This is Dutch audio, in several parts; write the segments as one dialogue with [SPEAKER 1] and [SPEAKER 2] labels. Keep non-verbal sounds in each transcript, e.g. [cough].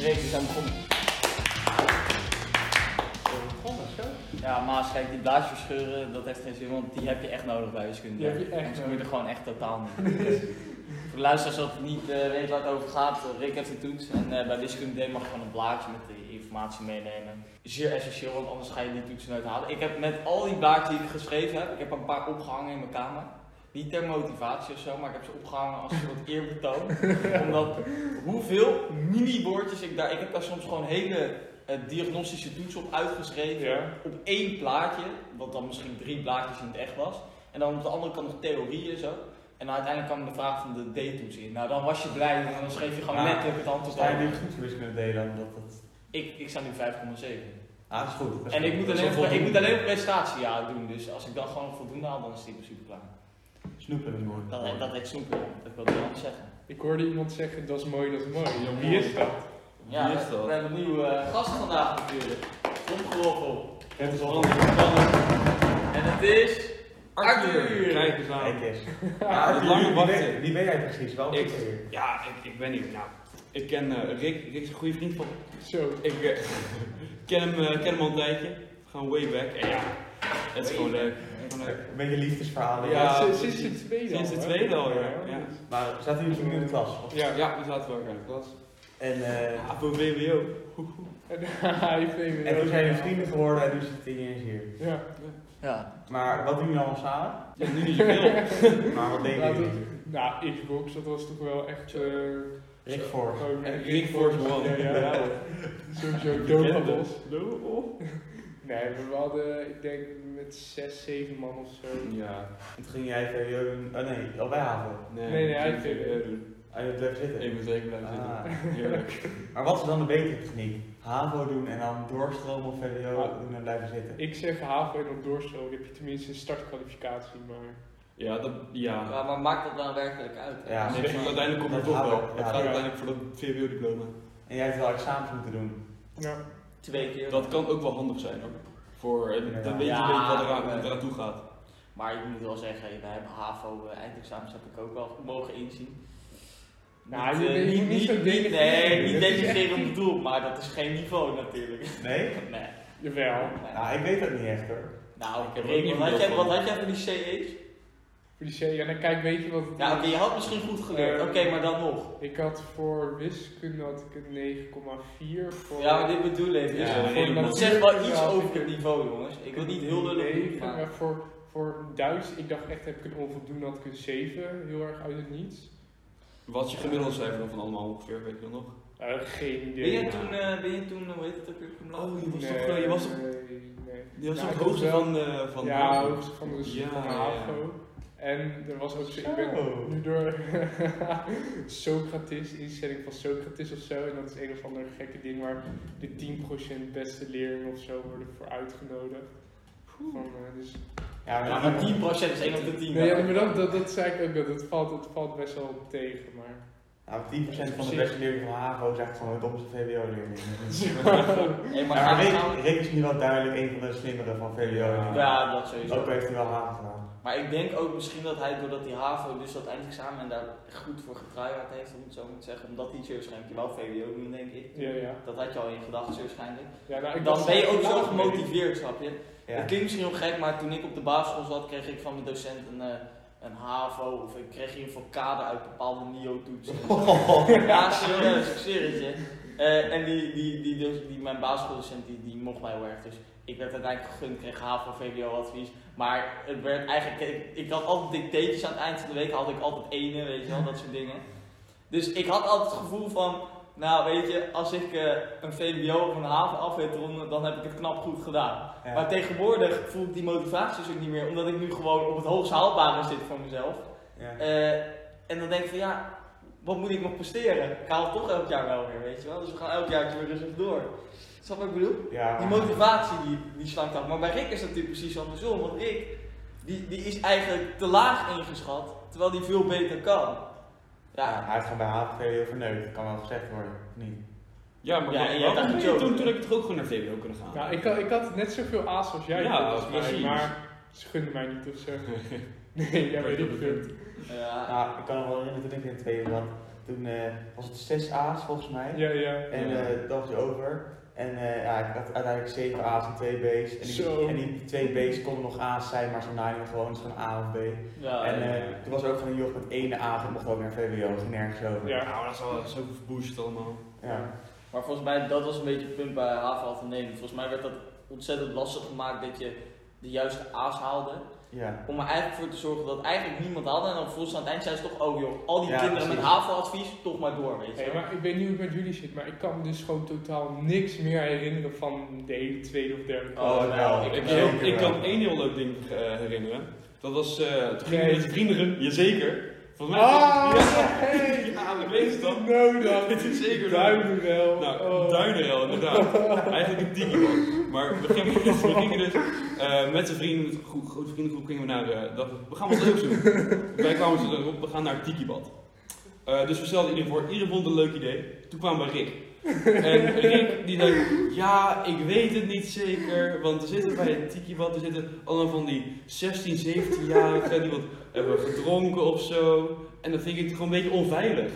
[SPEAKER 1] Nee, we zijn begonnen.
[SPEAKER 2] Begonnen, zo.
[SPEAKER 1] Ja, maar kijk, die blaadjes verscheuren, dat heeft geen zin, want die heb je echt nodig bij wiskunde.
[SPEAKER 2] Die heb je echt
[SPEAKER 1] Anders kom je er
[SPEAKER 2] nodig.
[SPEAKER 1] gewoon echt totaal
[SPEAKER 2] [laughs]
[SPEAKER 1] niet. Dus voor de luisteraars dat niet eh, weet waar het over gaat, eh, Rick heeft een toets. En eh, bij wiskunde D mag je gewoon een blaadje met de informatie meenemen. Zeer essentieel, want anders ga je die toetsen nooit halen. Ik heb met al die blaadjes die ik geschreven heb, ik heb er een paar opgehangen in mijn kamer. Niet ter motivatie of zo, maar ik heb ze opgehangen als een soort eerbetoon. [laughs] Omdat hoeveel mini-woordjes ik daar. Ik heb daar soms gewoon hele eh, diagnostische toetsen op uitgeschreven.
[SPEAKER 2] Ja.
[SPEAKER 1] Op één plaatje, wat dan misschien drie blaadjes in het echt was. En dan op de andere kant nog theorieën zo. En dan uiteindelijk kwam de vraag van de D-toets in. Nou, dan was je blij, want dan schreef je gewoon
[SPEAKER 3] Ja.
[SPEAKER 1] letterlijk het antwoord
[SPEAKER 3] Sta je
[SPEAKER 1] aan.
[SPEAKER 3] nu goed wiskunde delen? Omdat het...
[SPEAKER 1] Ik, ik sta nu 5,7.
[SPEAKER 3] Ah, dat is goed. dat is
[SPEAKER 1] En ik
[SPEAKER 3] goed.
[SPEAKER 1] moet
[SPEAKER 3] Dat is
[SPEAKER 1] alleen,
[SPEAKER 3] wel
[SPEAKER 1] ik moet
[SPEAKER 3] voldoende.
[SPEAKER 1] alleen prestatiejaar doen. Dus als ik dan gewoon voldoende haal, dan is die in principe klaar.
[SPEAKER 3] Snoepen is mooi.
[SPEAKER 1] Dat, dat heet snoepen, dat wil ik wel zeggen.
[SPEAKER 2] Ik hoorde iemand zeggen, dat is mooi, dat is mooi. Ja, wie is dat?
[SPEAKER 1] Ja,
[SPEAKER 3] Wie is dat?
[SPEAKER 1] we hebben een nieuwe eh, gast vandaag natuurlijk. Omgeworpen.
[SPEAKER 3] Het is al
[SPEAKER 1] Van En het is... Arthur.
[SPEAKER 4] Kijk eens aan.
[SPEAKER 3] Kijk eens. Ja, dat lange wachten. Wie ben jij precies? Wel
[SPEAKER 4] Ik- Ja, ik, ik ben hier. Nou, ik ken eh, Rick. Rick is een goede vriend van me.
[SPEAKER 2] Zo.
[SPEAKER 4] Ik eh, [laughs] ken, hem, eh, ken hem al een tijdje. We gaan way back. En ja, het is gewoon leuk. Gewoon leuk.
[SPEAKER 3] Een beetje liefdesverhalen.
[SPEAKER 4] Ja,
[SPEAKER 2] Ja, sinds-
[SPEAKER 4] precies.
[SPEAKER 2] sinds de tweede
[SPEAKER 4] Sinds de
[SPEAKER 2] hè?
[SPEAKER 4] tweede al, ja. Ja.
[SPEAKER 3] Maar zaten jullie toen in de klas?
[SPEAKER 2] Ja.
[SPEAKER 4] Ja, we zaten bij elkaar in de klas.
[SPEAKER 3] En, eh
[SPEAKER 4] Ja, voor WWO.
[SPEAKER 2] En [laughs] hij vindt het
[SPEAKER 3] en toen
[SPEAKER 2] ook.
[SPEAKER 3] zijn jullie vrienden geworden en nu zit iedereen hier.
[SPEAKER 2] Ja.
[SPEAKER 1] Ja.
[SPEAKER 3] Maar wat doen jullie allemaal samen?
[SPEAKER 4] Ja, nu niet zoveel.
[SPEAKER 3] Maar wat deden
[SPEAKER 2] Laten
[SPEAKER 3] jullie?
[SPEAKER 2] we- Nou, Xbox, dat was toch wel echt... eh,
[SPEAKER 3] Rick voor.
[SPEAKER 2] gewoon-
[SPEAKER 4] En Rick Force One.
[SPEAKER 2] Ja, ja, ja.
[SPEAKER 4] [laughs]
[SPEAKER 2] Sowieso Dopabos. [laughs] Nee, we hadden, ik denk, met zes, zeven man of zo.
[SPEAKER 4] Ja.
[SPEAKER 3] En toen ging jij VWO doen. Oh nee, al bij haven.
[SPEAKER 4] Nee,
[SPEAKER 2] Nee, nee, hij
[SPEAKER 4] ik
[SPEAKER 2] vindt-
[SPEAKER 4] wil WWO doen.
[SPEAKER 3] En Oh, je blijft zitten.
[SPEAKER 4] Ik moet zeker blijven zitten.
[SPEAKER 3] Ah.
[SPEAKER 4] Heerlijk.
[SPEAKER 3] Maar wat is dan de betere techniek? HAVO doen en dan doorstromen of VWO
[SPEAKER 2] Ah.
[SPEAKER 3] doen en blijven zitten?
[SPEAKER 2] Ik zeg HAVO en op doorstroom heb je tenminste een startkwalificatie, maar...
[SPEAKER 4] Ja, dat, ja.
[SPEAKER 1] Maar, maar maakt dat nou werkelijk uit?
[SPEAKER 3] Ja.
[SPEAKER 4] Nee, uiteindelijk komt het
[SPEAKER 3] Dat
[SPEAKER 4] toch wel.
[SPEAKER 3] hou ik.
[SPEAKER 4] Het
[SPEAKER 3] Ja,
[SPEAKER 4] gaat
[SPEAKER 2] ja.
[SPEAKER 4] uiteindelijk voor dat VWO-diploma.
[SPEAKER 3] En jij hebt wel examens moeten doen.
[SPEAKER 2] Ja.
[SPEAKER 1] Twee keer.
[SPEAKER 4] Dat kan ook wel handig zijn hoor. Voor, eh,
[SPEAKER 3] Ja.
[SPEAKER 4] dan weet je
[SPEAKER 1] Ja,
[SPEAKER 4] een beetje wat eraan-
[SPEAKER 1] ja.
[SPEAKER 4] wat eraan toe gaat.
[SPEAKER 1] Maar ik moet wel zeggen, bij mijn HAVO eh, eindexamens heb ik ook wel mogen inzien.
[SPEAKER 2] Nou,
[SPEAKER 1] Niet,
[SPEAKER 2] je-
[SPEAKER 1] eh,
[SPEAKER 2] je moet niet zo denigreren.
[SPEAKER 1] Nee, niet
[SPEAKER 2] Dat is
[SPEAKER 1] denigreren
[SPEAKER 2] echt
[SPEAKER 1] op
[SPEAKER 2] niet-
[SPEAKER 1] het doel, maar dat is geen niveau natuurlijk. [laughs]
[SPEAKER 3] Nee?
[SPEAKER 1] Nee.
[SPEAKER 2] Jawel.
[SPEAKER 1] nee.
[SPEAKER 3] Nou, ik weet dat niet echt hoor.
[SPEAKER 1] Nou,
[SPEAKER 4] Ik
[SPEAKER 1] ik heb
[SPEAKER 4] heb er
[SPEAKER 1] Rick,
[SPEAKER 4] ook niet
[SPEAKER 1] wat, had
[SPEAKER 4] veel
[SPEAKER 1] jij,
[SPEAKER 4] van.
[SPEAKER 1] wat had jij van die CE's?
[SPEAKER 2] Voor die C, en dan kijk, weet je wat het
[SPEAKER 1] Ja, oké,
[SPEAKER 2] is?
[SPEAKER 1] je had misschien goed geleerd.
[SPEAKER 2] Eh,
[SPEAKER 1] Oké, maar dan nog.
[SPEAKER 2] Ik had voor wiskunde had ik een 9,4. Voor
[SPEAKER 1] Ja, maar dit bedoel ik. Dus
[SPEAKER 4] Ja,
[SPEAKER 2] voor
[SPEAKER 4] nee,
[SPEAKER 1] dat
[SPEAKER 4] maar-
[SPEAKER 1] zegt wel iets
[SPEAKER 2] Ja,
[SPEAKER 1] over
[SPEAKER 2] ik-
[SPEAKER 1] het niveau, jongens. Ik wil niet heel
[SPEAKER 2] Nee,
[SPEAKER 1] lullig doen,
[SPEAKER 2] maar
[SPEAKER 1] maar...
[SPEAKER 2] voor, voor Duits, ik dacht echt, heb ik een onvoldoende, had ik een 7, heel erg uit het niets.
[SPEAKER 4] Wat je gemiddeld cijfer dan van allemaal ongeveer, weet je dat nog?
[SPEAKER 2] Eh, geen
[SPEAKER 1] Ben
[SPEAKER 2] idee.
[SPEAKER 1] je toen, eh, ben je toen, hoe heet het ook weer?
[SPEAKER 4] Oh, je was
[SPEAKER 2] nee,
[SPEAKER 4] toch, eh, je was toch,
[SPEAKER 2] nee, nee.
[SPEAKER 4] je was
[SPEAKER 2] Nou,
[SPEAKER 4] toch
[SPEAKER 2] ik
[SPEAKER 4] het
[SPEAKER 2] was
[SPEAKER 4] hoogste
[SPEAKER 2] wel-
[SPEAKER 4] van, eh, van
[SPEAKER 2] ja,
[SPEAKER 4] van-
[SPEAKER 2] hoogste van de
[SPEAKER 4] Ja, Oh.
[SPEAKER 2] van de
[SPEAKER 4] ja,
[SPEAKER 2] HAVO. En er was ook zo, ik ben
[SPEAKER 3] Zo.
[SPEAKER 2] nu door [laughs] Socrates, instelling van Socrates of zo. En dat is een of ander gekke ding waar de 10% beste leerlingen of zo worden voor uitgenodigd. Van, eh, dus,
[SPEAKER 3] Ja,
[SPEAKER 1] Ja, maar 10% is 1 op de 10.
[SPEAKER 2] nee, ja, maar dat, dat, dat zei ik ook, dat het valt, het valt best wel tegen. Maar
[SPEAKER 3] Nou, 10% van de beste leerlingen van HAVO is echt gewoon de domste
[SPEAKER 1] [laughs]
[SPEAKER 3] VWO-leerling.
[SPEAKER 1] Hey, maar
[SPEAKER 3] Ja, maar
[SPEAKER 1] gaan we nou-
[SPEAKER 3] Rick, Rick is nu wel duidelijk een van de slimmere van VWO.
[SPEAKER 1] Ja, dat
[SPEAKER 3] Ook
[SPEAKER 1] sowieso.
[SPEAKER 3] al heeft hij wel HAVO gedaan.
[SPEAKER 1] Maar ik denk ook misschien dat hij, doordat die HAVO dus dat eindexamen en daar goed voor getryhard heeft, om het zo maar te zeggen, omdat hij zeer waarschijnlijk wel VWO doen, denk ik.
[SPEAKER 2] ja, ja.
[SPEAKER 1] Dat had je al in gedachten zeer waarschijnlijk.
[SPEAKER 2] ja nou, ik
[SPEAKER 1] Dan
[SPEAKER 2] was-
[SPEAKER 1] ben je ook zo gemotiveerd, snap je? Het
[SPEAKER 3] Ja.
[SPEAKER 1] klinkt misschien heel gek, maar toen ik op de basisschool zat, kreeg ik van mijn docent een, eh, een HAVO of ik kreeg in ieder geval kader uit bepaalde NIO-toetsen. ja, serieus, serieus. hè. Eh, en die, die, die, dus, die, mijn basisschooldocent die, die mocht mij heel erg. Dus ik werd uiteindelijk gegund, kreeg HAVO, VWO-advies. Maar het werd eigenlijk, ik, ik had altijd dicteetjes aan het eind van de week, had ik altijd ene, weet je wel, dat soort dingen. Dus ik had altijd het gevoel van, nou weet je, als ik eh, een VWO of een HAVO af weet te ronden, dan heb ik het knap goed gedaan.
[SPEAKER 3] Ja.
[SPEAKER 1] Maar tegenwoordig voel ik die motivatie dus ook niet meer, omdat ik nu gewoon op het hoogst haalbare zit voor mezelf.
[SPEAKER 3] Ja.
[SPEAKER 1] Eh, en dan denk ik van ja, wat moet ik nog presteren? Ik haal het toch elk jaar wel weer, weet je wel. Dus we gaan elk jaar weer rustig door. Snap je wat ik bedoel?
[SPEAKER 3] Ja.
[SPEAKER 1] Die motivatie die, die slankt af. Maar bij Rick is dat natuurlijk precies andersom, want Rick die, die is eigenlijk te laag ingeschat, terwijl die veel beter kan.
[SPEAKER 3] Ja,
[SPEAKER 1] Ja,
[SPEAKER 3] Hij heeft gewoon bij HAVO VWO verneukt. Dat kan wel gezegd worden. of Niet.
[SPEAKER 4] Ja, maar
[SPEAKER 1] Ja, en
[SPEAKER 4] ja,
[SPEAKER 1] jij
[SPEAKER 4] waarom
[SPEAKER 1] dacht
[SPEAKER 4] ben
[SPEAKER 1] het
[SPEAKER 4] je
[SPEAKER 1] ook.
[SPEAKER 4] toen, toen heb ik toch ook gewoon naar VWO kunnen gaan?
[SPEAKER 2] Nou, ik, had- ik had net zoveel A's als jij,
[SPEAKER 4] Ja,
[SPEAKER 2] volgens mij,
[SPEAKER 4] precies.
[SPEAKER 2] maar ze gunden mij
[SPEAKER 1] [laughs]
[SPEAKER 2] niet of zo. Nee, ja, weet ik veel.
[SPEAKER 1] ja.
[SPEAKER 3] Nou, ik kan nog wel herinneren toen ik in het tweede zat. Toen eh, was het 6 A's volgens mij.
[SPEAKER 2] Ja, ja.
[SPEAKER 3] En
[SPEAKER 4] Ja.
[SPEAKER 3] eh, dat was hij over. En eh, ja, ik had uiteindelijk 7 A's en 2 B's. En
[SPEAKER 2] Zo.
[SPEAKER 3] die, en die 2 B's konden nog A's zijn, maar zo'n naaien gewoon is gewoon A of B.
[SPEAKER 4] Ah,
[SPEAKER 1] Ja,
[SPEAKER 3] en
[SPEAKER 1] ja.
[SPEAKER 3] eh, toen was er ook gewoon een joch met één A, dat mocht ook naar VWO, ging nergens over.
[SPEAKER 2] Ja.
[SPEAKER 4] Nou, dat is al zo verboost allemaal.
[SPEAKER 3] Ja.
[SPEAKER 1] Maar volgens mij, dat was een beetje het punt bij Haven Altenemen. Volgens mij werd dat ontzettend lastig gemaakt dat je de juiste A's haalde.
[SPEAKER 3] Ja.
[SPEAKER 1] Om er eigenlijk voor te zorgen dat eigenlijk niemand had. En dan volgens aan het eind zei ze toch, oh joh, al die
[SPEAKER 3] Ja,
[SPEAKER 1] kinderen met
[SPEAKER 3] precies.
[SPEAKER 1] HAVO-advies, toch maar door, weet je
[SPEAKER 2] Hey,
[SPEAKER 1] wel.
[SPEAKER 2] maar ik weet niet hoe het met jullie zit, maar ik kan me dus gewoon totaal niks meer herinneren van de hele tweede of derde
[SPEAKER 1] Oh,
[SPEAKER 2] klas.
[SPEAKER 1] nou,
[SPEAKER 3] wel.
[SPEAKER 1] ik-
[SPEAKER 4] Ik,
[SPEAKER 3] Zeker
[SPEAKER 4] heel- ik
[SPEAKER 3] wel.
[SPEAKER 4] kan één heel leuk ding eh, herinneren. Dat was, eh toen gingen
[SPEAKER 2] Nee.
[SPEAKER 4] we met vrienden, jazeker. Volgens mij
[SPEAKER 2] Ah,
[SPEAKER 4] was het- [laughs]
[SPEAKER 2] hey.
[SPEAKER 4] ja, ja, wees het dan.
[SPEAKER 2] Nou
[SPEAKER 4] [laughs]
[SPEAKER 2] dan.
[SPEAKER 4] Dit is zeker wel.
[SPEAKER 2] Duinenwel.
[SPEAKER 4] Nou,
[SPEAKER 2] oh.
[SPEAKER 4] duinenrel inderdaad. Eigenlijk een Digimon. Maar we gingen, we gingen dus eh, met een vrienden, met een goe- grote vriendengroep, gingen we naar, eh, dachten we, we gaan wat leuks doen. Wij kwamen ze erop, we gaan naar Digibad. Eh, dus we stelden iedereen voor, iedereen vond het een leuk idee. Toen kwamen we Rick. En Rick die dacht, ja, ik weet het niet zeker, want er zitten bij het Tikibad, er zitten allemaal van die 16, 17-jarigen die wat hebben gedronken of zo. En dat vind ik gewoon een beetje onveilig.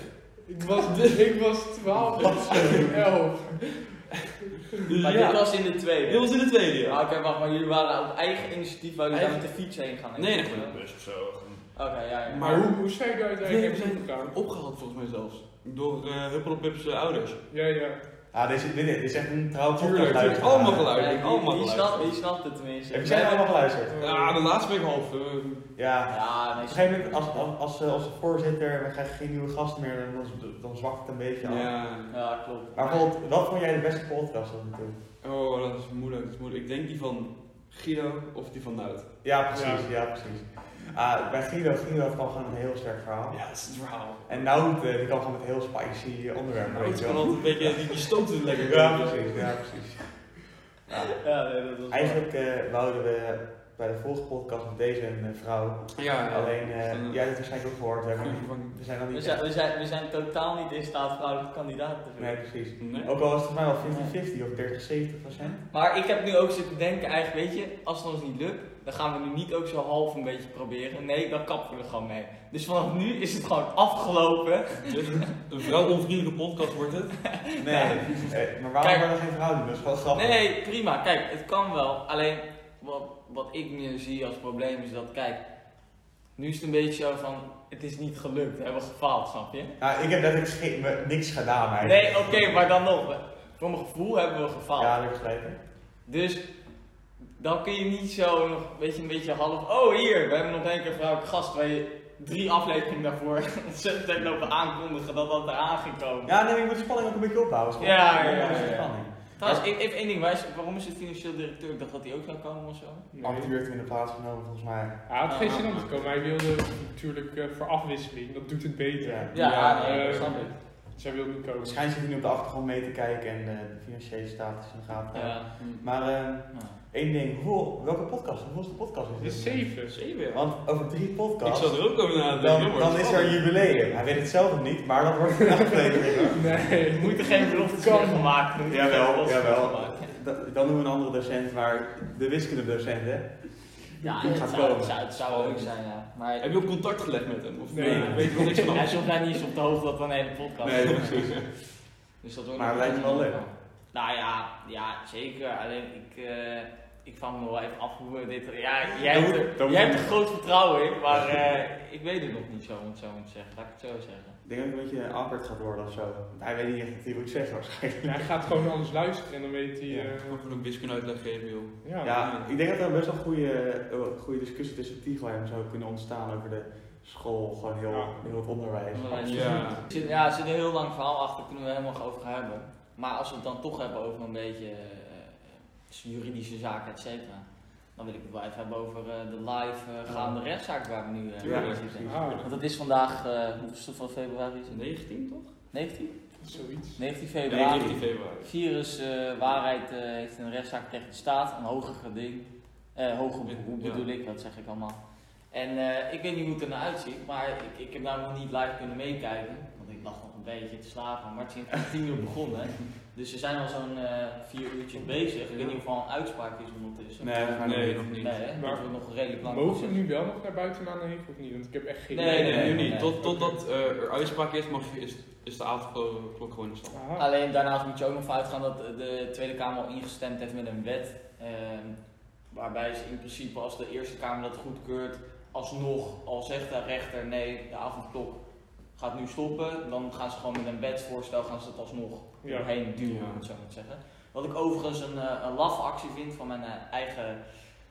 [SPEAKER 2] Ik was, [laughs] ik was 12 of
[SPEAKER 4] [laughs]
[SPEAKER 2] 11.
[SPEAKER 4] Dus
[SPEAKER 1] Maar
[SPEAKER 4] ja,
[SPEAKER 1] dit was in de tweede.
[SPEAKER 4] dit was in de tweede
[SPEAKER 1] Ah,
[SPEAKER 4] jaar.
[SPEAKER 1] Oké, wacht, maar jullie waren op eigen initiatief, waar jullie daar met
[SPEAKER 4] Eigen-
[SPEAKER 1] de fiets heen gaan?
[SPEAKER 4] Nee, echt
[SPEAKER 1] echt
[SPEAKER 4] met een bus of zo.
[SPEAKER 1] Oké, ja, ja.
[SPEAKER 4] Maar-
[SPEAKER 2] Maar hoe, hoe zijn daar
[SPEAKER 4] Nee, we
[SPEAKER 2] uiteindelijk
[SPEAKER 4] zijn
[SPEAKER 2] heen gegaan?
[SPEAKER 4] opgehaald volgens mij zelfs. Door eh Huppelopip's eh, ouders.
[SPEAKER 2] Ja, ja.
[SPEAKER 3] Ah, dit is, dit dit is echt een trouw
[SPEAKER 4] Tuurlijk, tuurlijk.
[SPEAKER 3] podcastluisteraar.
[SPEAKER 4] Allemaal geluid.
[SPEAKER 1] Ja, die-
[SPEAKER 4] allemaal
[SPEAKER 1] die,
[SPEAKER 4] geluisterd.
[SPEAKER 1] snapt, die snapt het tenminste.
[SPEAKER 3] Heb jij allemaal geluisterd?
[SPEAKER 2] Oh,
[SPEAKER 4] Ja, de laatste week half. eh,
[SPEAKER 3] Ja.
[SPEAKER 1] Ja, nee,
[SPEAKER 3] Op een gegeven moment, als, als, als, eh, als de voorzitter, we krijgen geen nieuwe gasten meer, dan, dan zwakt het een beetje af.
[SPEAKER 4] ja.
[SPEAKER 1] ja, klopt.
[SPEAKER 3] Maar bijvoorbeeld, wat vond jij de beste podcast tot nu toe?
[SPEAKER 4] Oh, dat is moeilijk, dat is moeilijk. Ik denk die van Guido of die van Nout.
[SPEAKER 3] Ja, precies, ja, precies. Ah, bij Guido, Guido had gewoon gewoon een heel sterk verhaal.
[SPEAKER 4] Ja, dat is een verhaal.
[SPEAKER 3] En Nout, eh, die kan gewoon met heel spicy onderwerpen,
[SPEAKER 4] Maar
[SPEAKER 3] weet
[SPEAKER 4] het
[SPEAKER 3] je
[SPEAKER 4] kan
[SPEAKER 3] wel.
[SPEAKER 4] altijd een beetje, die, die stoot het lekker.
[SPEAKER 3] Ja, precies, ja, precies. Ja.
[SPEAKER 1] Ja, nee, dat was
[SPEAKER 3] Eigenlijk eh, wouden we bij de vorige podcast met deze een eh, vrouw,
[SPEAKER 1] oh,
[SPEAKER 4] Ja, ja.
[SPEAKER 3] alleen,
[SPEAKER 4] Dus
[SPEAKER 3] eh,
[SPEAKER 4] dan-
[SPEAKER 3] jij hebt het waarschijnlijk ook gehoord, hè, maar we zijn dan
[SPEAKER 1] We
[SPEAKER 3] niet
[SPEAKER 1] zijn,
[SPEAKER 3] echt-
[SPEAKER 1] we, zijn, we zijn totaal niet in staat vrouwelijke kandidaten te vinden.
[SPEAKER 3] Nee, precies.
[SPEAKER 4] Nee.
[SPEAKER 3] Ook al was het voor mij wel 50-50 of 30-70 procent.
[SPEAKER 1] Maar ik heb nu ook zitten denken, eigenlijk, weet je, als het ons niet lukt, dan gaan we nu niet ook zo half een beetje proberen. Nee, dan kappen we er gewoon mee. Dus vanaf nu is het gewoon afgelopen.
[SPEAKER 4] Dus een vrouwonvriendelijke podcast wordt het.
[SPEAKER 3] Nee, eh, maar waarom
[SPEAKER 1] Kijk.
[SPEAKER 3] waren er geen vrouwen? Dat is wel grappig.
[SPEAKER 1] Nee, prima. Kijk, het kan wel. Alleen wat, wat ik meer zie als probleem is dat, kijk, nu is het een beetje zo van, het is niet gelukt. We hebben gefaald, snap je?
[SPEAKER 3] Nou, ik heb letterlijk ge- me- niks gedaan eigenlijk.
[SPEAKER 1] Nee, oké, maar dan nog. we- Voor mijn gevoel hebben we gefaald.
[SPEAKER 3] Ja, dat is gelijk. hè.
[SPEAKER 1] Dus dan kun je niet zo nog een beetje, een beetje half. Oh, hier, we hebben nog één keer een vrouwelijke gast waar je drie afleveringen daarvoor [laughs] ontzettend hebt lopen aankondigen dat dat eraan ging komen.
[SPEAKER 3] Ja, nee, maar je moet de spanning ook een beetje opbouwen.
[SPEAKER 1] Ja, ja, ja,
[SPEAKER 3] Dat is
[SPEAKER 1] ja, ja.
[SPEAKER 3] spanning.
[SPEAKER 1] Trouwens, e- even één ding, waar is- waarom is het financieel directeur? Ik dacht dat hij ook zou komen of zo.
[SPEAKER 3] Amateur
[SPEAKER 2] Nee.
[SPEAKER 3] werd in de plaats genomen volgens mij.
[SPEAKER 2] Hij had geen zin om te komen. Hij wilde natuurlijk eh, voor afwisseling. Dat doet het beter.
[SPEAKER 3] Ja.
[SPEAKER 1] Ja,
[SPEAKER 4] Ja,
[SPEAKER 1] nee,
[SPEAKER 2] eh,
[SPEAKER 1] snap ik.
[SPEAKER 2] Dus hij wilde niet komen.
[SPEAKER 3] Waarschijnlijk zit hij nu op de achtergrond mee te kijken en eh, de financiële status in de gaten. houden.
[SPEAKER 1] Ja.
[SPEAKER 3] Maar ehm, één ding, hoeveel, welke podcast? Hoeveelste podcast
[SPEAKER 2] Het
[SPEAKER 3] is
[SPEAKER 2] is
[SPEAKER 3] dit?
[SPEAKER 2] 7.
[SPEAKER 4] Zeven.
[SPEAKER 3] Want over drie
[SPEAKER 4] Ik
[SPEAKER 3] podcasts,
[SPEAKER 4] zat er ook over na te denken.
[SPEAKER 3] dan,
[SPEAKER 4] hoor.
[SPEAKER 3] dan is er jubileum. Hij weet het zelf nog niet, maar dat wordt een [laughs] aflevering. hoor.
[SPEAKER 2] Nee.
[SPEAKER 1] Er moeten geen beloftes meer gemaakt worden.
[SPEAKER 3] Jawel, jawel. Da- Dan doen we een andere docent, maar de wiskundedocent hè?
[SPEAKER 1] Ja,
[SPEAKER 3] Die
[SPEAKER 1] het
[SPEAKER 3] gaat
[SPEAKER 1] zou,
[SPEAKER 3] komen.
[SPEAKER 1] het zou, het zou wel leuk zijn, ja. Maar
[SPEAKER 4] Heb je ook contact gelegd met hem? Of
[SPEAKER 2] Nee.
[SPEAKER 4] eh, weet je wel
[SPEAKER 1] [laughs]
[SPEAKER 4] niks van
[SPEAKER 1] hij
[SPEAKER 4] af?
[SPEAKER 1] is volgens mij niet eens op de hoogte dat we een hele podcast
[SPEAKER 3] Nee,
[SPEAKER 1] hebben.
[SPEAKER 3] precies.
[SPEAKER 1] Dus dat wordt
[SPEAKER 3] Maar
[SPEAKER 1] nog
[SPEAKER 3] het lijkt me wel
[SPEAKER 1] een-
[SPEAKER 3] leuk.
[SPEAKER 1] Nou ja, ja zeker. Alleen ik, eh, ik vraag me wel even af hoe we dit. Ja, jij
[SPEAKER 3] Dan
[SPEAKER 1] hebt
[SPEAKER 3] moet-
[SPEAKER 1] er,
[SPEAKER 3] dan
[SPEAKER 1] jij
[SPEAKER 3] moet-
[SPEAKER 1] hebt er groot vertrouwen in, maar eh, ik weet het nog niet zo om het zo te zeggen. Laat ik het zo zeggen.
[SPEAKER 3] Ik denk dat het een beetje een awkward gaat worden of zo. Want hij weet niet echt wat hij moet zeggen waarschijnlijk.
[SPEAKER 2] Hij gaat gewoon anders luisteren en dan weet hij...
[SPEAKER 3] Ja.
[SPEAKER 2] eh,
[SPEAKER 4] Ik kan ook wiskunde uitleg geven, joh.
[SPEAKER 2] ja.
[SPEAKER 3] Ja, ik denk dat er best wel een goede, eh, goede discussie tussen Tigel en hem zou kunnen ontstaan over de school, gewoon heel,
[SPEAKER 2] Ja.
[SPEAKER 3] heel het onderwijs.
[SPEAKER 1] Onderwijs.
[SPEAKER 4] Ja.
[SPEAKER 1] Er zit- Ja, er zit een heel lang verhaal achter, kunnen we helemaal over gaan hebben. Maar als we het dan toch hebben over een beetje eh, eh, juridische zaken, et cetera. Dan wil ik het wel even hebben over eh, de live eh, gaande rechtszaak waar we nu eh,
[SPEAKER 3] Ja,
[SPEAKER 1] mee
[SPEAKER 3] precies.
[SPEAKER 1] zitten.
[SPEAKER 2] Ah,
[SPEAKER 1] Want dat is vandaag, eh hoeveelste van februari is het?
[SPEAKER 4] 19 toch?
[SPEAKER 1] 19? 19
[SPEAKER 2] zoiets.
[SPEAKER 4] Nee,
[SPEAKER 1] februari.
[SPEAKER 4] 19 februari.
[SPEAKER 1] Virus eh, Waarheid eh, heeft een rechtszaak tegen de staat, een hoger geding. Eh hoger beroep
[SPEAKER 4] Ja.
[SPEAKER 1] bedoel ik, dat zeg ik allemaal. En eh, ik weet niet hoe het ernaar uitziet, maar ik, ik heb daar nog niet live kunnen meekijken. Want ik lag nog een beetje te slapen, maar het is om tien uur begonnen. Dus ze zijn al zo'n eh, vier uurtjes bezig. Ik weet niet of er al een uitspraak is ondertussen.
[SPEAKER 3] Nee, we gaan
[SPEAKER 4] Nee,
[SPEAKER 3] nog
[SPEAKER 4] nog niet.
[SPEAKER 1] Nee, hè?
[SPEAKER 2] Maar-
[SPEAKER 1] dat we nog redelijk lang
[SPEAKER 2] Mogen we
[SPEAKER 1] zitten.
[SPEAKER 2] nu wel nog naar buiten aan de heen of niet? Want ik heb echt geen
[SPEAKER 1] Nee,
[SPEAKER 4] Nee, nee, nu
[SPEAKER 1] nee, nee.
[SPEAKER 4] niet. Tot, totdat eh, er uitspraak is, mag je, is, is de avondklok gewoon in stand.
[SPEAKER 2] Aha.
[SPEAKER 1] Alleen daarnaast moet je ook nog vanuitgaan dat de Tweede Kamer al ingestemd heeft met een wet. eh, waarbij ze in principe als de Eerste Kamer dat goedkeurt, alsnog al zegt de rechter nee, de avondklok gaat nu stoppen. Dan gaan ze gewoon met een wetsvoorstel gaan ze het alsnog
[SPEAKER 2] Ja.
[SPEAKER 1] doorheen duwen,
[SPEAKER 4] Ja.
[SPEAKER 1] om het zo maar te zeggen. Wat ik overigens een, eh, een laffe actie vind van mijn eh, eigen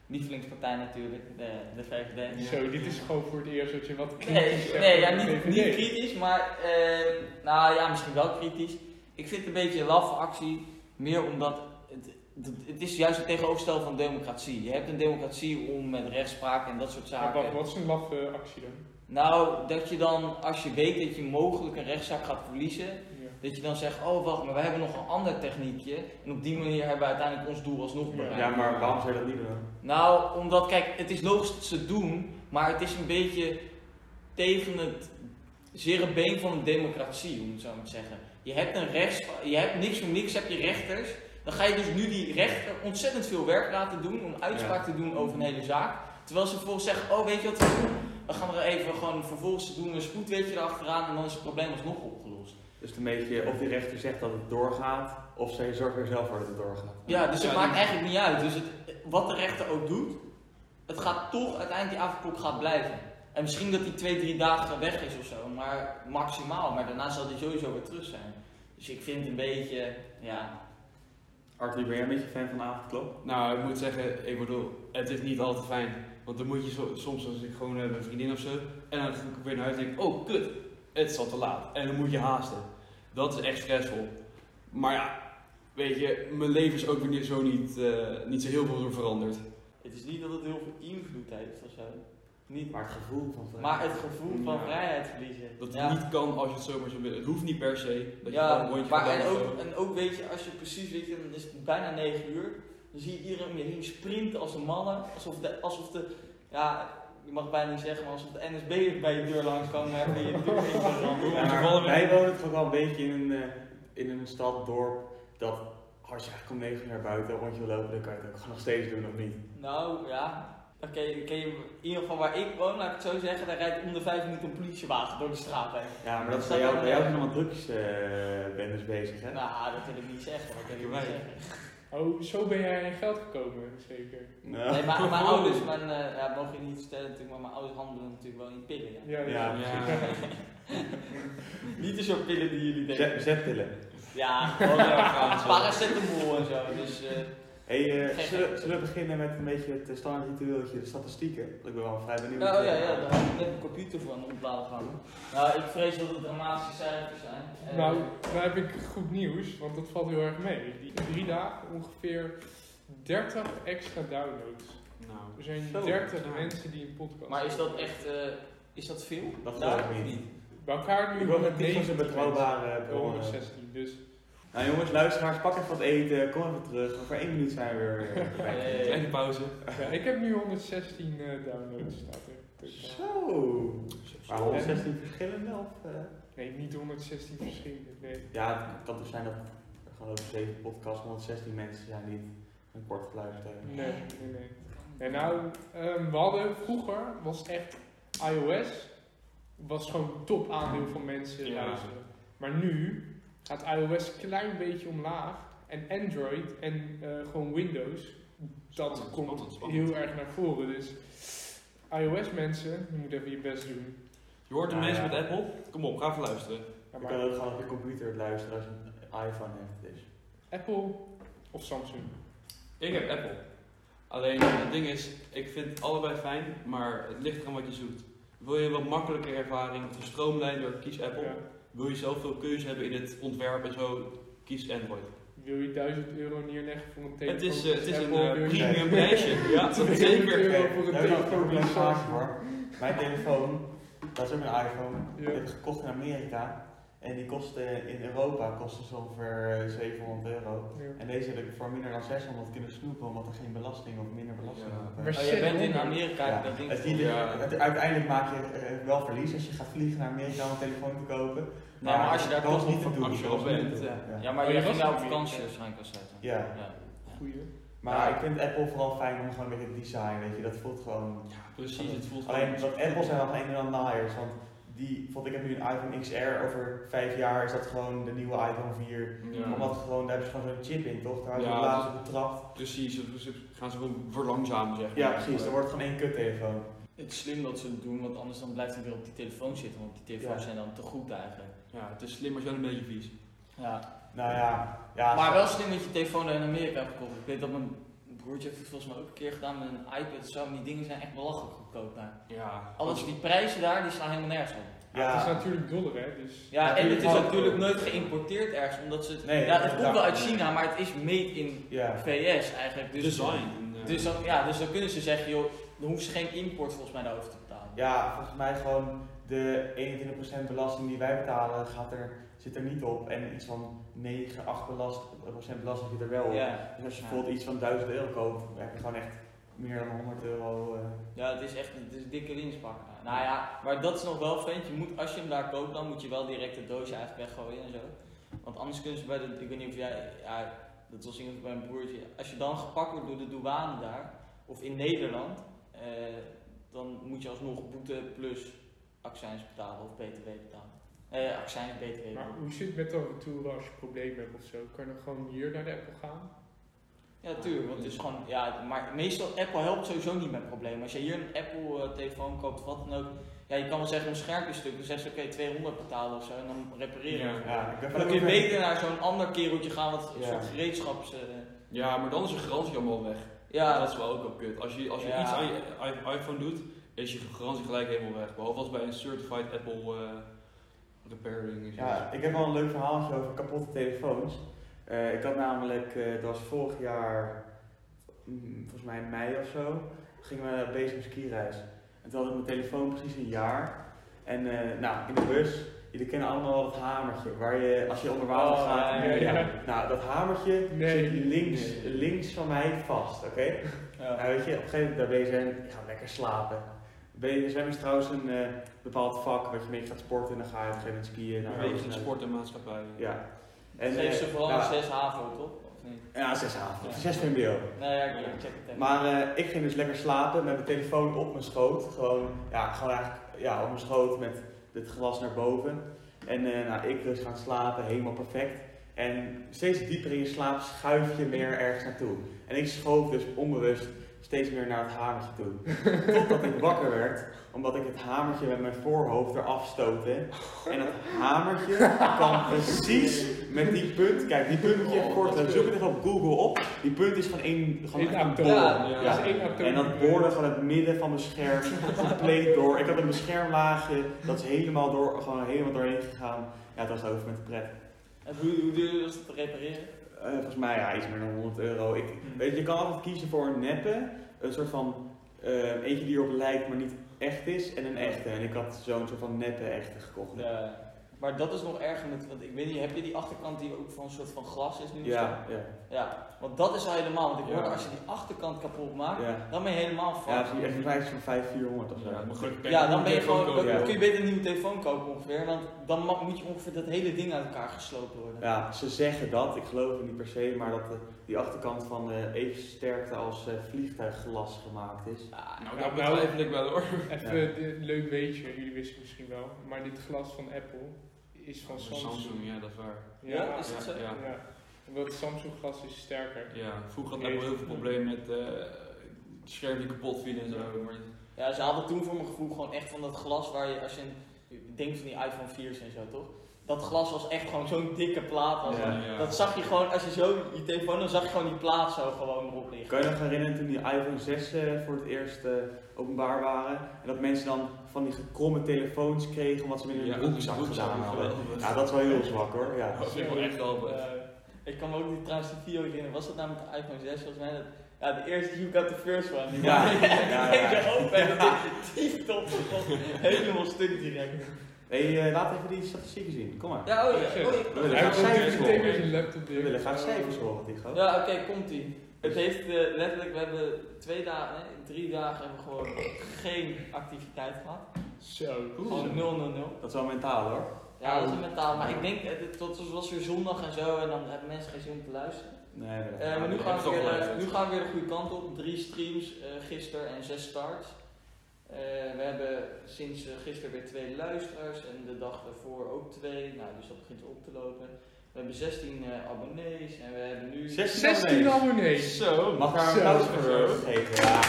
[SPEAKER 1] lievelingspartij natuurlijk, de, de VVD.
[SPEAKER 2] Zo, dit is gewoon voor het eerst dat je wat kritisch
[SPEAKER 1] Nee,
[SPEAKER 2] zegt
[SPEAKER 1] nee ja,
[SPEAKER 2] over de
[SPEAKER 1] niet,
[SPEAKER 2] VVD.
[SPEAKER 1] niet kritisch, maar eh, nou ja, misschien wel kritisch. Ik vind het een beetje een laffe actie, meer omdat het, het, het is juist het tegenoverstel van democratie. Je hebt een democratie om met rechtspraak en dat soort
[SPEAKER 2] Maar
[SPEAKER 1] zaken.
[SPEAKER 2] wat, wat is een laffe actie dan?
[SPEAKER 1] Nou, dat je dan, als je weet dat je mogelijk een rechtszaak gaat verliezen,
[SPEAKER 2] Ja.
[SPEAKER 1] dat je dan zegt, oh wacht, maar wij hebben nog een ander techniekje. En op die manier hebben we uiteindelijk ons doel alsnog
[SPEAKER 2] Ja.
[SPEAKER 1] bereikt.
[SPEAKER 3] Ja, maar waarom zou je dat niet doen?
[SPEAKER 1] Nou, omdat, kijk, het is logisch dat ze het doen, maar het is een beetje tegen het zere been van een democratie, om het zo maar te zeggen. Je hebt een rechts, je hebt niks om niks, heb je rechters. Dan ga je dus nu die rechter ontzettend veel werk laten doen om uitspraak te doen over een hele zaak. Terwijl ze vervolgens zeggen, oh weet je wat we doen? We gaan er even gewoon vervolgens doen we een spoedwetje erachteraan en dan is het probleem alsnog opgelost.
[SPEAKER 3] Dus het een beetje of die rechter zegt dat het doorgaat, of zij zorgt er zelf voor dat het doorgaat.
[SPEAKER 1] Ja, dus het
[SPEAKER 4] Ja,
[SPEAKER 1] maakt
[SPEAKER 4] die-
[SPEAKER 1] eigenlijk niet uit. Dus het, wat de rechter ook doet, het gaat toch uiteindelijk die avondklok gaat blijven. En misschien dat die twee, drie dagen weg is of zo, maar maximaal. Maar daarna zal die sowieso weer terug zijn. Dus ik vind het een beetje, ja.
[SPEAKER 3] Arthur, ben jij een beetje fan van de avondklok?
[SPEAKER 4] Nou, ik moet zeggen, ik bedoel, het is niet altijd fijn. Want dan moet je zo- soms, als ik gewoon eh, met een vriendin of zo, en dan ga ik weer naar huis en denk ik, oh kut, het is al te laat. En dan moet je haasten. Dat is echt stressvol. Maar ja, weet je, mijn leven is ook weer niet- zo niet, eh, niet zo heel veel door veranderd.
[SPEAKER 1] Het is niet dat het heel veel invloed heeft of zo. Niet.
[SPEAKER 3] Maar het gevoel van vrijheid.
[SPEAKER 1] Maar het gevoel van
[SPEAKER 4] Ja.
[SPEAKER 1] vrijheid verliezen.
[SPEAKER 4] Dat het
[SPEAKER 1] ja.
[SPEAKER 4] niet kan als je het zomaar zou willen. Het hoeft niet per se. Dat je gewoon
[SPEAKER 1] ja,
[SPEAKER 4] een rondje
[SPEAKER 1] maar
[SPEAKER 4] gaat
[SPEAKER 1] en
[SPEAKER 4] lopen.
[SPEAKER 1] ook, en ook weet je, als je precies weet, dan is het bijna 9 uur. Dan zie je iedereen om je heen sprinten als een mannen. Alsof de, alsof de, ja, je mag het bijna niet zeggen, maar alsof de NSB bij je deur langs kan maar die je deur in kan rammen.
[SPEAKER 4] Ja,
[SPEAKER 3] Ja, maar
[SPEAKER 4] toevallig-
[SPEAKER 3] wij wonen toch wel een beetje in een, eh, in een stad, dorp, dat als je eigenlijk om 9 uur naar buiten een rondje wil lopen, dan kan je het ook gewoon nog steeds doen of niet.
[SPEAKER 1] Nou, ja. Oké, oké, in ieder geval waar ik woon, laat ik het zo zeggen, daar rijdt om de 5 minuten een politiewagen door de straat heen.
[SPEAKER 3] Ja, maar dat is bij jou, bij jou zijn allemaal drugsbendes bezig, hè?
[SPEAKER 1] Nou, dat wil ik niet zeggen, dat wil ik niet
[SPEAKER 4] Wij.
[SPEAKER 1] zeggen.
[SPEAKER 2] Oh, zo ben jij in geld gekomen, zeker.
[SPEAKER 3] Nou.
[SPEAKER 1] Nee, maar mijn ouders, mijn, eh, ja, dat mogen je niet vertellen natuurlijk, maar mijn ouders handelen natuurlijk wel in pillen, ja.
[SPEAKER 2] Ja,
[SPEAKER 3] Ja.
[SPEAKER 2] ja.
[SPEAKER 4] Ja.
[SPEAKER 1] [laughs] Niet de soort pillen die jullie denken.
[SPEAKER 3] Zet- Zetpillen.
[SPEAKER 1] [laughs] Ja, gewoon eh, paracetamol en zo. Dus, eh,
[SPEAKER 3] Hey, eh,
[SPEAKER 1] Geen
[SPEAKER 3] zullen,
[SPEAKER 1] gek.
[SPEAKER 3] zullen we beginnen met een beetje het standaard ritueeltje, de statistieken? Want Ik ben wel vrij benieuwd. eh,
[SPEAKER 1] nou ja, ja, daar heb ik net een computer van ontladen gaan. Nou, ik vrees dat het dramatische cijfers zijn. Eh,
[SPEAKER 2] Nou, daar heb ik goed nieuws, want dat valt heel erg mee. Die drie dagen ongeveer 30 extra downloads.
[SPEAKER 4] Nou,
[SPEAKER 2] Er zijn
[SPEAKER 3] Zo.
[SPEAKER 2] 30 mensen die een podcast
[SPEAKER 1] maar is dat echt, eh, is dat veel?
[SPEAKER 3] Dat
[SPEAKER 1] Nou,
[SPEAKER 3] geloof ik niet.
[SPEAKER 2] Bij elkaar nu
[SPEAKER 3] Ik wil met die van
[SPEAKER 2] 90
[SPEAKER 3] zijn
[SPEAKER 2] mensen.
[SPEAKER 3] betrouwbare bronnen.
[SPEAKER 2] 116, dus
[SPEAKER 3] Nou jongens, luisteraars, pak even wat eten, kom even terug. Over één minuut zijn we weer
[SPEAKER 1] [laughs]
[SPEAKER 3] eh,
[SPEAKER 1] Nee.
[SPEAKER 3] bij.
[SPEAKER 4] kleine pauze.
[SPEAKER 2] ja, ik heb nu 116 eh, downloads Dus- staat er.
[SPEAKER 3] Zo. Oh! Maar 116 verschillende of? eh?
[SPEAKER 2] Nee, niet 116 verschillende. Nee.
[SPEAKER 3] Ja, het kan toch zijn dat er gewoon over zeven podcasts 116 mensen zijn die een kort geluisterd hebben.
[SPEAKER 2] Nee, nee, nee. En
[SPEAKER 1] Oh,
[SPEAKER 2] nou, ehm, we hadden vroeger, was echt iOS, was gewoon top aandeel van mensen
[SPEAKER 4] Ja.
[SPEAKER 2] luisteren. Maar nu gaat iOS een klein beetje omlaag en Android en eh, gewoon Windows, dat
[SPEAKER 4] Spannend,
[SPEAKER 2] komt
[SPEAKER 4] spannend, spannend.
[SPEAKER 2] heel erg naar voren. Dus iOS mensen, je moet even je best doen.
[SPEAKER 4] Je hoort de
[SPEAKER 3] Nou
[SPEAKER 4] mensen
[SPEAKER 3] ja.
[SPEAKER 4] met Apple. Kom op, ga even luisteren.
[SPEAKER 2] Ja,
[SPEAKER 3] Je
[SPEAKER 2] maar
[SPEAKER 3] kan ook gewoon op je computer het luisteren als je een iPhone hebt. Dus.
[SPEAKER 2] Apple of Samsung?
[SPEAKER 4] Ik heb Apple. Alleen het ding is, ik vind het allebei fijn, maar het ligt eraan wat je zoekt. Wil je een wat makkelijker ervaring, of een stroomlijnder, kies Apple.
[SPEAKER 2] Ja.
[SPEAKER 4] Wil je zelf veel keuze hebben in het ontwerp en zo, kies Android.
[SPEAKER 2] Wil je 1000 euro neerleggen voor een
[SPEAKER 4] Het
[SPEAKER 2] telefoon?
[SPEAKER 4] is, eh, het is een
[SPEAKER 2] Apple,
[SPEAKER 4] eh,
[SPEAKER 2] wil je-
[SPEAKER 4] premium prijsje. Ja, dat is zeker.
[SPEAKER 2] euro voor een
[SPEAKER 3] daar heb ik
[SPEAKER 2] telefoon.
[SPEAKER 3] ook een probleem hoor. Mijn telefoon, dat is ook een iPhone,
[SPEAKER 2] Ja.
[SPEAKER 3] die heb ik gekocht in Amerika. En En die kosten in Europa kosten ze ongeveer eh, 700 euro.
[SPEAKER 2] Ja.
[SPEAKER 3] En deze heb ik voor minder dan 600 kunnen snoepen, omdat er geen belasting of minder belasting
[SPEAKER 4] Ja.
[SPEAKER 3] op. eh,
[SPEAKER 2] Maar
[SPEAKER 1] Oh,
[SPEAKER 2] shit,
[SPEAKER 1] je bent in
[SPEAKER 2] honderd.
[SPEAKER 1] Amerika,
[SPEAKER 3] ja,
[SPEAKER 1] dat ding.
[SPEAKER 3] het idee-
[SPEAKER 4] Ja.
[SPEAKER 3] het- uiteindelijk maak je eh, wel verlies als je gaat vliegen naar Amerika om een telefoon te kopen.
[SPEAKER 1] Nee, maar als je daar
[SPEAKER 3] dat was
[SPEAKER 1] toch
[SPEAKER 3] niet te
[SPEAKER 1] op-
[SPEAKER 3] doen.
[SPEAKER 4] als je
[SPEAKER 3] dat was
[SPEAKER 4] op
[SPEAKER 3] niet te
[SPEAKER 4] bent,
[SPEAKER 3] doen,
[SPEAKER 4] ja.
[SPEAKER 3] ja.
[SPEAKER 1] eh, Ja, maar
[SPEAKER 2] Oh,
[SPEAKER 1] je
[SPEAKER 2] je
[SPEAKER 1] ging
[SPEAKER 2] was
[SPEAKER 1] daar
[SPEAKER 2] in
[SPEAKER 1] op vakantie
[SPEAKER 2] Amerika.
[SPEAKER 1] waarschijnlijk als zetten.
[SPEAKER 3] Ja.
[SPEAKER 2] Goeie.
[SPEAKER 3] Maar ik vind Apple vooral fijn om gewoon weer het design, weet je, dat voelt gewoon
[SPEAKER 4] Ja, precies. Het voelt
[SPEAKER 3] Alleen
[SPEAKER 4] gewoon-
[SPEAKER 3] dat Apple zijn wel een en ander naaiers. Want die, bijvoorbeeld, ik heb nu een iPhone XR. Over vijf jaar is dat gewoon de nieuwe iPhone 4.
[SPEAKER 4] Ja,
[SPEAKER 3] Omdat gewoon, daar hebben ze gewoon zo'n chip in, toch? Daar hebben
[SPEAKER 4] Ja,
[SPEAKER 3] ze laatst op betrapt.
[SPEAKER 4] precies. Ze- Ze gaan ze gewoon verlangzamen, zeg maar.
[SPEAKER 3] Ja, precies. Er wordt gewoon één kuttelefoon.
[SPEAKER 1] Het is slim dat ze het doen, want anders dan blijft hij weer op die telefoon zitten. Want die telefoons
[SPEAKER 3] Ja.
[SPEAKER 1] zijn dan te goed eigenlijk.
[SPEAKER 4] Ja, het is slim, maar het is wel een beetje vies.
[SPEAKER 1] Ja.
[SPEAKER 3] Nou ja, ja
[SPEAKER 1] maar
[SPEAKER 3] zo-
[SPEAKER 1] wel slim dat je telefoon in Amerika hebt gekocht. Ik weet dat mijn broertje heeft het volgens mij ook een keer gedaan met een iPad en zo. En die dingen zijn echt belachelijk goedkoop daar.
[SPEAKER 4] Ja.
[SPEAKER 1] Alles, die prijzen daar, die slaan helemaal nergens op.
[SPEAKER 2] Ja, Het is
[SPEAKER 3] Ja,
[SPEAKER 2] natuurlijk dollar, hè? Dus
[SPEAKER 1] Ja, en het is
[SPEAKER 3] Natuurlijk.
[SPEAKER 1] natuurlijk nooit geïmporteerd ergens, omdat ze het...
[SPEAKER 3] Nee,
[SPEAKER 1] ja,
[SPEAKER 3] dat
[SPEAKER 1] het komt
[SPEAKER 3] dacht
[SPEAKER 1] wel
[SPEAKER 3] ik
[SPEAKER 1] uit
[SPEAKER 3] niet.
[SPEAKER 1] China, maar het is made in
[SPEAKER 3] ja.
[SPEAKER 1] VS eigenlijk. Dus,
[SPEAKER 4] Design. ja.
[SPEAKER 1] Dus dan, ja, dus dan kunnen ze zeggen, joh, dan hoeven ze geen import volgens mij daarover te betalen.
[SPEAKER 3] ja, volgens mij gewoon de 21% belasting die wij betalen gaat er, zit er niet op. En iets van 9, 8% belast, procent belasting zit er wel op.
[SPEAKER 1] Ja,
[SPEAKER 3] Dus als je
[SPEAKER 1] Ja.
[SPEAKER 3] bijvoorbeeld iets van 1000 euro koopt, heb je gewoon echt meer dan 100 euro. eh,
[SPEAKER 1] ja het is echt het is een dikke winstpak. Nou ja, maar dat is nog wel vreemd. Je moet, als je hem daar koopt, dan moet je wel direct de doosje eigenlijk weggooien en zo. Want anders kunnen ze bij de, ik weet niet of jij, ja, dat was iemand bij mijn broertje. Als je dan gepakt wordt door de douane daar, of in Nederland, eh, dan moet je alsnog boete plus accijns betalen of btw betalen. Eh, accijns, btw.
[SPEAKER 2] Maar hoe zit het met dat retouren als je problemen hebt of zo? Kan je dan gewoon hier naar de Apple gaan?
[SPEAKER 1] Ja, tuurlijk, want het is gewoon, ja, maar meestal, Apple helpt sowieso niet met problemen. Als je hier een Apple eh, telefoon koopt of wat dan ook, ja, je kan wel zeggen een schermpje stuk, dan zeggen ze oké, 200 betalen of zo en dan repareren.
[SPEAKER 4] Ja.
[SPEAKER 3] Ja, ik ben
[SPEAKER 1] Maar dan kun je beter naar zo'n ander kereltje gaan, wat een
[SPEAKER 3] Ja.
[SPEAKER 1] soort gereedschaps... eh,
[SPEAKER 4] Ja, maar dan is je garantie allemaal weg.
[SPEAKER 1] ja,
[SPEAKER 4] dat is wel ook wel kut. Als je, als je
[SPEAKER 1] Ja.
[SPEAKER 4] iets aan je i- iPhone doet, is je garantie gelijk helemaal weg. Behalve als bij een certified Apple eh repairing. Is
[SPEAKER 3] Ja, ik heb wel een leuk verhaaltje over kapotte telefoons. Eh, ik had namelijk, eh, dat was vorig jaar, mm, volgens mij in mei of zo, gingen we bezig op skireis. En toen had ik mijn telefoon precies een jaar. En eh, nou, in de bus, jullie kennen allemaal wel dat hamertje, waar je, als je onder water
[SPEAKER 1] Oh,
[SPEAKER 3] gaat...
[SPEAKER 1] ja,
[SPEAKER 2] ja.
[SPEAKER 3] Nou, dat hamertje
[SPEAKER 2] Nee.
[SPEAKER 3] zit links, links van mij vast, oké?
[SPEAKER 1] ja.
[SPEAKER 3] Nou, weet je, op een gegeven moment daar ben je zwemmen, ik ga lekker slapen. BSM is trouwens een eh, bepaald vak wat je mee gaat sporten en dan ga je op een gegeven moment skiën.
[SPEAKER 4] Ja,
[SPEAKER 3] Nou,
[SPEAKER 4] wegens de sport en maatschappij.
[SPEAKER 3] Ja. eh,
[SPEAKER 1] Geef ze vooral
[SPEAKER 3] nou,
[SPEAKER 1] een 6 HAVO, toch? Of niet?
[SPEAKER 3] Ja, zes avond.
[SPEAKER 1] Ja.
[SPEAKER 3] Zes VMBO.
[SPEAKER 1] Nee, ja, ik ik check het even.
[SPEAKER 3] Maar eh, ik ging dus lekker slapen met mijn telefoon op mijn schoot. Gewoon, ja, gewoon eigenlijk ja, op mijn schoot met het glas naar boven. En eh, nou, ik dus gaan slapen, helemaal perfect. En steeds dieper in je slaap schuif je meer ergens naartoe. En ik schoof dus onbewust steeds meer naar het hamertje toe.
[SPEAKER 4] [laughs]
[SPEAKER 3] Totdat ik wakker werd, omdat ik het hamertje met mijn voorhoofd eraf stootte. En dat hamertje kwam precies met die punt. Kijk, die punt moet je even
[SPEAKER 4] Oh,
[SPEAKER 3] kort. eh,
[SPEAKER 4] dat is
[SPEAKER 3] Zoek het even op Google op. Die punt is van één, gewoon
[SPEAKER 2] Eén
[SPEAKER 3] echt een
[SPEAKER 2] atoom.
[SPEAKER 3] bol.
[SPEAKER 1] Ja,
[SPEAKER 4] ja.
[SPEAKER 2] Dat is één atoom.
[SPEAKER 3] En dat boorden van het midden van mijn scherm [laughs] compleet door. Ik had een beschermlaagje, dat is helemaal, door, gewoon helemaal doorheen gegaan. Ja, het was over met de pret.
[SPEAKER 1] En hoe, hoe duur was het te repareren?
[SPEAKER 3] Eh, volgens mij ja, iets meer dan 100 euro. Ik, weet je, je kan altijd kiezen voor een neppe, een soort van eh, eentje die erop lijkt maar niet echt is, en een echte. En ik had zo'n soort van neppe echte gekocht.
[SPEAKER 1] Ja. Maar dat is nog erger, met, want ik weet niet, heb je die achterkant die ook van een soort van glas is nu? of zo?
[SPEAKER 3] Ja, ja,
[SPEAKER 1] Ja, want dat is al helemaal, want ik hoorde
[SPEAKER 4] Ja.
[SPEAKER 1] als je die achterkant kapot maakt,
[SPEAKER 3] ja.
[SPEAKER 1] dan ben je helemaal
[SPEAKER 3] Ja,
[SPEAKER 1] fucked.
[SPEAKER 3] dat is echt een prijs van 500 of zo.
[SPEAKER 4] Ah. Ja, maar gelukkig
[SPEAKER 1] Ja, dan ben je gewoon, dan
[SPEAKER 3] ja.
[SPEAKER 1] kun je beter een nieuwe telefoon kopen ongeveer, want dan ma- moet je ongeveer dat hele ding uit elkaar gesloten worden.
[SPEAKER 3] Ja, ze zeggen dat, ik geloof het niet per se, maar dat de- die achterkant van eh, even sterkte als eh, vliegtuigglas gemaakt is.
[SPEAKER 1] Ja,
[SPEAKER 4] Nou,
[SPEAKER 2] Ja,
[SPEAKER 4] dat
[SPEAKER 2] nou-
[SPEAKER 4] betwijfel ik wel hoor.
[SPEAKER 2] Even een leuk weetje, jullie wisten het misschien wel. Maar dit glas van Apple is van Samsung.
[SPEAKER 4] Samsung, ja, dat is waar.
[SPEAKER 1] Ja, is dat zo?
[SPEAKER 4] Ja, ja.
[SPEAKER 2] Ja. Omdat Samsung glas is sterker.
[SPEAKER 4] Ja, vroeger had Apple heel veel problemen met eh schermen die kapot vielen en zo. Maar
[SPEAKER 1] Ja, ze hadden toen voor mijn gevoel gewoon echt van dat glas waar je, als je een- denkt van die iPhone 4's en zo toch? Dat glas was echt gewoon zo'n dikke plaat. als-
[SPEAKER 3] Ja.
[SPEAKER 1] Dat zag je gewoon, als je zo je telefoon, dan zag je gewoon die plaat zo gewoon erop liggen.
[SPEAKER 3] Kan je nog herinneren toen die iPhone 6 eh, voor het eerst eh, openbaar waren? En dat mensen dan van die gekromme telefoons kregen omdat ze hem in hun broekzak gedaan hadden. Ja, dat is wel heel zwak hoor. Ja.
[SPEAKER 4] Dat vind ik wel echt wel.
[SPEAKER 1] Eh, ik kan me ook niet trouwens de video herinneren. Was dat nou met de iPhone 6 volgens mij? Dat, ja, de eerste You Got The First One. Die [laughs]
[SPEAKER 3] Ja,
[SPEAKER 1] ja,
[SPEAKER 3] ja, ja.
[SPEAKER 1] open en dat ding, die top helemaal stuk direct.
[SPEAKER 3] Hé, eh, laat even die statistieken zien. Kom maar.
[SPEAKER 1] Ja, oh ja. Oh,
[SPEAKER 4] Shit.
[SPEAKER 1] ja.
[SPEAKER 3] We willen
[SPEAKER 2] Hij
[SPEAKER 3] graag
[SPEAKER 2] komt
[SPEAKER 3] cijfers
[SPEAKER 2] natuurlijk meteen weer
[SPEAKER 3] horen.
[SPEAKER 2] zijn laptop
[SPEAKER 3] We
[SPEAKER 2] dicht.
[SPEAKER 3] willen graag
[SPEAKER 2] Oh.
[SPEAKER 3] cijfers horen, Tycho.
[SPEAKER 1] Ja, oké, komt ie. Het heeft eh, letterlijk, we hebben twee dagen, nee, drie dagen hebben we gewoon geen activiteit gehad.
[SPEAKER 2] Zo.
[SPEAKER 1] Gewoon 0, 0, 0.
[SPEAKER 3] Dat is wel mentaal hoor.
[SPEAKER 1] Ja, dat is een mentaal, maar ik denk, eh, dit- dat was weer zondag en zo en dan hebben mensen geen zin om te luisteren.
[SPEAKER 3] Nee, nee, nee.
[SPEAKER 1] Eh, maar nu
[SPEAKER 4] Ja,
[SPEAKER 1] gaan,
[SPEAKER 4] dat
[SPEAKER 1] we
[SPEAKER 4] is
[SPEAKER 1] weer,
[SPEAKER 4] wel
[SPEAKER 1] eh,
[SPEAKER 4] leuk.
[SPEAKER 1] nu gaan we weer de goede kant op. Drie streams eh gisteren en zes starts. Eh, we hebben sinds eh, gisteren weer twee luisteraars en de dag daarvoor ook twee. Nou, dus dat begint op te lopen. We hebben 16 eh, abonnees en we hebben nu...
[SPEAKER 2] 16
[SPEAKER 3] abonnees.
[SPEAKER 2] abonnees.
[SPEAKER 4] Zo.
[SPEAKER 3] Mag daar
[SPEAKER 2] Zo.
[SPEAKER 3] een applaus voor
[SPEAKER 4] Zo.
[SPEAKER 3] worden gegeven? Ja.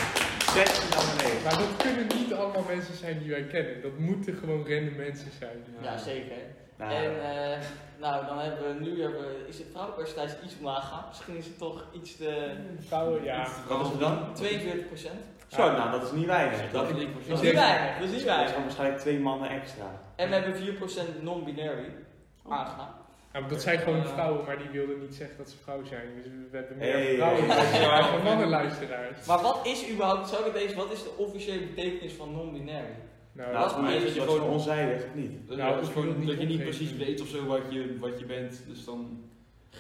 [SPEAKER 3] 16 abonnees.
[SPEAKER 2] Maar dat kunnen niet allemaal mensen zijn die wij kennen. Dat moeten gewoon random mensen zijn.
[SPEAKER 1] Ja, zeker.
[SPEAKER 3] Nou,
[SPEAKER 1] En eh, nou, dan hebben we nu hebben, we- is de vrouwenpercentage iets omlaag gegaan. Misschien is het toch iets te
[SPEAKER 2] Vrouwen, ja.
[SPEAKER 3] wat was het dan?
[SPEAKER 1] 42 procent.
[SPEAKER 3] Zo, nou dat is niet weinig.
[SPEAKER 4] Dat
[SPEAKER 3] Dat
[SPEAKER 4] is
[SPEAKER 3] is
[SPEAKER 4] niet voor
[SPEAKER 1] Dat
[SPEAKER 4] zo.
[SPEAKER 1] is
[SPEAKER 2] denk-
[SPEAKER 1] niet weinig, dat is niet
[SPEAKER 3] gewoon
[SPEAKER 1] weinig.
[SPEAKER 3] waarschijnlijk twee mannen extra.
[SPEAKER 1] En we hebben 4 procent non-binary. Aangenaam.
[SPEAKER 2] Ja, maar dat zijn gewoon vrouwen, maar die wilden niet zeggen dat ze vrouw zijn. Dus we hebben meer
[SPEAKER 3] Hey.
[SPEAKER 2] vrouwen luisteraars dan
[SPEAKER 4] Ja.
[SPEAKER 2] mannen luisteraars.
[SPEAKER 1] Maar wat is überhaupt, zou ik het eens, wat is de officiële betekenis van non-binary?
[SPEAKER 2] Nou,
[SPEAKER 3] Nou,
[SPEAKER 1] dat
[SPEAKER 3] voor mij
[SPEAKER 1] is
[SPEAKER 3] is het
[SPEAKER 4] je
[SPEAKER 3] gewoon
[SPEAKER 4] gewoon-
[SPEAKER 3] onzijdig, of niet?
[SPEAKER 2] Nou,
[SPEAKER 4] dat is
[SPEAKER 2] ik wil
[SPEAKER 4] gewoon
[SPEAKER 2] het
[SPEAKER 4] dat
[SPEAKER 2] niet
[SPEAKER 4] je niet
[SPEAKER 2] opgeven.
[SPEAKER 4] precies weet of zo wat je, wat je bent. Dus dan.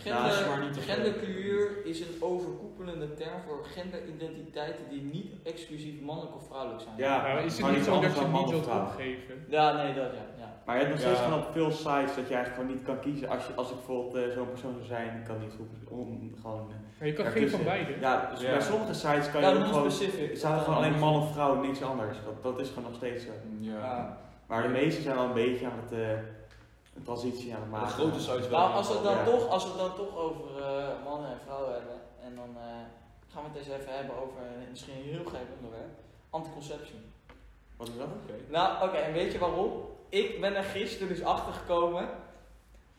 [SPEAKER 4] Ja, dat is maar
[SPEAKER 1] Gender,
[SPEAKER 4] niet te
[SPEAKER 1] genderkleur is een overkoepelende term voor genderidentiteiten die niet exclusief mannelijk of vrouwelijk zijn.
[SPEAKER 3] Ja,
[SPEAKER 2] nou, is het
[SPEAKER 3] maar
[SPEAKER 2] niet
[SPEAKER 3] iets
[SPEAKER 2] zo dat je
[SPEAKER 3] anders dan
[SPEAKER 2] het niet
[SPEAKER 3] man of
[SPEAKER 2] wilt
[SPEAKER 3] vrouw.
[SPEAKER 2] opgeven?
[SPEAKER 1] Ja, nee, dat ja. ja.
[SPEAKER 3] Maar je hebt nog steeds
[SPEAKER 4] Ja.
[SPEAKER 3] gewoon op veel sites dat je eigenlijk gewoon niet kan kiezen. Als, je, als ik bijvoorbeeld eh, zo'n persoon zou zijn, kan niet goed om gewoon... eh,
[SPEAKER 2] Maar je kan geen
[SPEAKER 3] daartussen.
[SPEAKER 2] van beide.
[SPEAKER 3] Ja, dus
[SPEAKER 4] Ja.
[SPEAKER 3] bij sommige sites kan
[SPEAKER 1] Ja,
[SPEAKER 3] je ook gewoon...
[SPEAKER 1] non-specific.
[SPEAKER 3] Staan er gewoon alleen man of vrouw, niks anders. Dat, dat is gewoon nog steeds zo.
[SPEAKER 4] Ja.
[SPEAKER 1] Ja.
[SPEAKER 3] Maar de meeste zijn wel een beetje aan het... eh, een transitie aan het
[SPEAKER 4] Maar
[SPEAKER 3] maken.
[SPEAKER 4] grote sites wel.
[SPEAKER 1] Maar Nou, als we het dan,
[SPEAKER 3] Ja.
[SPEAKER 1] toch, als we het dan toch over eh, mannen en vrouwen hebben, en dan eh, gaan we het eens even hebben over een- misschien een heel gek onderwerp, anticonception.
[SPEAKER 3] Wat is dat?
[SPEAKER 4] Oké.
[SPEAKER 1] Nou, oké, en weet je waarom? Ik ben er gisteren dus achter gekomen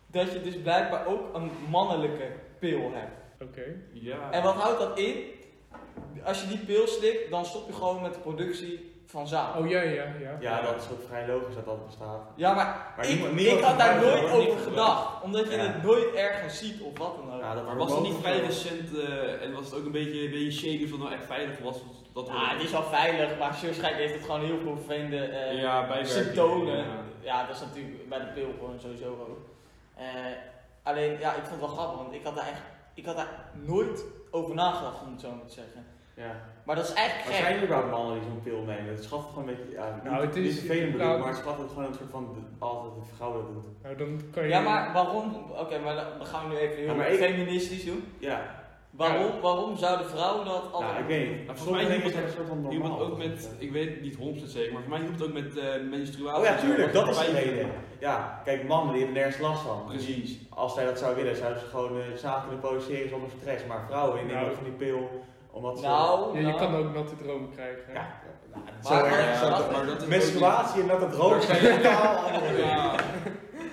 [SPEAKER 1] dat je dus blijkbaar ook een mannelijke pil hebt.
[SPEAKER 2] Oké.
[SPEAKER 3] Ah.
[SPEAKER 4] Ja.
[SPEAKER 1] En wat houdt dat in? Als je die pil slikt, dan stop je gewoon met de productie van zaad.
[SPEAKER 2] Oh ja, ja, ja.
[SPEAKER 3] Ja, dat is ook vrij logisch dat dat bestaat.
[SPEAKER 1] Ja, maar,
[SPEAKER 3] Maar
[SPEAKER 1] ik,
[SPEAKER 3] niemand- niemand
[SPEAKER 1] ik had daar
[SPEAKER 3] gebruikt
[SPEAKER 1] nooit
[SPEAKER 4] het,
[SPEAKER 1] over
[SPEAKER 4] niemand
[SPEAKER 1] gedacht. Omdat je
[SPEAKER 3] Ja. Ah.
[SPEAKER 1] het nooit ergens ziet of wat dan ook.
[SPEAKER 3] Ja, Nou, dat
[SPEAKER 4] Maar was dat niet
[SPEAKER 3] hormoon-
[SPEAKER 4] vrij recent eh, en was het ook een beetje, een beetje shady of dat nou echt veilig was? of Dat
[SPEAKER 1] Nou, het is wel veilig, maar waarschijnlijk heeft het gewoon heel veel vervelende eh,
[SPEAKER 4] ja, bijwerkingen,
[SPEAKER 1] symptomen. Ja.
[SPEAKER 4] ja.
[SPEAKER 1] dat is natuurlijk bij de pil gewoon sowieso ook. Eh, alleen, ja, ik vond het wel grappig, want ik had daar echt, ik had daar nooit over nagedacht, om het zo maar te zeggen.
[SPEAKER 3] Ja.
[SPEAKER 1] Maar dat is
[SPEAKER 3] Maar
[SPEAKER 1] eigenlijk gek.
[SPEAKER 3] zijn er überhaupt mannen die zo'n pil nemen? Het schat gewoon een beetje... Ja, niet,
[SPEAKER 2] Nou, het is-
[SPEAKER 3] niet vervelend bedoel,
[SPEAKER 2] nou-
[SPEAKER 3] maar het schat het gewoon een soort van... de- Altijd de vrouw dat doet.
[SPEAKER 2] Nou, dan kan je...
[SPEAKER 1] Ja, maar waarom? Oké, maar dan gaan we nu even heel
[SPEAKER 3] Ja, maar ik-
[SPEAKER 1] feministisch doen.
[SPEAKER 3] Ja,
[SPEAKER 1] Waarom, waarom zouden vrouwen dat
[SPEAKER 3] nou,
[SPEAKER 1] altijd
[SPEAKER 3] ik weet niet.
[SPEAKER 4] Maar volgens
[SPEAKER 3] Sommige
[SPEAKER 4] mij
[SPEAKER 3] dingen
[SPEAKER 4] moet-
[SPEAKER 3] zijn een soort van
[SPEAKER 4] Iemand
[SPEAKER 3] normaal. eh,
[SPEAKER 4] ook met, ik weet het niet 100% zeker, maar voor mij hielp het ook met eh, menstruatie.
[SPEAKER 3] Oh ja, tuurlijk, dat is de
[SPEAKER 4] Bij-
[SPEAKER 3] reden. Ja, kijk, mannen die hebben nergens last van. Dus
[SPEAKER 4] Precies.
[SPEAKER 3] als zij dat zouden willen, zouden ze gewoon eh zaken kunnen produceren zonder stress. Maar vrouwen, die nemen
[SPEAKER 2] Nou.
[SPEAKER 3] ook van die pil, omdat ze...
[SPEAKER 1] Nou,
[SPEAKER 2] Ja,
[SPEAKER 1] nou.
[SPEAKER 2] je kan ook natte dromen krijgen. hè?
[SPEAKER 3] Ja, nou, het is
[SPEAKER 1] Maar-
[SPEAKER 3] zo erg.
[SPEAKER 1] maar-
[SPEAKER 3] zo-
[SPEAKER 1] maar-
[SPEAKER 4] dat is
[SPEAKER 3] Menstruatie en dat het rood
[SPEAKER 4] Daar
[SPEAKER 3] zijn
[SPEAKER 4] zijn-
[SPEAKER 3] totaal
[SPEAKER 4] ook
[SPEAKER 3] andere
[SPEAKER 4] niet-
[SPEAKER 3] dingen.
[SPEAKER 4] Ja.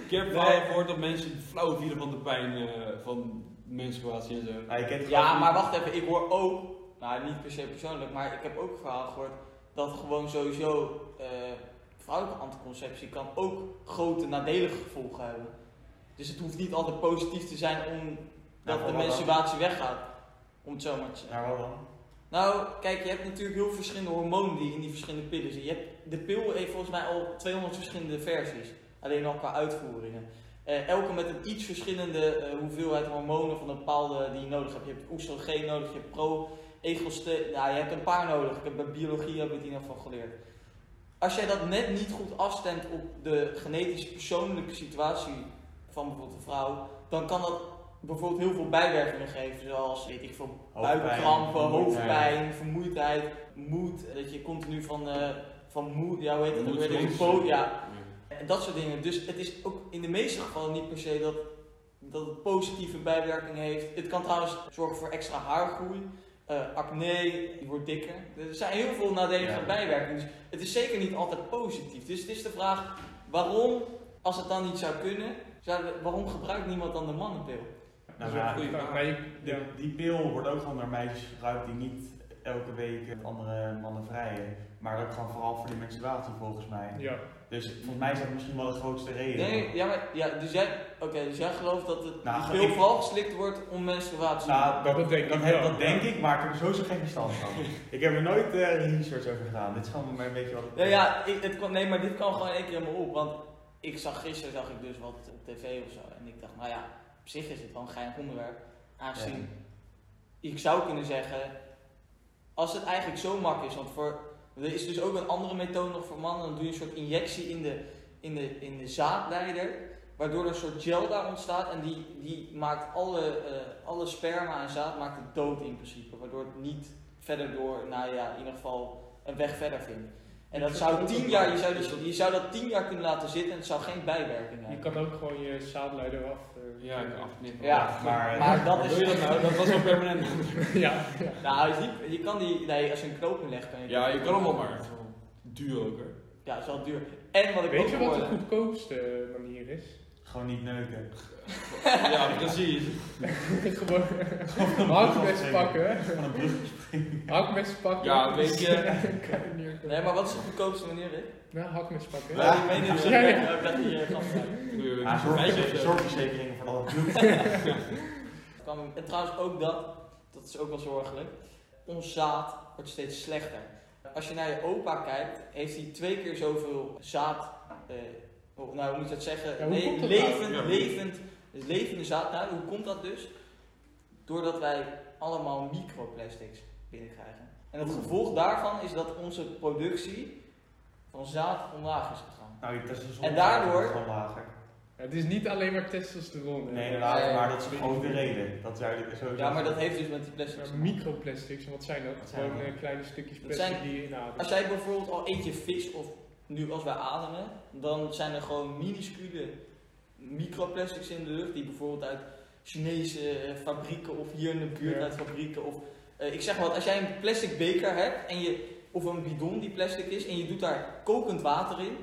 [SPEAKER 4] Ik heb verhalen gehoord dat mensen flauw vielen van de pijn eh, van menstruatie en zo.
[SPEAKER 3] Nou, je kent
[SPEAKER 1] Ja,
[SPEAKER 3] gewoon-
[SPEAKER 1] maar wacht even, ik hoor ook, nou niet per se persoonlijk, maar ik heb ook een verhaal gehoord dat gewoon sowieso eh, vrouwelijke anticonceptie kan ook grote nadelige gevolgen hebben. Dus het hoeft niet altijd positief te zijn om dat
[SPEAKER 3] maar
[SPEAKER 1] de
[SPEAKER 3] Nou, wat dan?
[SPEAKER 1] menstruatie weggaat. Om het zo maar te zeggen.
[SPEAKER 3] Nou, wat dan?
[SPEAKER 1] Nou, kijk, je hebt natuurlijk heel veel verschillende hormonen die in die verschillende pillen zitten. Je hebt, de pil heeft volgens mij al 200 verschillende versies. Alleen al qua uitvoeringen. Eh, elke met een iets verschillende eh, hoeveelheid hormonen van een bepaalde die je nodig hebt. Je hebt oestrogeen nodig, je hebt pro egelsteen Nou, je hebt een paar nodig. Ik heb bij biologie heb ik het in ieder geval geleerd. Als jij dat net niet goed afstemt op de genetische persoonlijke situatie van bijvoorbeeld een vrouw, dan kan dat bijvoorbeeld heel veel bijwerkingen geven, zoals weet ik veel,
[SPEAKER 3] Hoofdpijn,
[SPEAKER 1] buikkrampen,
[SPEAKER 3] vermoeidheid.
[SPEAKER 1] hoofdpijn, vermoeidheid, moed, dat je continu van, eh, van moed, ja, hoe heet het ook weer, dat je
[SPEAKER 4] Moedsvol.
[SPEAKER 1] po- ja, en dat soort dingen. Dus het is ook in de meeste gevallen niet per se dat, dat het positieve bijwerking heeft. Het kan trouwens zorgen voor extra haargroei, eh, acne, je wordt dikker. Er zijn heel veel nadelige
[SPEAKER 3] Ja.
[SPEAKER 1] bijwerkingen. Dus het is zeker niet altijd positief. Dus het is de vraag waarom, als het dan niet zou kunnen, zou- waarom gebruikt niemand dan de mannenpil?
[SPEAKER 2] Dat
[SPEAKER 3] Nou,
[SPEAKER 2] is wel een
[SPEAKER 3] maar
[SPEAKER 2] goede vraag. Maar je- ja.
[SPEAKER 3] de- die pil wordt ook gewoon door meisjes gebruikt die niet elke week met andere mannen vrijen. Maar ook gewoon vooral voor die menstruatie volgens mij.
[SPEAKER 2] Ja.
[SPEAKER 3] Dus volgens mij is dat misschien wel de grootste reden.
[SPEAKER 1] Nee, ja, maar, ja, dus, jij, oké, dus jij gelooft dat het
[SPEAKER 3] Nou,
[SPEAKER 1] die pil
[SPEAKER 3] ik-
[SPEAKER 1] vooral geslikt wordt om menstruatie te
[SPEAKER 3] Nou, dat,
[SPEAKER 2] Dat denk
[SPEAKER 3] dat
[SPEAKER 2] ik
[SPEAKER 3] heb-
[SPEAKER 2] wel.
[SPEAKER 3] dat denk ik, maar ik heb er sowieso geen verstand van.
[SPEAKER 2] [laughs]
[SPEAKER 3] ik heb er nooit eh research over gedaan. Dit is gewoon maar een beetje wat.
[SPEAKER 1] Nee, ja, ik, het kon, nee, maar dit kwam gewoon één keer in me op. Want ik zag gisteren zag ik dus wat op tv of zo. En ik dacht, nou ja, op zich is het wel een geinig onderwerp. Aangezien ik zou kunnen zeggen, als het eigenlijk zo makkelijk is, want voor, er is dus ook een andere methode nog voor mannen, dan doe je een soort injectie in de, in de, in de zaadleider, waardoor er een soort gel daar ontstaat en die, die maakt alle, eh, alle sperma en zaad maakt het dood in principe, waardoor het niet verder door, nou ja, in ieder geval een weg verder vindt. En dat zou tien jaar, je zou, die- je zou dat tien jaar kunnen laten zitten en het zou geen bijwerking
[SPEAKER 2] Je
[SPEAKER 1] hebben.
[SPEAKER 2] kan ook gewoon je zaadleider af. eh,
[SPEAKER 4] Ja, ik
[SPEAKER 2] knippen.
[SPEAKER 4] afknippen.
[SPEAKER 1] Ja,
[SPEAKER 3] maar, eh,
[SPEAKER 1] Maar dat
[SPEAKER 4] Doe je dat
[SPEAKER 1] is...
[SPEAKER 4] nou? Dat was wel permanent.
[SPEAKER 2] [laughs] ja. ja.
[SPEAKER 1] [laughs] Nou, het is niet- je kan die, nee, als je een knoop inlegt kan je
[SPEAKER 4] Ja, je kan hem wel maar. Duur ook
[SPEAKER 1] [laughs]
[SPEAKER 4] hoor.
[SPEAKER 1] Ja, dat is wel duur. En wat ik ook eh,
[SPEAKER 2] Weet je wat de
[SPEAKER 1] hoorde-
[SPEAKER 2] goedkoopste eh, manier is? [laughs]
[SPEAKER 3] Gewoon niet neuken.
[SPEAKER 4] Ja, precies.
[SPEAKER 2] gewoon
[SPEAKER 3] Gewoon
[SPEAKER 2] hakmes
[SPEAKER 3] een
[SPEAKER 2] pakken.
[SPEAKER 3] Van een brug.
[SPEAKER 2] Hakmes pakken.
[SPEAKER 4] Ja, eh, weet je.
[SPEAKER 2] [laughs] Kan je neerkomen.
[SPEAKER 1] Nee, maar wat is de goedkoopste manier, Rick?
[SPEAKER 2] Nou, hakmes pakken.
[SPEAKER 1] Ja, ik weet niet of ze
[SPEAKER 2] Ja, ja.
[SPEAKER 1] ik ben hier eh, gast zijn.
[SPEAKER 4] Doe je
[SPEAKER 3] Ja,
[SPEAKER 4] een wijsje of
[SPEAKER 3] Ah, zorg-
[SPEAKER 4] zo.
[SPEAKER 3] zorgverzekeringen voor alle broek.
[SPEAKER 1] [laughs] Het kwam- En trouwens ook dat, dat is ook wel zorgelijk, ons zaad wordt steeds slechter. Als je naar je opa kijkt, heeft hij twee keer zoveel zaad, eh, oh, nou hoe moet je dat zeggen,
[SPEAKER 2] Ja, hoe
[SPEAKER 1] Le-
[SPEAKER 2] komt dat nou?
[SPEAKER 1] levend,
[SPEAKER 4] Ja.
[SPEAKER 1] levend, dus levende zaad. Nou, hoe komt dat dus? Doordat wij allemaal microplastics binnenkrijgen. En het gevolg daarvan is dat onze productie van zaad omlaag is gegaan.
[SPEAKER 3] Nou, dat is
[SPEAKER 1] En daardoor-
[SPEAKER 3] Gewoon lager.
[SPEAKER 2] Ja, het is niet alleen maar testosteron. hè.
[SPEAKER 3] Nee, inderdaad,
[SPEAKER 1] Nee.
[SPEAKER 3] maar dat is gewoon de reden. Dat zou je sowieso.
[SPEAKER 1] Ja, maar dat heeft dus met die plastics.
[SPEAKER 2] Maar microplastics, wat zijn dat?
[SPEAKER 3] Wat zijn
[SPEAKER 2] gewoon
[SPEAKER 3] dat?
[SPEAKER 2] eh, kleine stukjes
[SPEAKER 1] Dat
[SPEAKER 2] plastic
[SPEAKER 1] zijn-
[SPEAKER 2] die je inademt.
[SPEAKER 1] Als jij bijvoorbeeld al eentje vis of nu als wij ademen, dan zijn er gewoon minuscule microplastics in de lucht die bijvoorbeeld uit Chinese eh, fabrieken of hier in de buurt
[SPEAKER 2] Ja.
[SPEAKER 1] uit fabrieken of eh, ik zeg maar wat, als jij een plastic beker hebt en je of een bidon die plastic is en je doet daar kokend water in,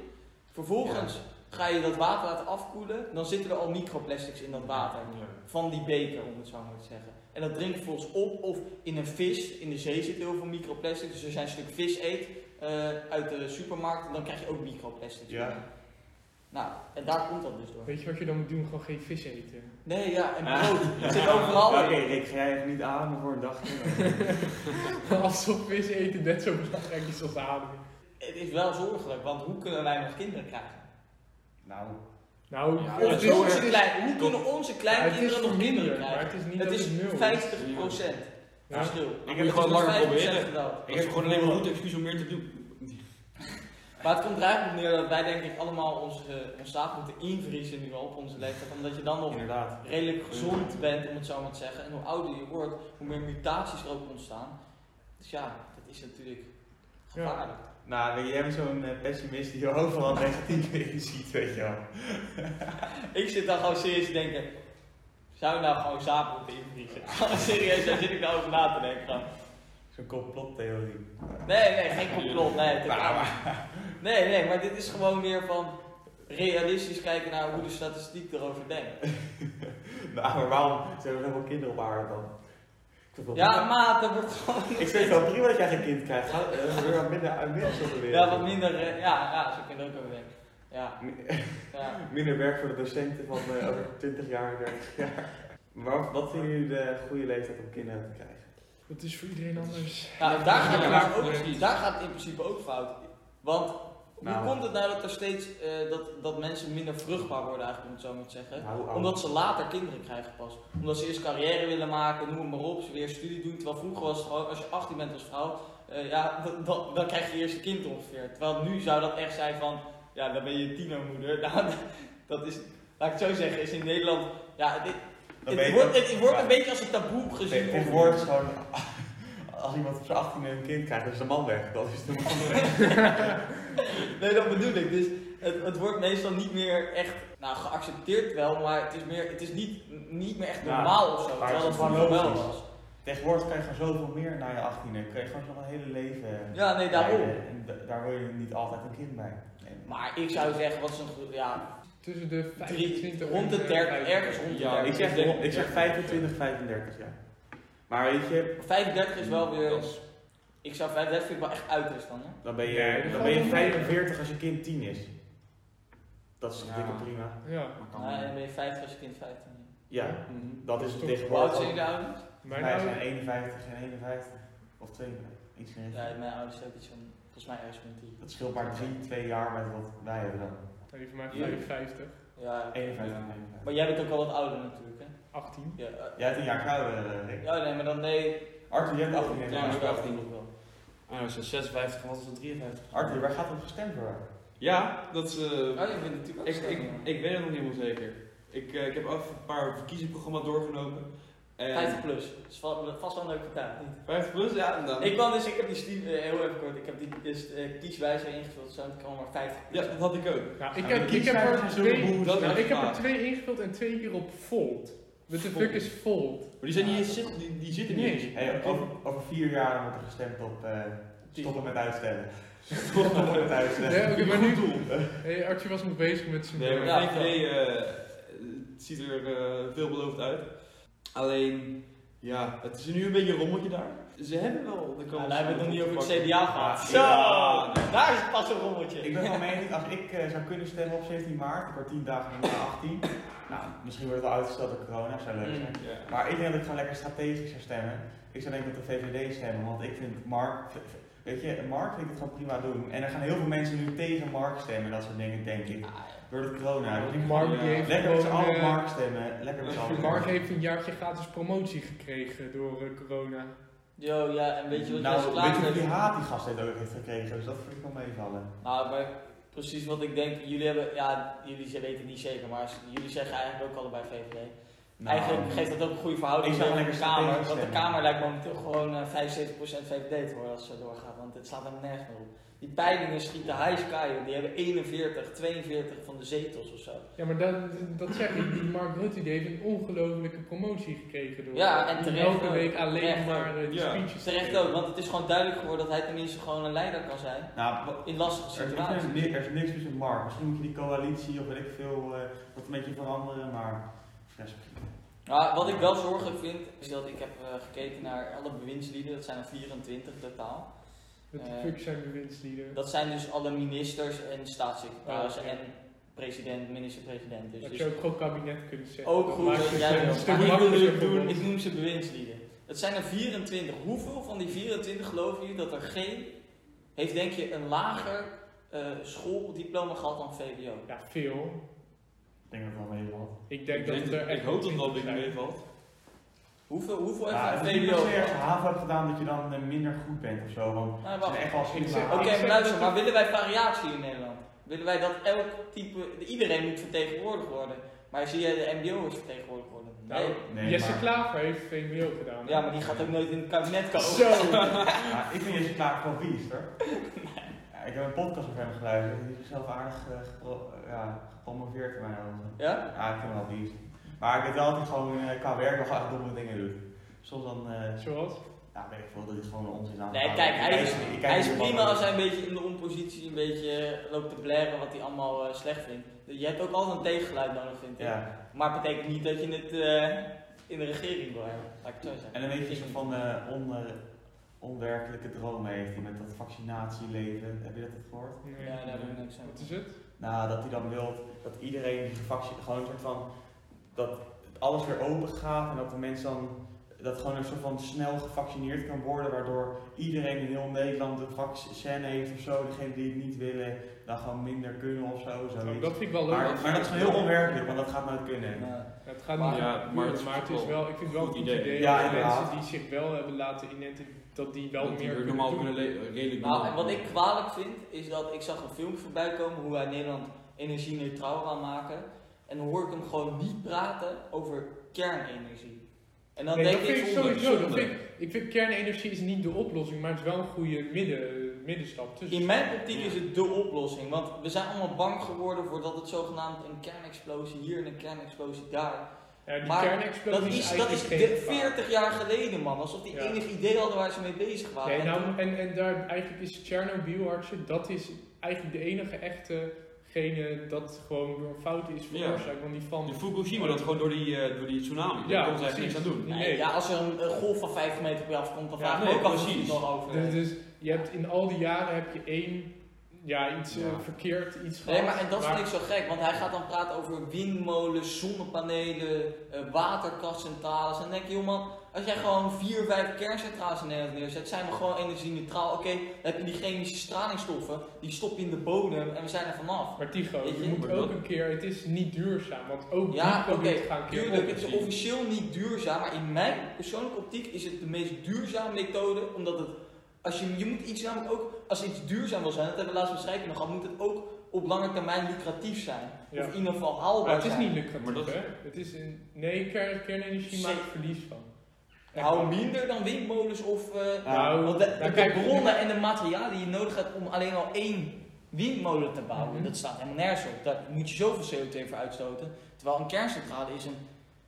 [SPEAKER 1] vervolgens ga je dat water laten afkoelen, dan zitten er al microplastics in dat water van die beker, om het zo maar te zeggen. En dat drinkt volgens op of in een vis. In de zee zit heel veel microplastic. Dus als jij een stuk vis eet eh, uit de supermarkt, dan krijg je ook microplastic.
[SPEAKER 3] Ja.
[SPEAKER 1] Nou, en daar komt dat dus door.
[SPEAKER 2] Weet je wat je dan moet doen? Gewoon geen vis eten. [laughs]
[SPEAKER 1] Nee, ja, en
[SPEAKER 4] Ah.
[SPEAKER 1] brood. Het zit overal
[SPEAKER 3] Ja,
[SPEAKER 1] in.
[SPEAKER 3] Oké, Rick, ga jij even niet ademen voor een dagje? [laughs]
[SPEAKER 2] Alsof vis eten net zo belangrijk is als ademen.
[SPEAKER 1] Het is wel zorgelijk, want hoe kunnen wij nog kinderen krijgen?
[SPEAKER 3] nou,
[SPEAKER 2] Nou,
[SPEAKER 4] Ja,
[SPEAKER 2] het
[SPEAKER 4] dat
[SPEAKER 1] Of
[SPEAKER 2] is-
[SPEAKER 4] zo
[SPEAKER 1] onze
[SPEAKER 2] het is-
[SPEAKER 1] klein, hoe kunnen onze
[SPEAKER 2] Ja,
[SPEAKER 1] kleinkinderen
[SPEAKER 2] het is
[SPEAKER 1] nog kinderen
[SPEAKER 2] minder,
[SPEAKER 1] krijgen?
[SPEAKER 2] Maar het is niet
[SPEAKER 1] Het
[SPEAKER 2] dat
[SPEAKER 1] is
[SPEAKER 2] het nul
[SPEAKER 1] 50%
[SPEAKER 2] Ja.
[SPEAKER 1] verschil.
[SPEAKER 4] moet je
[SPEAKER 1] Het is
[SPEAKER 4] gewoon
[SPEAKER 1] met
[SPEAKER 4] langer
[SPEAKER 1] 50%
[SPEAKER 4] proberen.
[SPEAKER 1] gedaald.
[SPEAKER 4] Ik heb gewoon alleen maar goed excuus om meer te doen.
[SPEAKER 1] Maar het komt er eigenlijk op neer dat wij denk ik allemaal onze, ons zaad moeten invriezen nu al op onze leeftijd. Omdat je dan nog
[SPEAKER 3] inderdaad.
[SPEAKER 1] redelijk gezond bent, om het zo maar te zeggen. En hoe ouder je wordt, hoe meer mutaties er ook ontstaan. Dus ja, dat is natuurlijk gevaarlijk.
[SPEAKER 3] Nou, weet je, jij bent zo'n eh, pessimist die overal negatief in ziet, weet je wel.
[SPEAKER 1] Ik zit dan gewoon serieus te denken, zou je nou gewoon zaad moeten invriezen? [laughs] serieus, daar zit ik nou over na te denken. gewoon.
[SPEAKER 3] Zo'n complottheorie. Nou,
[SPEAKER 1] Nee, nee, geen complot. Nee, het- nee, nee, maar dit is gewoon meer van realistisch kijken naar hoe de statistiek erover denkt.
[SPEAKER 3] Nou, maar waarom zijn er zoveel kinderen op aarde dan? Ik vind het wel
[SPEAKER 1] Ja,
[SPEAKER 3] prima.
[SPEAKER 1] maat, dat wordt gewoon...
[SPEAKER 3] Ik vind het wel prima dat jij geen kind krijgt. Ga eh, weer wat minder mensen op de wereld.
[SPEAKER 1] Ja, wat minder... eh, Ja, ja, zo kun je er ook over denken. Ja, ja.
[SPEAKER 3] Minder werk voor de docenten van eh, over 20 jaar, 30 jaar. Maar wat vinden jullie de goede leeftijd om kinderen te krijgen?
[SPEAKER 2] Het is voor iedereen anders.
[SPEAKER 1] Nou, daar gaat,
[SPEAKER 4] Ja,
[SPEAKER 1] het maar
[SPEAKER 4] ja,
[SPEAKER 1] ook,
[SPEAKER 4] precies.
[SPEAKER 1] daar gaat het in principe ook fout. Want
[SPEAKER 3] Nou.
[SPEAKER 1] hoe komt het nou dat er steeds eh, dat, dat mensen minder vruchtbaar worden, eigenlijk om het zo maar te zeggen?
[SPEAKER 3] Nou, hoe oud?
[SPEAKER 1] Eh, Omdat ze later kinderen krijgen pas. Omdat ze eerst carrière willen maken, noem maar op, ze weer studie doen. Terwijl vroeger was het gewoon, als je 18 bent als vrouw, eh, ja, dan, dan, dan krijg je eerst een kind ongeveer. Terwijl nu zou dat echt zijn van, ja, dan ben je tienermoeder. [laughs] Nou, dat is, laat ik het zo zeggen, is in Nederland, ja, het,
[SPEAKER 3] Dan
[SPEAKER 1] het,
[SPEAKER 3] ben je
[SPEAKER 1] wordt,
[SPEAKER 3] ook-
[SPEAKER 1] het, wordt
[SPEAKER 3] ja.
[SPEAKER 1] een beetje als een taboe gezien.
[SPEAKER 3] Nee, Tegenwoordig is gewoon, [laughs] als iemand op zijn 18 een kind krijgt, dan is de man weg. Dat is de man weg.
[SPEAKER 1] Nee, dat bedoel ik. Dus het, het wordt meestal niet meer echt nou, geaccepteerd wel, maar het is, meer, het is niet, niet meer echt
[SPEAKER 3] Ja,
[SPEAKER 1] normaal of zo.
[SPEAKER 3] maar het
[SPEAKER 1] Terwijl het
[SPEAKER 3] is gewoon
[SPEAKER 1] vroeger wel
[SPEAKER 3] logisch.
[SPEAKER 1] was.
[SPEAKER 3] Tegenwoordig krijg je gewoon zoveel meer na je 18 e Krijg je gewoon zo'n hele leven.
[SPEAKER 1] Ja, nee, daarom.
[SPEAKER 3] leiden. En da- daar wil je niet altijd een kind bij. En-
[SPEAKER 1] Maar ik zou zeggen, wat is een goed. Ja,
[SPEAKER 2] Tussen de
[SPEAKER 1] drie-
[SPEAKER 2] 25 en
[SPEAKER 1] rond de 30,
[SPEAKER 2] 35.
[SPEAKER 1] ergens rond de
[SPEAKER 4] Ja,
[SPEAKER 3] Ja,
[SPEAKER 1] 30.
[SPEAKER 3] ik zeg,
[SPEAKER 4] ik denk-
[SPEAKER 3] ik zeg 25, 35 ja. Maar weet je,
[SPEAKER 1] 35 is wel weer.
[SPEAKER 4] Dat is-
[SPEAKER 1] Ik zou 35 vind ik wel echt uiterst dan. Hè?
[SPEAKER 3] dan ben je,
[SPEAKER 2] Nee,
[SPEAKER 3] dan ben je
[SPEAKER 2] gewoon-
[SPEAKER 3] 45 als je kind 10 is. Dat is toch
[SPEAKER 4] Ja.
[SPEAKER 3] dikke prima.
[SPEAKER 2] Ja,
[SPEAKER 4] Maar kan
[SPEAKER 1] Nee, dan
[SPEAKER 4] wel.
[SPEAKER 1] ben je 50 als je kind 15.
[SPEAKER 3] Ja,
[SPEAKER 4] Mhm.
[SPEAKER 3] dat is het
[SPEAKER 1] Hoe
[SPEAKER 2] Hoe
[SPEAKER 1] oud
[SPEAKER 3] tegenwoordig.
[SPEAKER 1] zijn
[SPEAKER 3] ook.
[SPEAKER 1] je ouders?
[SPEAKER 2] mijn
[SPEAKER 3] Wij
[SPEAKER 2] ouders.
[SPEAKER 3] zijn 51 en 51. Of 52. Iets meer.
[SPEAKER 1] Ja, mijn ouders zijn ook iets van Volgens mij IJsland
[SPEAKER 3] Dat scheelt maar 3, 2 jaar met wat wij hebben dan.
[SPEAKER 2] Nee, voor mij
[SPEAKER 4] Ja.
[SPEAKER 2] 55,
[SPEAKER 1] Ja,
[SPEAKER 3] 51,
[SPEAKER 4] Ja.
[SPEAKER 3] 51.
[SPEAKER 1] maar jij bent ook al wat ouder natuurlijk, hè?
[SPEAKER 2] 18.
[SPEAKER 1] Ja, eh,
[SPEAKER 3] Jij hebt een jaar kouder, Rick.
[SPEAKER 1] ja nee, maar dan nee.
[SPEAKER 3] Arthur, jij hebt 18
[SPEAKER 1] Ja,
[SPEAKER 3] jaar
[SPEAKER 4] Ja,
[SPEAKER 1] maar
[SPEAKER 4] ik
[SPEAKER 3] kouder.
[SPEAKER 4] ben
[SPEAKER 1] wel,
[SPEAKER 4] 18.
[SPEAKER 1] ik wel.
[SPEAKER 4] Ah, is 56, wat is het 53?
[SPEAKER 3] Arthur, waar gaat het gestemd worden?
[SPEAKER 4] Ja, dat is. eh,
[SPEAKER 1] Oh, je bent natuurlijk ook
[SPEAKER 4] ik,
[SPEAKER 1] stemmen.
[SPEAKER 4] ik, ik weet het nog niet helemaal zeker. Ik, eh, ik heb af een paar verkiezingsprogramma's doorgenomen. En
[SPEAKER 1] 50 plus. Is va- vast wel een leuke taak, niet?
[SPEAKER 4] 50 plus, ja. Dan,
[SPEAKER 1] Ik kwam dus, ik heb die studie, eh, heel even kort, ik heb die dus, eh, kieswijzer ingevuld, zo kwam maar 50
[SPEAKER 4] ja, dat had ik ook.
[SPEAKER 2] Nou, ik
[SPEAKER 3] Ja,
[SPEAKER 2] heb,
[SPEAKER 3] maar die
[SPEAKER 2] ik heb
[SPEAKER 3] zijn
[SPEAKER 2] er
[SPEAKER 3] van zulke
[SPEAKER 2] twee,
[SPEAKER 3] boeren.
[SPEAKER 4] Dat
[SPEAKER 2] nou,
[SPEAKER 4] is
[SPEAKER 2] ik heb er
[SPEAKER 4] waar.
[SPEAKER 2] twee ingevuld en twee hier op Volt. What the
[SPEAKER 4] Volt.
[SPEAKER 2] fuck is Volt?
[SPEAKER 4] Maar die, zijn niet eens, zit- die, die zitten niet
[SPEAKER 2] Nee.
[SPEAKER 4] eens.
[SPEAKER 3] Hey, over, over vier jaar wordt er gestemd op eh, stoppen met uitstellen. [laughs] Stoppen met uitstellen.
[SPEAKER 2] Ja, oké, maar
[SPEAKER 4] Goed
[SPEAKER 2] nu...
[SPEAKER 4] doel.
[SPEAKER 2] Hey, Artje was nog bezig met zijn...
[SPEAKER 4] Nee, maar
[SPEAKER 1] Ja.
[SPEAKER 4] VVD eh, het ziet er eh, veelbelovend uit. Alleen, ja, het is nu een beetje een rommeltje daar. Ze hebben wel de kans.
[SPEAKER 1] Ja, daar hebben we het nog niet over het
[SPEAKER 4] pakken.
[SPEAKER 1] CDA gehad.
[SPEAKER 4] Ja,
[SPEAKER 1] Zo!
[SPEAKER 4] nee.
[SPEAKER 1] Daar is het pas een rommeltje.
[SPEAKER 3] Ik ben van mening, als ik eh, zou kunnen stemmen op 17 maart, ik word 10 dagen na 18. Nou, misschien wordt het wel uitgesteld door corona, zou
[SPEAKER 1] Mm.
[SPEAKER 3] leuk zijn.
[SPEAKER 4] Ja.
[SPEAKER 3] Maar ik denk dat ik gewoon lekker strategisch zou stemmen. Ik zou denk ik op de VVD stemmen, want ik vind Mark, weet je, Mark vind ik het gewoon prima doen. En er gaan heel veel mensen nu tegen Mark stemmen, dat soort dingen denk ik. Door de corona. Dus ik denk,
[SPEAKER 2] Mark die
[SPEAKER 4] Ja.
[SPEAKER 2] heeft
[SPEAKER 3] lekker met z'n
[SPEAKER 2] gewoon,
[SPEAKER 3] allen op
[SPEAKER 2] eh,
[SPEAKER 3] Mark stemmen, lekker met z'n allen. op
[SPEAKER 2] Mark heeft een jaartje gratis promotie gekregen door eh, corona.
[SPEAKER 1] Yo, ja, en weet je wat
[SPEAKER 3] nou,
[SPEAKER 1] Jesse
[SPEAKER 3] weet
[SPEAKER 1] Klaas
[SPEAKER 3] je
[SPEAKER 1] heeft?
[SPEAKER 3] hoeveel haat die gast heeft ook heeft gekregen, dus dat vind ik wel meevallen.
[SPEAKER 1] Nou, maar precies wat ik denk, jullie hebben, ja, jullie ze- weten het niet zeker, maar als- jullie zeggen eigenlijk ook allebei VVD.
[SPEAKER 3] Nou,
[SPEAKER 1] eigenlijk geeft dat ook een goede verhouding
[SPEAKER 3] Ik zou
[SPEAKER 1] met de
[SPEAKER 3] lekker
[SPEAKER 1] Kamer,
[SPEAKER 3] strategisch
[SPEAKER 1] want de
[SPEAKER 3] stemmen.
[SPEAKER 1] Kamer lijkt momenteel gewoon eh, 75% VVD te worden als het zo doorgaat, want het staat helemaal nergens meer op. Die peilingen schieten high sky, op. die hebben 41, 42 van de zetels of zo.
[SPEAKER 2] Ja, maar dat, dat zeg ik. Die Mark Rutte die heeft een ongelofelijke promotie gekregen door
[SPEAKER 1] Ja, en
[SPEAKER 2] die
[SPEAKER 1] terecht
[SPEAKER 2] elke
[SPEAKER 1] ook.
[SPEAKER 2] week alleen
[SPEAKER 1] Terecht
[SPEAKER 2] maar eh, die
[SPEAKER 4] Ja.
[SPEAKER 2] speeches.
[SPEAKER 1] Terecht
[SPEAKER 2] geeft.
[SPEAKER 1] ook, want het is gewoon duidelijk geworden dat hij tenminste gewoon een leider kan zijn
[SPEAKER 3] Nou,
[SPEAKER 1] in lastige
[SPEAKER 3] Er is, niks,
[SPEAKER 1] situaties.
[SPEAKER 3] meer- er is niks tussen Mark. Misschien moet je die coalitie of weet ik veel eh, wat een beetje veranderen, maar. Ja, is prima.
[SPEAKER 1] Ja, wat ik wel zorgelijk vind, is dat ik heb eh, gekeken naar alle bewindslieden, dat zijn er 24 totaal.
[SPEAKER 2] Wat de
[SPEAKER 1] Eh,
[SPEAKER 2] fuck zijn bewindslieden?
[SPEAKER 1] Dat zijn dus alle ministers en staatssecretarissen
[SPEAKER 2] Ah, ja.
[SPEAKER 1] en president, minister-president. Dus,
[SPEAKER 2] Dat
[SPEAKER 1] dus
[SPEAKER 2] je ook gewoon kabinet kunt zetten.
[SPEAKER 1] ook
[SPEAKER 2] Dat
[SPEAKER 1] goed
[SPEAKER 2] maakt
[SPEAKER 1] dat
[SPEAKER 2] het
[SPEAKER 1] jij
[SPEAKER 2] een
[SPEAKER 1] dat
[SPEAKER 2] stuk
[SPEAKER 1] niet
[SPEAKER 2] makkelijker
[SPEAKER 1] wil
[SPEAKER 2] voor
[SPEAKER 1] doen,
[SPEAKER 2] ons.
[SPEAKER 1] ik noem ze bewindslieden. Het zijn er 24. Hoeveel van die 24 geloven jullie dat er geen, heeft denk je een lager eh, schooldiploma gehad dan VWO?
[SPEAKER 2] Ja, veel.
[SPEAKER 3] Ik denk dat het wel meevalt.
[SPEAKER 2] Ik denk
[SPEAKER 4] Ik,
[SPEAKER 2] dat
[SPEAKER 4] denk
[SPEAKER 2] het
[SPEAKER 4] dat-
[SPEAKER 2] er
[SPEAKER 4] ik
[SPEAKER 2] echt
[SPEAKER 4] hoop dat
[SPEAKER 2] wel
[SPEAKER 4] dat
[SPEAKER 2] zijn.
[SPEAKER 4] binnen meevalt.
[SPEAKER 1] Hoeveel, hoeveel heeft
[SPEAKER 3] Ja,
[SPEAKER 1] er
[SPEAKER 3] het
[SPEAKER 1] een
[SPEAKER 3] is niet per
[SPEAKER 1] VWO?
[SPEAKER 3] se als je HAVO hebt gedaan dat je dan eh, minder goed bent of zo. Want
[SPEAKER 1] Nou,
[SPEAKER 3] het
[SPEAKER 1] wacht.
[SPEAKER 3] zijn echt wel slim.
[SPEAKER 2] Ik zeg-
[SPEAKER 1] Oké,
[SPEAKER 2] Ik
[SPEAKER 1] maar
[SPEAKER 2] zeg
[SPEAKER 1] luister,
[SPEAKER 2] dat
[SPEAKER 1] maar
[SPEAKER 2] er-
[SPEAKER 1] willen wij variatie in Nederland? Willen wij dat elk type, iedereen moet vertegenwoordigd worden? Maar zie je, de MBO is vertegenwoordigd worden.
[SPEAKER 2] Nou,
[SPEAKER 1] Nee.
[SPEAKER 3] Nee,
[SPEAKER 2] Jesse
[SPEAKER 3] maar-
[SPEAKER 2] Klaver heeft VMBO gedaan. hè?
[SPEAKER 1] Ja, maar die gaat ook nooit in het kabinet komen. [laughs]
[SPEAKER 2] Zo!
[SPEAKER 3] Maar ik vind Jesse Klaver gewoon vies hoor. Ja, ik heb een podcast over hem geluisterd. Hij heeft zichzelf aardig eh, gepro- ja, gepromoveerd in mijn ogen.
[SPEAKER 1] Ja?
[SPEAKER 3] Ja, ik vind hem wel vies. Maar ik weet wel dat hij gewoon eh, qua werk nog wel echt domme dingen doet. Soms dan, eh,
[SPEAKER 2] Zoals?
[SPEAKER 3] ja, weet ik veel, dat is gewoon een onzin aan.
[SPEAKER 1] Nee, kijk, hij is,
[SPEAKER 3] Ik kijk
[SPEAKER 1] hij is
[SPEAKER 3] niet op
[SPEAKER 1] prima
[SPEAKER 3] andere-
[SPEAKER 1] als hij een beetje in de onpositie een beetje eh, loopt te blaren wat hij allemaal eh, slecht vindt. Je hebt ook altijd een tegengeluid nodig, vind ik.
[SPEAKER 3] Ja.
[SPEAKER 1] Maar het betekent niet dat je het eh, in de regering wil hebben. Laat ik het zo zeggen.
[SPEAKER 3] En een beetje zo van eh on, eh, onwerkelijke dromen heeft hij met dat vaccinatieleven. Heb je dat gehoord?
[SPEAKER 2] Nee.
[SPEAKER 1] Ja, daar heb ik niks aan.
[SPEAKER 2] Wat is het?
[SPEAKER 3] Nou, dat hij dan wil dat iedereen die gevaccineerd, gewoon een soort van, dat alles weer open gaat en dat de mensen dan, dat gewoon een soort van snel gevaccineerd kan worden, waardoor iedereen in heel Nederland een vaccin heeft of zo. Degene die het niet willen, dan gewoon minder kunnen of zo.
[SPEAKER 2] Nou,
[SPEAKER 3] zoiets.
[SPEAKER 2] dat vind ik wel leuk.
[SPEAKER 3] Maar, maar dat is gewoon heel onwerkelijk, want dat gaat nooit kunnen.
[SPEAKER 1] Ja.
[SPEAKER 2] Ja, het gaat
[SPEAKER 1] Maar-
[SPEAKER 2] niet
[SPEAKER 4] Ja,
[SPEAKER 2] gebeuren,
[SPEAKER 4] maar het is
[SPEAKER 2] maar het is
[SPEAKER 4] wel
[SPEAKER 2] wel, ik vind het wel een
[SPEAKER 4] goed
[SPEAKER 2] goed
[SPEAKER 4] idee.
[SPEAKER 2] idee,
[SPEAKER 3] Ja,
[SPEAKER 2] dat
[SPEAKER 3] inderdaad.
[SPEAKER 2] mensen die zich wel hebben laten inenten, dat die wel
[SPEAKER 4] Dat die
[SPEAKER 2] meer
[SPEAKER 4] weer
[SPEAKER 2] kunnen
[SPEAKER 4] normaal
[SPEAKER 2] doen.
[SPEAKER 4] kunnen leven. Redelijk
[SPEAKER 1] Nou, en
[SPEAKER 4] normaal.
[SPEAKER 1] wat ik kwalijk vind, is dat ik zag een filmpje voorbij komen hoe wij Nederland energie-neutraal gaan maken. En dan hoor ik hem gewoon niet praten over kernenergie. En dan
[SPEAKER 2] Nee,
[SPEAKER 1] denk
[SPEAKER 2] dat vind ik
[SPEAKER 1] zonde.
[SPEAKER 2] sowieso, dat
[SPEAKER 4] zonde.
[SPEAKER 2] vind ik, ik vind kernenergie is niet de oplossing, maar het is wel een goede midden, middenstap Dus- tussen.
[SPEAKER 1] In mijn optiek is het de oplossing, want we zijn allemaal bang geworden voordat het zogenaamd een kernexplosie hier en een kernexplosie daar.
[SPEAKER 2] Ja, die
[SPEAKER 1] maar
[SPEAKER 2] kernexplosie
[SPEAKER 1] dat is, dat is
[SPEAKER 2] eigenlijk
[SPEAKER 1] de-
[SPEAKER 2] geen gevaar.
[SPEAKER 1] 40 jaar geleden, man. Alsof die
[SPEAKER 2] Ja.
[SPEAKER 1] enig idee hadden waar ze mee bezig waren.
[SPEAKER 2] Nee,
[SPEAKER 1] En toen-
[SPEAKER 2] nou, en, en daar, eigenlijk is Tsjernobyl, hartje, dat is eigenlijk de enige echte gene dat gewoon door een fout is
[SPEAKER 4] Ja.
[SPEAKER 2] veroorzaakt, want die van...
[SPEAKER 4] De Fukushima, dat gewoon door die, eh, door die
[SPEAKER 2] Ja,
[SPEAKER 4] tsunami. daar kon ze echt niks
[SPEAKER 2] precies.
[SPEAKER 4] aan doen.
[SPEAKER 1] Nee,
[SPEAKER 2] nee.
[SPEAKER 1] Ja, als er een, een golf van 50 meter per jaar afkomt, dan
[SPEAKER 2] Ja,
[SPEAKER 1] vraag ik
[SPEAKER 4] nee,
[SPEAKER 1] me ook af of
[SPEAKER 4] precies.
[SPEAKER 1] het nog over.
[SPEAKER 2] Dus, dus je hebt in al die jaren heb je één, ja, iets eh,
[SPEAKER 4] Ja.
[SPEAKER 2] verkeerd, iets
[SPEAKER 1] Nee,
[SPEAKER 2] gehad.
[SPEAKER 1] maar en dat vind ik zo gek, want hij gaat dan praten over windmolens, zonnepanelen, eh waterkrachtcentrales. En dan denk je, joh man, als jij gewoon vier, vijf kerncentrales in Nederland neerzet, zijn we gewoon energie-neutraal. Oké, dan heb je die chemische stralingsstoffen, die stop je in de bodem en we zijn er vanaf.
[SPEAKER 2] Maar Tycho,
[SPEAKER 1] Weet
[SPEAKER 2] je
[SPEAKER 1] je,
[SPEAKER 2] moet
[SPEAKER 4] maar
[SPEAKER 2] ook
[SPEAKER 4] dat-
[SPEAKER 2] een keer, het is niet duurzaam, want ook
[SPEAKER 1] Ja,
[SPEAKER 2] die
[SPEAKER 1] oké,
[SPEAKER 2] producten gaan een keer
[SPEAKER 1] tuurlijk,
[SPEAKER 2] op.
[SPEAKER 1] het is officieel niet duurzaam, maar in mijn persoonlijke optiek is het de meest duurzame methode, omdat het, als je, je moet iets namelijk ook, als iets duurzaam wil zijn, dat hebben we laatst beschreven nogal, moet het ook op lange termijn lucratief zijn.
[SPEAKER 2] Ja.
[SPEAKER 1] Of in ieder geval
[SPEAKER 2] Maar
[SPEAKER 1] haalbaar
[SPEAKER 2] het is
[SPEAKER 1] zijn.
[SPEAKER 2] niet lucratief,
[SPEAKER 4] Maar dat-
[SPEAKER 2] hè? Het is een, nee, kern, kernenergie maakt verlies van.
[SPEAKER 1] Nou, minder dan windmolens of... eh,
[SPEAKER 2] Nou,
[SPEAKER 1] Want
[SPEAKER 2] nou,
[SPEAKER 1] de, de
[SPEAKER 2] kijk,
[SPEAKER 1] bronnen en de materialen die je nodig hebt om alleen al één windmolen te bouwen,
[SPEAKER 2] Mhm.
[SPEAKER 1] dat staat helemaal nergens op. Daar moet je zoveel CO2 voor uitstoten. Terwijl een kerncentrale is een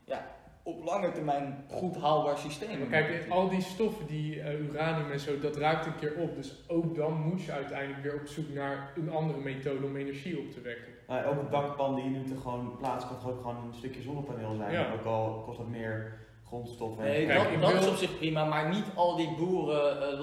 [SPEAKER 1] ja, op lange termijn goed haalbaar systeem.
[SPEAKER 2] Maar kijk, al die stoffen, die eh, uranium en zo, dat raakt een keer op. Dus ook dan moet je uiteindelijk weer op zoek naar een andere methode om energie op te wekken.
[SPEAKER 3] Nou, elke dakpan die je nu te gewoon plaatst, kan toch ook gewoon een stukje zonnepaneel zijn.
[SPEAKER 2] Ja.
[SPEAKER 3] Ook al kost dat meer grondstof. en-
[SPEAKER 1] Nee,
[SPEAKER 2] Kijk,
[SPEAKER 1] dat,
[SPEAKER 2] ik
[SPEAKER 1] dat
[SPEAKER 2] wil-
[SPEAKER 1] is op zich prima, maar niet al die boeren eh,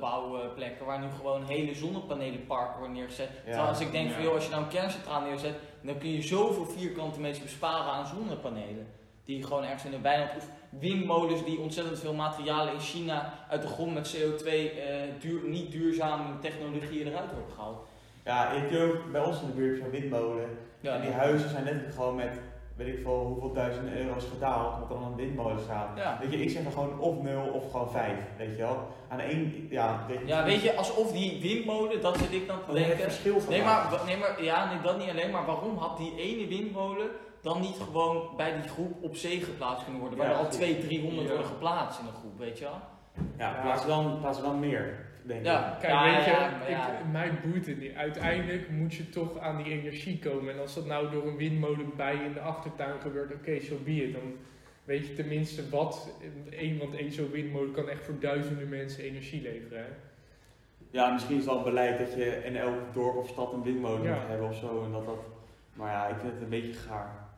[SPEAKER 1] landbouwplekken waar nu gewoon hele zonnepanelenparken worden neergezet. Terwijl als ik denk van
[SPEAKER 4] Ja.
[SPEAKER 1] joh, als je nou een kerncentrale neerzet, dan kun je zoveel vierkante meters besparen aan zonnepanelen. Die gewoon ergens in de weiland of windmolens die ontzettend veel materialen in China uit de grond met CO2 eh, duur, niet duurzame technologieën eruit worden gehaald.
[SPEAKER 3] Ja, ik heb ook bij ons in de buurt zo'n windmolen.
[SPEAKER 1] Ja,
[SPEAKER 3] En die huizen zijn net gewoon met, weet ik veel, hoeveel duizenden euro's gedaald, omdat er dan een windmolen staat.
[SPEAKER 1] Ja.
[SPEAKER 3] Weet je, ik zeg dan gewoon of 0 of gewoon 5, weet je wel. Aan één, ja, weet
[SPEAKER 1] ja, weet je, alsof die windmolen, dat zit ik dan te
[SPEAKER 3] Alleen het
[SPEAKER 1] denken.
[SPEAKER 3] verschil van
[SPEAKER 1] Nee maar, wa- nee, maar ja, nee, dat niet alleen, maar waarom had die ene windmolen dan niet gewoon bij die groep op zee geplaatst kunnen worden? Waar
[SPEAKER 3] Ja,
[SPEAKER 1] er al
[SPEAKER 3] precies.
[SPEAKER 1] 200, 300
[SPEAKER 2] Ja.
[SPEAKER 1] worden geplaatst in een groep, weet je wel?
[SPEAKER 3] Ja, plaats dan, plaats dan meer, denk ik.
[SPEAKER 1] Ja.
[SPEAKER 2] Kijk,
[SPEAKER 1] Ja,
[SPEAKER 2] weet je,
[SPEAKER 1] ja, maar ja.
[SPEAKER 2] ik, mij boeit het niet. Uiteindelijk moet je toch aan die energie komen. En als dat nou door een windmolen bij je in de achtertuin gebeurt, oké, zo so be it. Dan weet je tenminste wat, één, want één zo'n windmolen kan echt voor duizenden mensen energie leveren. Hè?
[SPEAKER 3] Ja, misschien is het wel een beleid dat je in elk dorp of stad een windmolen
[SPEAKER 2] Ja.
[SPEAKER 3] moet hebben of zo. En dat dat, maar ja, ik vind het een beetje gaar.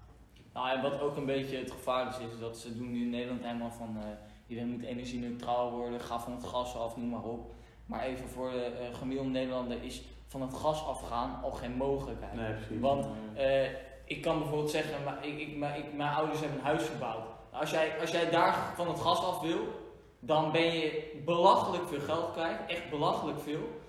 [SPEAKER 1] Nou, en wat ook een beetje het gevaar is, is dat ze doen nu in Nederland helemaal van eh, iedereen moet energie neutraal worden, ga van het gas af, noem maar op. Maar even voor de eh, gemiddelde Nederlander is van het gas afgaan al geen mogelijkheid.
[SPEAKER 3] Nee, precies.
[SPEAKER 1] Want- Eh, ik kan bijvoorbeeld zeggen, maar ik, ik, maar ik, mijn ouders hebben een huis verbouwd. Als jij, als jij daar van het gas af wil, dan ben je belachelijk veel geld kwijt. Echt belachelijk veel.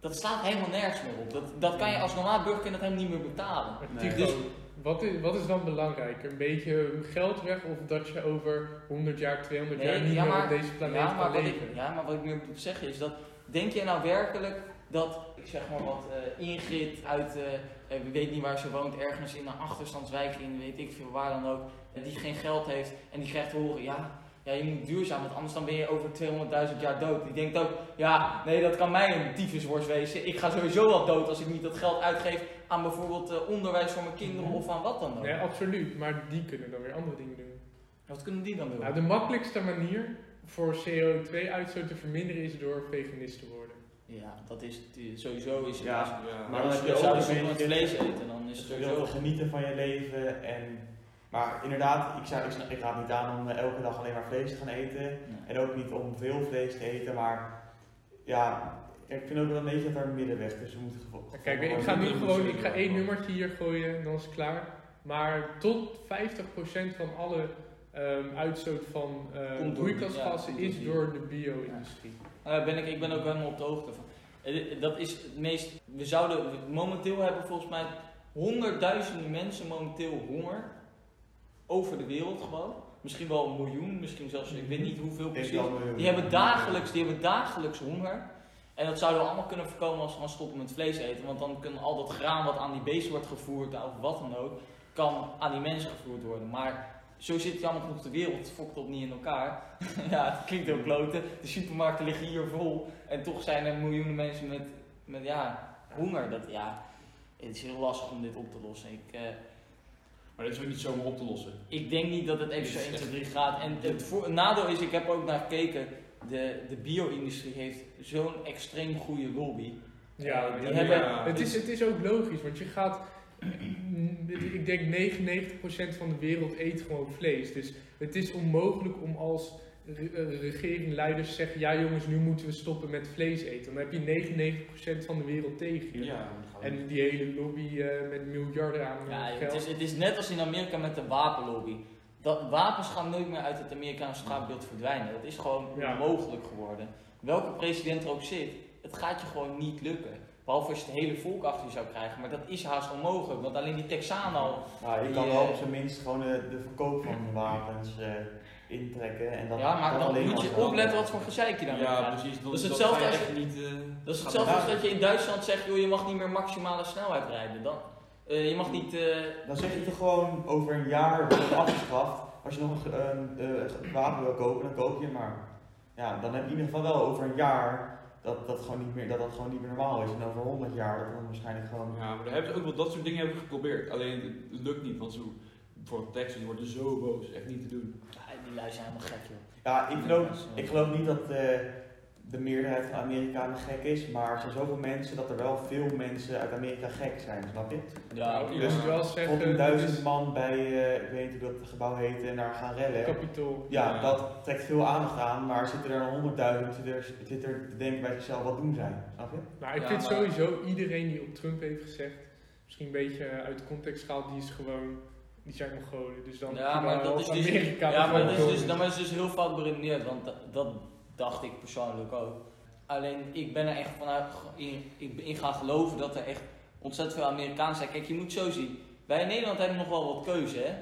[SPEAKER 1] Dat slaat helemaal nergens meer op. Dat, dat kan je als normaal burger kun je dat helemaal niet meer betalen.
[SPEAKER 2] Maar
[SPEAKER 3] Nee.
[SPEAKER 2] Tycho, Dus wat, is, wat is dan belangrijker? Een beetje geld weg of dat je over 100 jaar, 200 jaar niet
[SPEAKER 1] ja,
[SPEAKER 2] meer
[SPEAKER 1] maar-
[SPEAKER 2] op deze planeet
[SPEAKER 1] ja, maar
[SPEAKER 2] kan
[SPEAKER 1] wat
[SPEAKER 2] leven?
[SPEAKER 1] ik, ja, maar wat ik meer moet zeggen is dat, denk jij nou werkelijk dat, ik zeg maar wat, eh, Ingrid uit, eh, eh, we weet niet waar ze woont, ergens in een achterstandswijk in, weet ik veel waar dan ook, eh, die geen geld heeft en die krijgt te horen, ja, ja, je moet duurzaam, want anders dan ben je over 200.000 jaar dood. Die denkt ook, ja, nee, dat kan mij een tyfusworst wezen. Ik ga sowieso al dood als ik niet dat geld uitgeef aan bijvoorbeeld eh, onderwijs voor mijn
[SPEAKER 2] Mhm.
[SPEAKER 1] kinderen of aan wat dan ook.
[SPEAKER 2] Nee, absoluut. Maar die kunnen dan weer andere dingen doen.
[SPEAKER 1] Wat kunnen die dan doen?
[SPEAKER 2] Nou, de makkelijkste manier voor CO2-uitstoot te verminderen is door veganist te worden.
[SPEAKER 1] Ja, dat is sowieso is het
[SPEAKER 3] Ja.
[SPEAKER 1] als-
[SPEAKER 3] Maar
[SPEAKER 1] Maar
[SPEAKER 3] dan
[SPEAKER 1] als
[SPEAKER 3] heb
[SPEAKER 1] je
[SPEAKER 3] je
[SPEAKER 1] zou
[SPEAKER 3] ook
[SPEAKER 1] dus
[SPEAKER 3] een
[SPEAKER 1] zonder het
[SPEAKER 3] beetje-
[SPEAKER 1] vlees eten, dan is het
[SPEAKER 3] Dus je wil
[SPEAKER 1] sowieso...
[SPEAKER 3] genieten van je leven en... Maar inderdaad, ik, zou, ik, ik raad niet aan om eh, elke dag alleen maar vlees te gaan eten. En ook niet om veel vlees te eten, maar... Ja, ik vind ook wel een beetje dat daar een middenweg tussen moet gevo-
[SPEAKER 2] En
[SPEAKER 3] gevonden
[SPEAKER 2] Kijk, ik
[SPEAKER 3] worden.
[SPEAKER 2] ga nu
[SPEAKER 4] niet
[SPEAKER 2] gewoon,
[SPEAKER 4] zo
[SPEAKER 2] ik ga
[SPEAKER 4] heel
[SPEAKER 2] één
[SPEAKER 4] erg.
[SPEAKER 2] nummertje hier gooien en dan is het klaar. Maar tot 50% van alle ehm, uitstoot van eh,
[SPEAKER 1] Komt door-
[SPEAKER 2] broeikasgassen
[SPEAKER 1] ja, komt
[SPEAKER 2] is
[SPEAKER 1] door die-
[SPEAKER 2] door de bio-industrie.
[SPEAKER 1] Eh, ben ik, ik ben ook helemaal op de hoogte van. Eh, Dat is het meest... We zouden... we- Momenteel hebben volgens mij honderdduizenden mensen momenteel honger. Over de wereld gewoon. Misschien wel een miljoen, misschien zelfs... Ik weet niet hoeveel
[SPEAKER 3] Ik denk eh,
[SPEAKER 1] precies.
[SPEAKER 3] wel een miljoen.
[SPEAKER 1] Die hebben dagelijks, die hebben dagelijks honger. En dat zouden we allemaal kunnen voorkomen als we gaan stoppen met vlees eten. Want dan kan al dat graan wat aan die beesten wordt gevoerd, nou, of wat dan ook, kan aan die mensen gevoerd worden. Maar zo zit jammer genoeg de wereld, het fokt op niet in elkaar. [laughs] ja, het klinkt heel kloten. De supermarkten liggen hier vol. En toch zijn er miljoenen mensen met, met ja, honger. Dat, ja, het is heel lastig om dit op te lossen. Ik, eh,
[SPEAKER 4] Maar dit is ook niet zomaar op te lossen.
[SPEAKER 1] ik denk niet dat het even zo
[SPEAKER 4] Dit is
[SPEAKER 1] 1, 2,
[SPEAKER 4] echt-
[SPEAKER 1] 3 gaat. En het voor, een nadeel is, ik heb ook naar gekeken, de, de bio-industrie heeft zo'n extreem goede lobby.
[SPEAKER 2] Ja,
[SPEAKER 1] Eh, die
[SPEAKER 2] ja,
[SPEAKER 1] hebben,
[SPEAKER 4] ja.
[SPEAKER 3] Ah,
[SPEAKER 2] Het
[SPEAKER 3] dus-
[SPEAKER 2] is, het is ook logisch, want je gaat. Ik denk 99% van de wereld eet gewoon vlees. Dus het is onmogelijk om als re- eh, regering, leiders te zeggen: ja, jongens, nu moeten we stoppen met vlees eten. Dan heb je 99% van de wereld tegen je. En die hele lobby eh, met miljarden aan eh,
[SPEAKER 1] ja, joh,
[SPEAKER 2] geld.
[SPEAKER 1] het, is, het is net als in Amerika met de wapenlobby. dat wapens gaan nooit meer uit het Amerikaanse straatbeeld verdwijnen. Dat is gewoon
[SPEAKER 2] Ja.
[SPEAKER 1] onmogelijk geworden. Welke president er ook zit, het gaat je gewoon niet lukken. Behalve als je het hele volk achter je zou krijgen, maar dat is haast onmogelijk, want alleen die Texanen al.
[SPEAKER 3] Nou, je
[SPEAKER 1] Die,
[SPEAKER 3] kan wel
[SPEAKER 1] eh,
[SPEAKER 3] op zijn minst gewoon eh, de verkoop van wapens eh, intrekken. En dat,
[SPEAKER 1] ja, maar
[SPEAKER 3] dat
[SPEAKER 1] dan
[SPEAKER 3] alleen
[SPEAKER 1] moet
[SPEAKER 3] als
[SPEAKER 1] je
[SPEAKER 3] wel-
[SPEAKER 1] opletten wat voor gezeik je daarmee
[SPEAKER 4] Ja,
[SPEAKER 1] krijgt.
[SPEAKER 4] precies. Dat,
[SPEAKER 1] Dat is
[SPEAKER 4] dat
[SPEAKER 1] hetzelfde
[SPEAKER 4] ga je
[SPEAKER 1] als je-
[SPEAKER 4] echt niet. eh,
[SPEAKER 1] Dat is
[SPEAKER 4] gaat
[SPEAKER 1] hetzelfde als
[SPEAKER 4] lukken.
[SPEAKER 1] dat je in Duitsland zegt, joh, je mag niet meer maximale snelheid rijden. Dan, eh, je mag niet... eh,
[SPEAKER 3] Dan zeg je toch gewoon over een jaar wordt het afgeschaft. Als je nog een, ge- een, eh, wapen wil kopen, dan koop je hem maar. Ja, dan heb je in ieder geval wel over een jaar dat dat gewoon niet meer, dat dat gewoon niet meer normaal is. En over 100 jaar dat dan waarschijnlijk gewoon.
[SPEAKER 4] Ja, maar daar hebben ze ook wel dat soort dingen hebben we geprobeerd. Alleen het- het lukt niet, want zo, bijvoorbeeld Texas die worden zo boos, echt niet te doen.
[SPEAKER 1] ja, Ah, die lui zijn helemaal gek, joh.
[SPEAKER 3] Ja, ik geloof, ik geloof niet dat eh, de meerderheid van Amerikanen gek is, maar er zijn zoveel mensen dat er wel veel mensen uit Amerika gek zijn, snap je?
[SPEAKER 1] Ja,
[SPEAKER 2] ik
[SPEAKER 4] oké.
[SPEAKER 2] Nou, moet wel zeggen,
[SPEAKER 3] Rond Dus
[SPEAKER 2] eh, dit
[SPEAKER 3] een duizend
[SPEAKER 2] is
[SPEAKER 3] man bij, eh, ik weet niet hoe dat gebouw heet, en daar gaan
[SPEAKER 2] het
[SPEAKER 3] rellen.
[SPEAKER 2] kapitool.
[SPEAKER 3] Ja,
[SPEAKER 4] Ja.
[SPEAKER 3] dat trekt veel aandacht aan, maar zitten er dan honderdduizend, zit er, zit er te denken bij zichzelf, wat doen zij? Snap je?
[SPEAKER 2] Maar Nou, ik
[SPEAKER 1] Ja,
[SPEAKER 2] vind
[SPEAKER 1] maar-
[SPEAKER 2] sowieso iedereen die op Trump heeft gezegd, misschien een beetje eh, uit context gehaald, die is gewoon, die zijn Mongolen. Dus dan
[SPEAKER 1] Ja,
[SPEAKER 2] kunnen
[SPEAKER 1] maar
[SPEAKER 2] we
[SPEAKER 1] dat
[SPEAKER 2] wel
[SPEAKER 1] is dus,
[SPEAKER 2] Amerika
[SPEAKER 1] ja, maar dat is
[SPEAKER 2] gewoon
[SPEAKER 1] dus,
[SPEAKER 2] doen.
[SPEAKER 1] dan is dus heel fout beredeneerd, want da- dat dacht ik persoonlijk ook. Alleen ik ben er echt vanuit ge- in, ik ben in gaan geloven dat er echt ontzettend veel Amerikanen zijn. Kijk, je moet zo zien. Wij in Nederland hebben nog wel wat keuze, hè?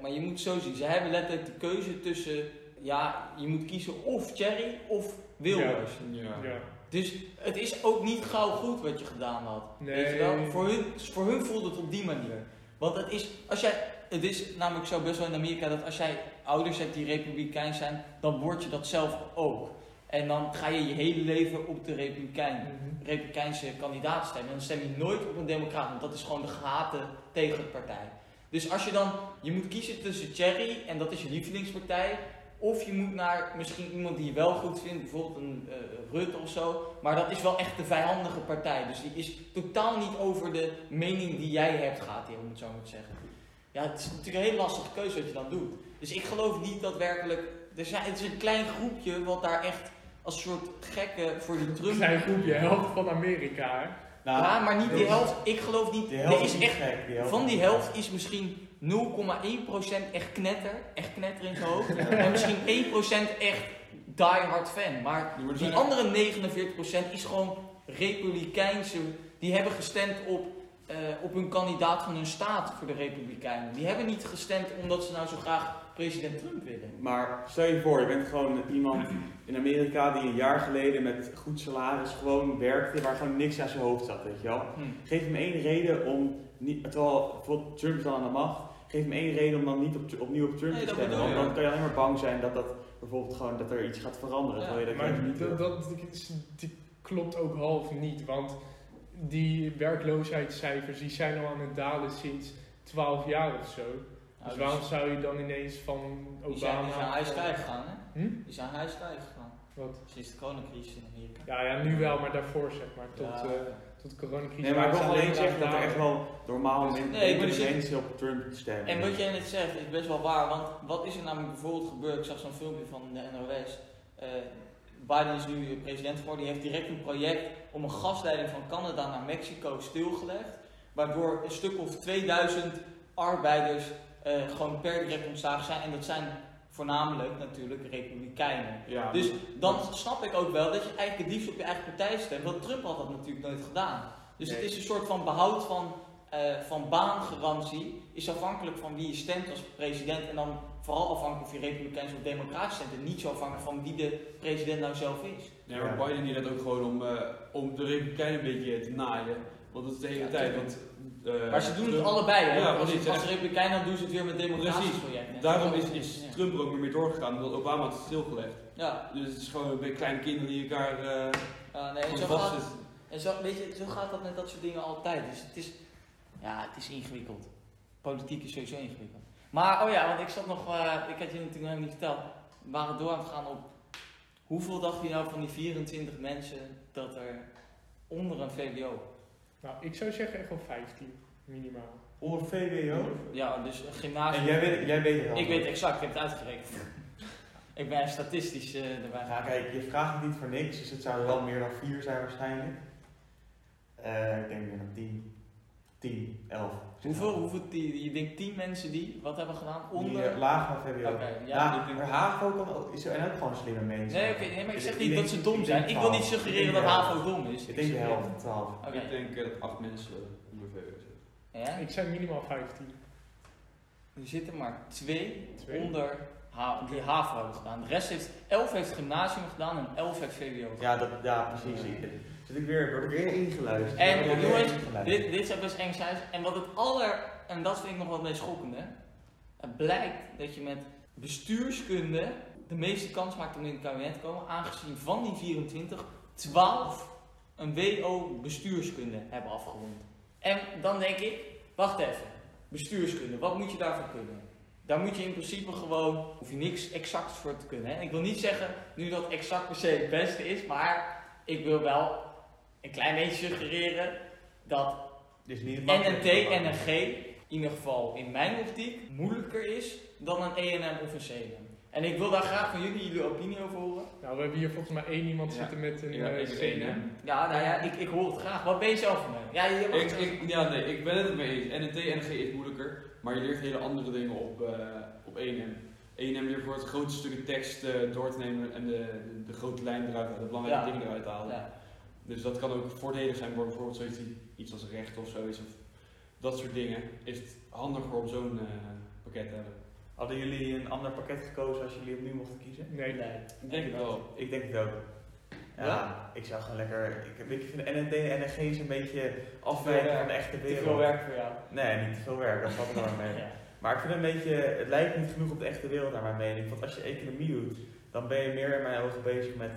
[SPEAKER 1] Maar je moet zo zien. Ze hebben letterlijk de keuze tussen, ja, je moet kiezen of Cherry of Wilders.
[SPEAKER 4] Ja.
[SPEAKER 2] Ja.
[SPEAKER 1] Dus het is ook niet gauw goed wat je gedaan had. Weet je wel?
[SPEAKER 2] Nee.
[SPEAKER 1] Voor hun, voor hun voelt het op die manier. Want het is, als jij, het is namelijk zo best wel in Amerika dat als jij ouders hebt die republikein zijn, dan word je dat zelf ook. En dan ga je je hele leven op de republikein,
[SPEAKER 2] Mhm.
[SPEAKER 1] republikeinse kandidaat stemmen. En dan stem je nooit op een democraat, want dat is gewoon de gehate tegenpartij. Dus als je dan, je moet kiezen tussen Cherry, en dat is je lievelingspartij, of je moet naar misschien iemand die je wel goed vindt, bijvoorbeeld een eh, Rutte of zo. Maar dat is wel echt de vijandige partij. Dus die is totaal niet over de mening die jij hebt gaat, die, om het zo maar te zeggen. Ja, het is natuurlijk een heel lastige keuze wat je dan doet. Dus ik geloof niet dat werkelijk. Er zijn, het is een klein groepje wat daar echt als soort gekken voor die
[SPEAKER 2] Het
[SPEAKER 1] Trump.
[SPEAKER 2] zijn groepje, helft van Amerika. hè.
[SPEAKER 3] Nou,
[SPEAKER 1] Ja, maar niet die
[SPEAKER 3] dus
[SPEAKER 1] helft. Ik geloof niet.
[SPEAKER 3] De helft
[SPEAKER 1] er
[SPEAKER 3] is
[SPEAKER 1] is
[SPEAKER 3] niet
[SPEAKER 1] echt
[SPEAKER 3] gek.
[SPEAKER 1] van die helft is misschien 0,1% echt knetter, echt knetter in zijn hoofd. en misschien 1% echt diehard fan. Maar
[SPEAKER 4] Die worden
[SPEAKER 1] die
[SPEAKER 4] zijn-
[SPEAKER 1] andere 49% is gewoon republikeinse. Die hebben gestemd op, eh, op hun kandidaat van hun staat voor de republikeinen. Die hebben niet gestemd omdat ze nou zo graag president Trump willen.
[SPEAKER 3] Maar stel je voor, je bent gewoon iemand in Amerika die een jaar geleden met goed salaris gewoon werkte, waar gewoon niks aan zijn hoofd zat, weet je wel.
[SPEAKER 1] Hm.
[SPEAKER 3] Geef hem één reden om niet, terwijl bijvoorbeeld Trump is dan aan de macht, geef hem één reden om dan niet op, opnieuw op Trump
[SPEAKER 1] Nee,
[SPEAKER 3] te
[SPEAKER 1] dat
[SPEAKER 3] stemmen.
[SPEAKER 1] bedoel
[SPEAKER 3] Want
[SPEAKER 1] ik.
[SPEAKER 3] dan kan je alleen maar bang zijn dat dat bijvoorbeeld gewoon dat er iets gaat veranderen.
[SPEAKER 1] Ja,
[SPEAKER 3] terwijl je dat juist
[SPEAKER 2] Maar
[SPEAKER 3] niet wil.
[SPEAKER 2] dat, dat, die klopt ook half niet, want die werkloosheidscijfers die zijn al aan het dalen sinds 12 jaar of zo. Dus
[SPEAKER 1] Nou,
[SPEAKER 2] waarom zou je dan ineens van
[SPEAKER 1] die zijn, die zijn
[SPEAKER 2] Obama...
[SPEAKER 1] huistuig gegaan, hè?
[SPEAKER 2] Hm?
[SPEAKER 1] Die zijn huistuig gegaan.
[SPEAKER 2] Wat?
[SPEAKER 1] Sinds de coronacrisis in Amerika.
[SPEAKER 2] Ja, ja, nu wel, maar daarvoor zeg maar, tot,
[SPEAKER 1] Ja.
[SPEAKER 2] eh tot de coronacrisis.
[SPEAKER 3] Nee, maar ik wil
[SPEAKER 2] waren ze
[SPEAKER 3] alleen
[SPEAKER 2] aan het
[SPEAKER 3] zeggen dat er
[SPEAKER 2] dalen.
[SPEAKER 3] echt wel normaal
[SPEAKER 2] Nee,
[SPEAKER 3] men-
[SPEAKER 1] ik
[SPEAKER 3] denkende
[SPEAKER 1] moet zeggen-
[SPEAKER 3] mensen op Trump stemmen.
[SPEAKER 1] En wat jij net zegt is best wel waar, want wat is er namelijk bijvoorbeeld gebeurd? Ik zag zo'n filmpje van de NOS. Eh, Biden is nu president geworden, die heeft direct een project om een gasleiding van Canada naar Mexico stilgelegd. Waardoor een stuk of 2000 arbeiders eh, gewoon per direct ontslagen zijn. En dat zijn voornamelijk natuurlijk republikeinen.
[SPEAKER 4] Ja,
[SPEAKER 1] Dus dan snap ik ook wel dat je eigenlijk het liefst op je eigen partij stemt. Want Trump had dat natuurlijk nooit gedaan. Dus het
[SPEAKER 3] Nee.
[SPEAKER 1] is een soort van behoud van, eh, van baangarantie. Is afhankelijk van wie je stemt als president. En dan vooral afhankelijk of je republikeins of democratisch stemt. En niet zo afhankelijk van wie de president nou zelf is.
[SPEAKER 4] nee, maar Biden die redt ook gewoon om, eh, om de Republikeinen een beetje te naaien. Want dat is de hele
[SPEAKER 1] Ja,
[SPEAKER 4] tijd.
[SPEAKER 1] tuurlijk.
[SPEAKER 4] Want, eh,
[SPEAKER 1] maar ze doen het
[SPEAKER 4] Trump-
[SPEAKER 1] allebei. Hè?
[SPEAKER 4] Ja,
[SPEAKER 1] als
[SPEAKER 4] precies,
[SPEAKER 1] als
[SPEAKER 4] hè.
[SPEAKER 1] republikein dan doen ze het weer met democratisch
[SPEAKER 4] Precies.
[SPEAKER 1] project. hè.
[SPEAKER 4] Daarom is, is
[SPEAKER 1] Ja.
[SPEAKER 4] Trump er ook niet meer doorgegaan, omdat Obama het stilgelegd.
[SPEAKER 1] Ja,
[SPEAKER 4] Dus het is gewoon een beetje kleine kinderen die elkaar eh
[SPEAKER 1] ja, nee, en
[SPEAKER 4] gewoon
[SPEAKER 1] zo gaat,
[SPEAKER 4] vastzitten.
[SPEAKER 1] en zo, weet je, zo gaat dat met dat soort dingen altijd. Dus het is, ja, het is ingewikkeld. Politiek is sowieso ingewikkeld. Maar, oh ja, want ik zat nog, eh, ik had je natuurlijk nog niet verteld. We waren door aan het gaan op hoeveel dacht je nou van die 24 mensen dat er onder een VWO?
[SPEAKER 2] Nou, ik zou zeggen echt wel 15, minimaal.
[SPEAKER 3] Onder VWO.
[SPEAKER 1] Ja, dus een
[SPEAKER 3] En
[SPEAKER 1] gymnasium.
[SPEAKER 3] jij weet, jij weet het al.
[SPEAKER 1] ik weet exact, ik heb het uitgerekend. ik ben statistisch eh, erbij
[SPEAKER 3] Ja,
[SPEAKER 1] gaan.
[SPEAKER 3] kijk, je vraagt het niet voor niks, dus het zou wel meer dan vier zijn waarschijnlijk. Eh, ik denk meer dan tien. 10, 11.
[SPEAKER 1] Hoeveel, hoeveel die, je denkt 10 mensen die wat hebben gedaan
[SPEAKER 3] Onder?
[SPEAKER 1] onder.
[SPEAKER 3] eh, laag naar VWO.
[SPEAKER 1] Oké, ja, ik denk-
[SPEAKER 3] maar HAVO kan ook, is er ook gewoon slimme mensen.
[SPEAKER 1] Nee, oké, nee, maar ik
[SPEAKER 3] Ik-
[SPEAKER 1] zeg
[SPEAKER 3] ik
[SPEAKER 1] niet
[SPEAKER 3] denk-
[SPEAKER 1] dat ze dom
[SPEAKER 3] ik
[SPEAKER 1] zijn.
[SPEAKER 3] denk
[SPEAKER 1] Ik wil niet
[SPEAKER 3] twaalf.
[SPEAKER 1] suggereren
[SPEAKER 3] Ik
[SPEAKER 1] dat
[SPEAKER 3] denk eh,
[SPEAKER 1] HAVO dom is.
[SPEAKER 3] Ik denk de
[SPEAKER 1] suggereer-
[SPEAKER 3] helft, 12.
[SPEAKER 1] Oké.
[SPEAKER 4] Ik denk eh, dat acht mensen onder VWO zitten.
[SPEAKER 1] Ja?
[SPEAKER 2] Ik zei minimaal 15.
[SPEAKER 1] Er zitten maar twee,
[SPEAKER 2] Twee?
[SPEAKER 1] onder ha die HAVO hebben gedaan. De rest heeft, 11 heeft gymnasium gedaan en 11 heeft VWO gedaan.
[SPEAKER 3] Ja, dat, ja precies. Ik- Zit ik weer, word ik weer ingeluisterd.
[SPEAKER 1] En,
[SPEAKER 3] Word ik weer
[SPEAKER 1] jongens,
[SPEAKER 3] ingeluisterd.
[SPEAKER 1] Dit, dit zou best eng zijn. En wat het aller, en dat vind ik nog wel het meest schokkende. Het blijkt dat je met bestuurskunde de meeste kans maakt om in het kabinet te komen. Aangezien van die 24, 12 een WO bestuurskunde hebben afgerond. En dan denk ik, wacht even. Bestuurskunde, wat moet je daarvoor kunnen? Daar moet je in principe gewoon, hoef je niks exacts voor te kunnen. Hè? En ik wil niet zeggen nu dat exact per se het beste is, maar ik wil wel een klein beetje suggereren dat
[SPEAKER 3] Dus niet het
[SPEAKER 1] en een T
[SPEAKER 3] makkelijkste.
[SPEAKER 1] en een G in ieder geval in mijn optiek moeilijker is dan een ENM of een CNM. En ik wil daar graag van jullie jullie opinie over horen.
[SPEAKER 2] Nou, we hebben hier volgens mij één iemand
[SPEAKER 4] Ja.
[SPEAKER 2] zitten met een
[SPEAKER 4] Ja,
[SPEAKER 2] eh,
[SPEAKER 4] ik ben één, hè.
[SPEAKER 2] CNM.
[SPEAKER 1] Ja, nou ja, ik, ik hoor het graag. Wat ben je zelf van mij? Ja, je mag
[SPEAKER 4] Ik,
[SPEAKER 1] het-
[SPEAKER 4] ik, ja, nee, ik ben het mee eens. NNT en G is moeilijker, maar je leert hele andere dingen op, eh op 1M. 1M leert voor het grote stukken tekst eh, door te nemen en de, de grote lijn eruit halen, de belangrijke
[SPEAKER 1] Ja.
[SPEAKER 4] dingen eruit te halen.
[SPEAKER 1] Ja.
[SPEAKER 4] Dus dat kan ook voordelig zijn voor bijvoorbeeld zoiets, die- iets als recht of zoiets. Of dat soort dingen is het handiger om zo'n eh, pakket te hebben.
[SPEAKER 3] Hadden jullie een ander pakket gekozen als jullie opnieuw mochten kiezen?
[SPEAKER 2] Nee,
[SPEAKER 1] Nee.
[SPEAKER 4] Ik denk het wel.
[SPEAKER 3] Ik denk het ook. Ja,
[SPEAKER 1] Ja?
[SPEAKER 3] ik zou gewoon lekker. Ik, ik vind NND en NNG is een beetje afwijken
[SPEAKER 1] werk.
[SPEAKER 3] van de echte
[SPEAKER 1] Te
[SPEAKER 3] wereld.
[SPEAKER 1] veel werk voor jou.
[SPEAKER 3] Nee, niet te veel werk, dat valt er wel mee.
[SPEAKER 1] Ja.
[SPEAKER 3] Maar ik vind een beetje, het lijkt niet genoeg op de echte wereld naar mijn mening. Want als je economie doet, dan ben je meer in mijn ogen bezig met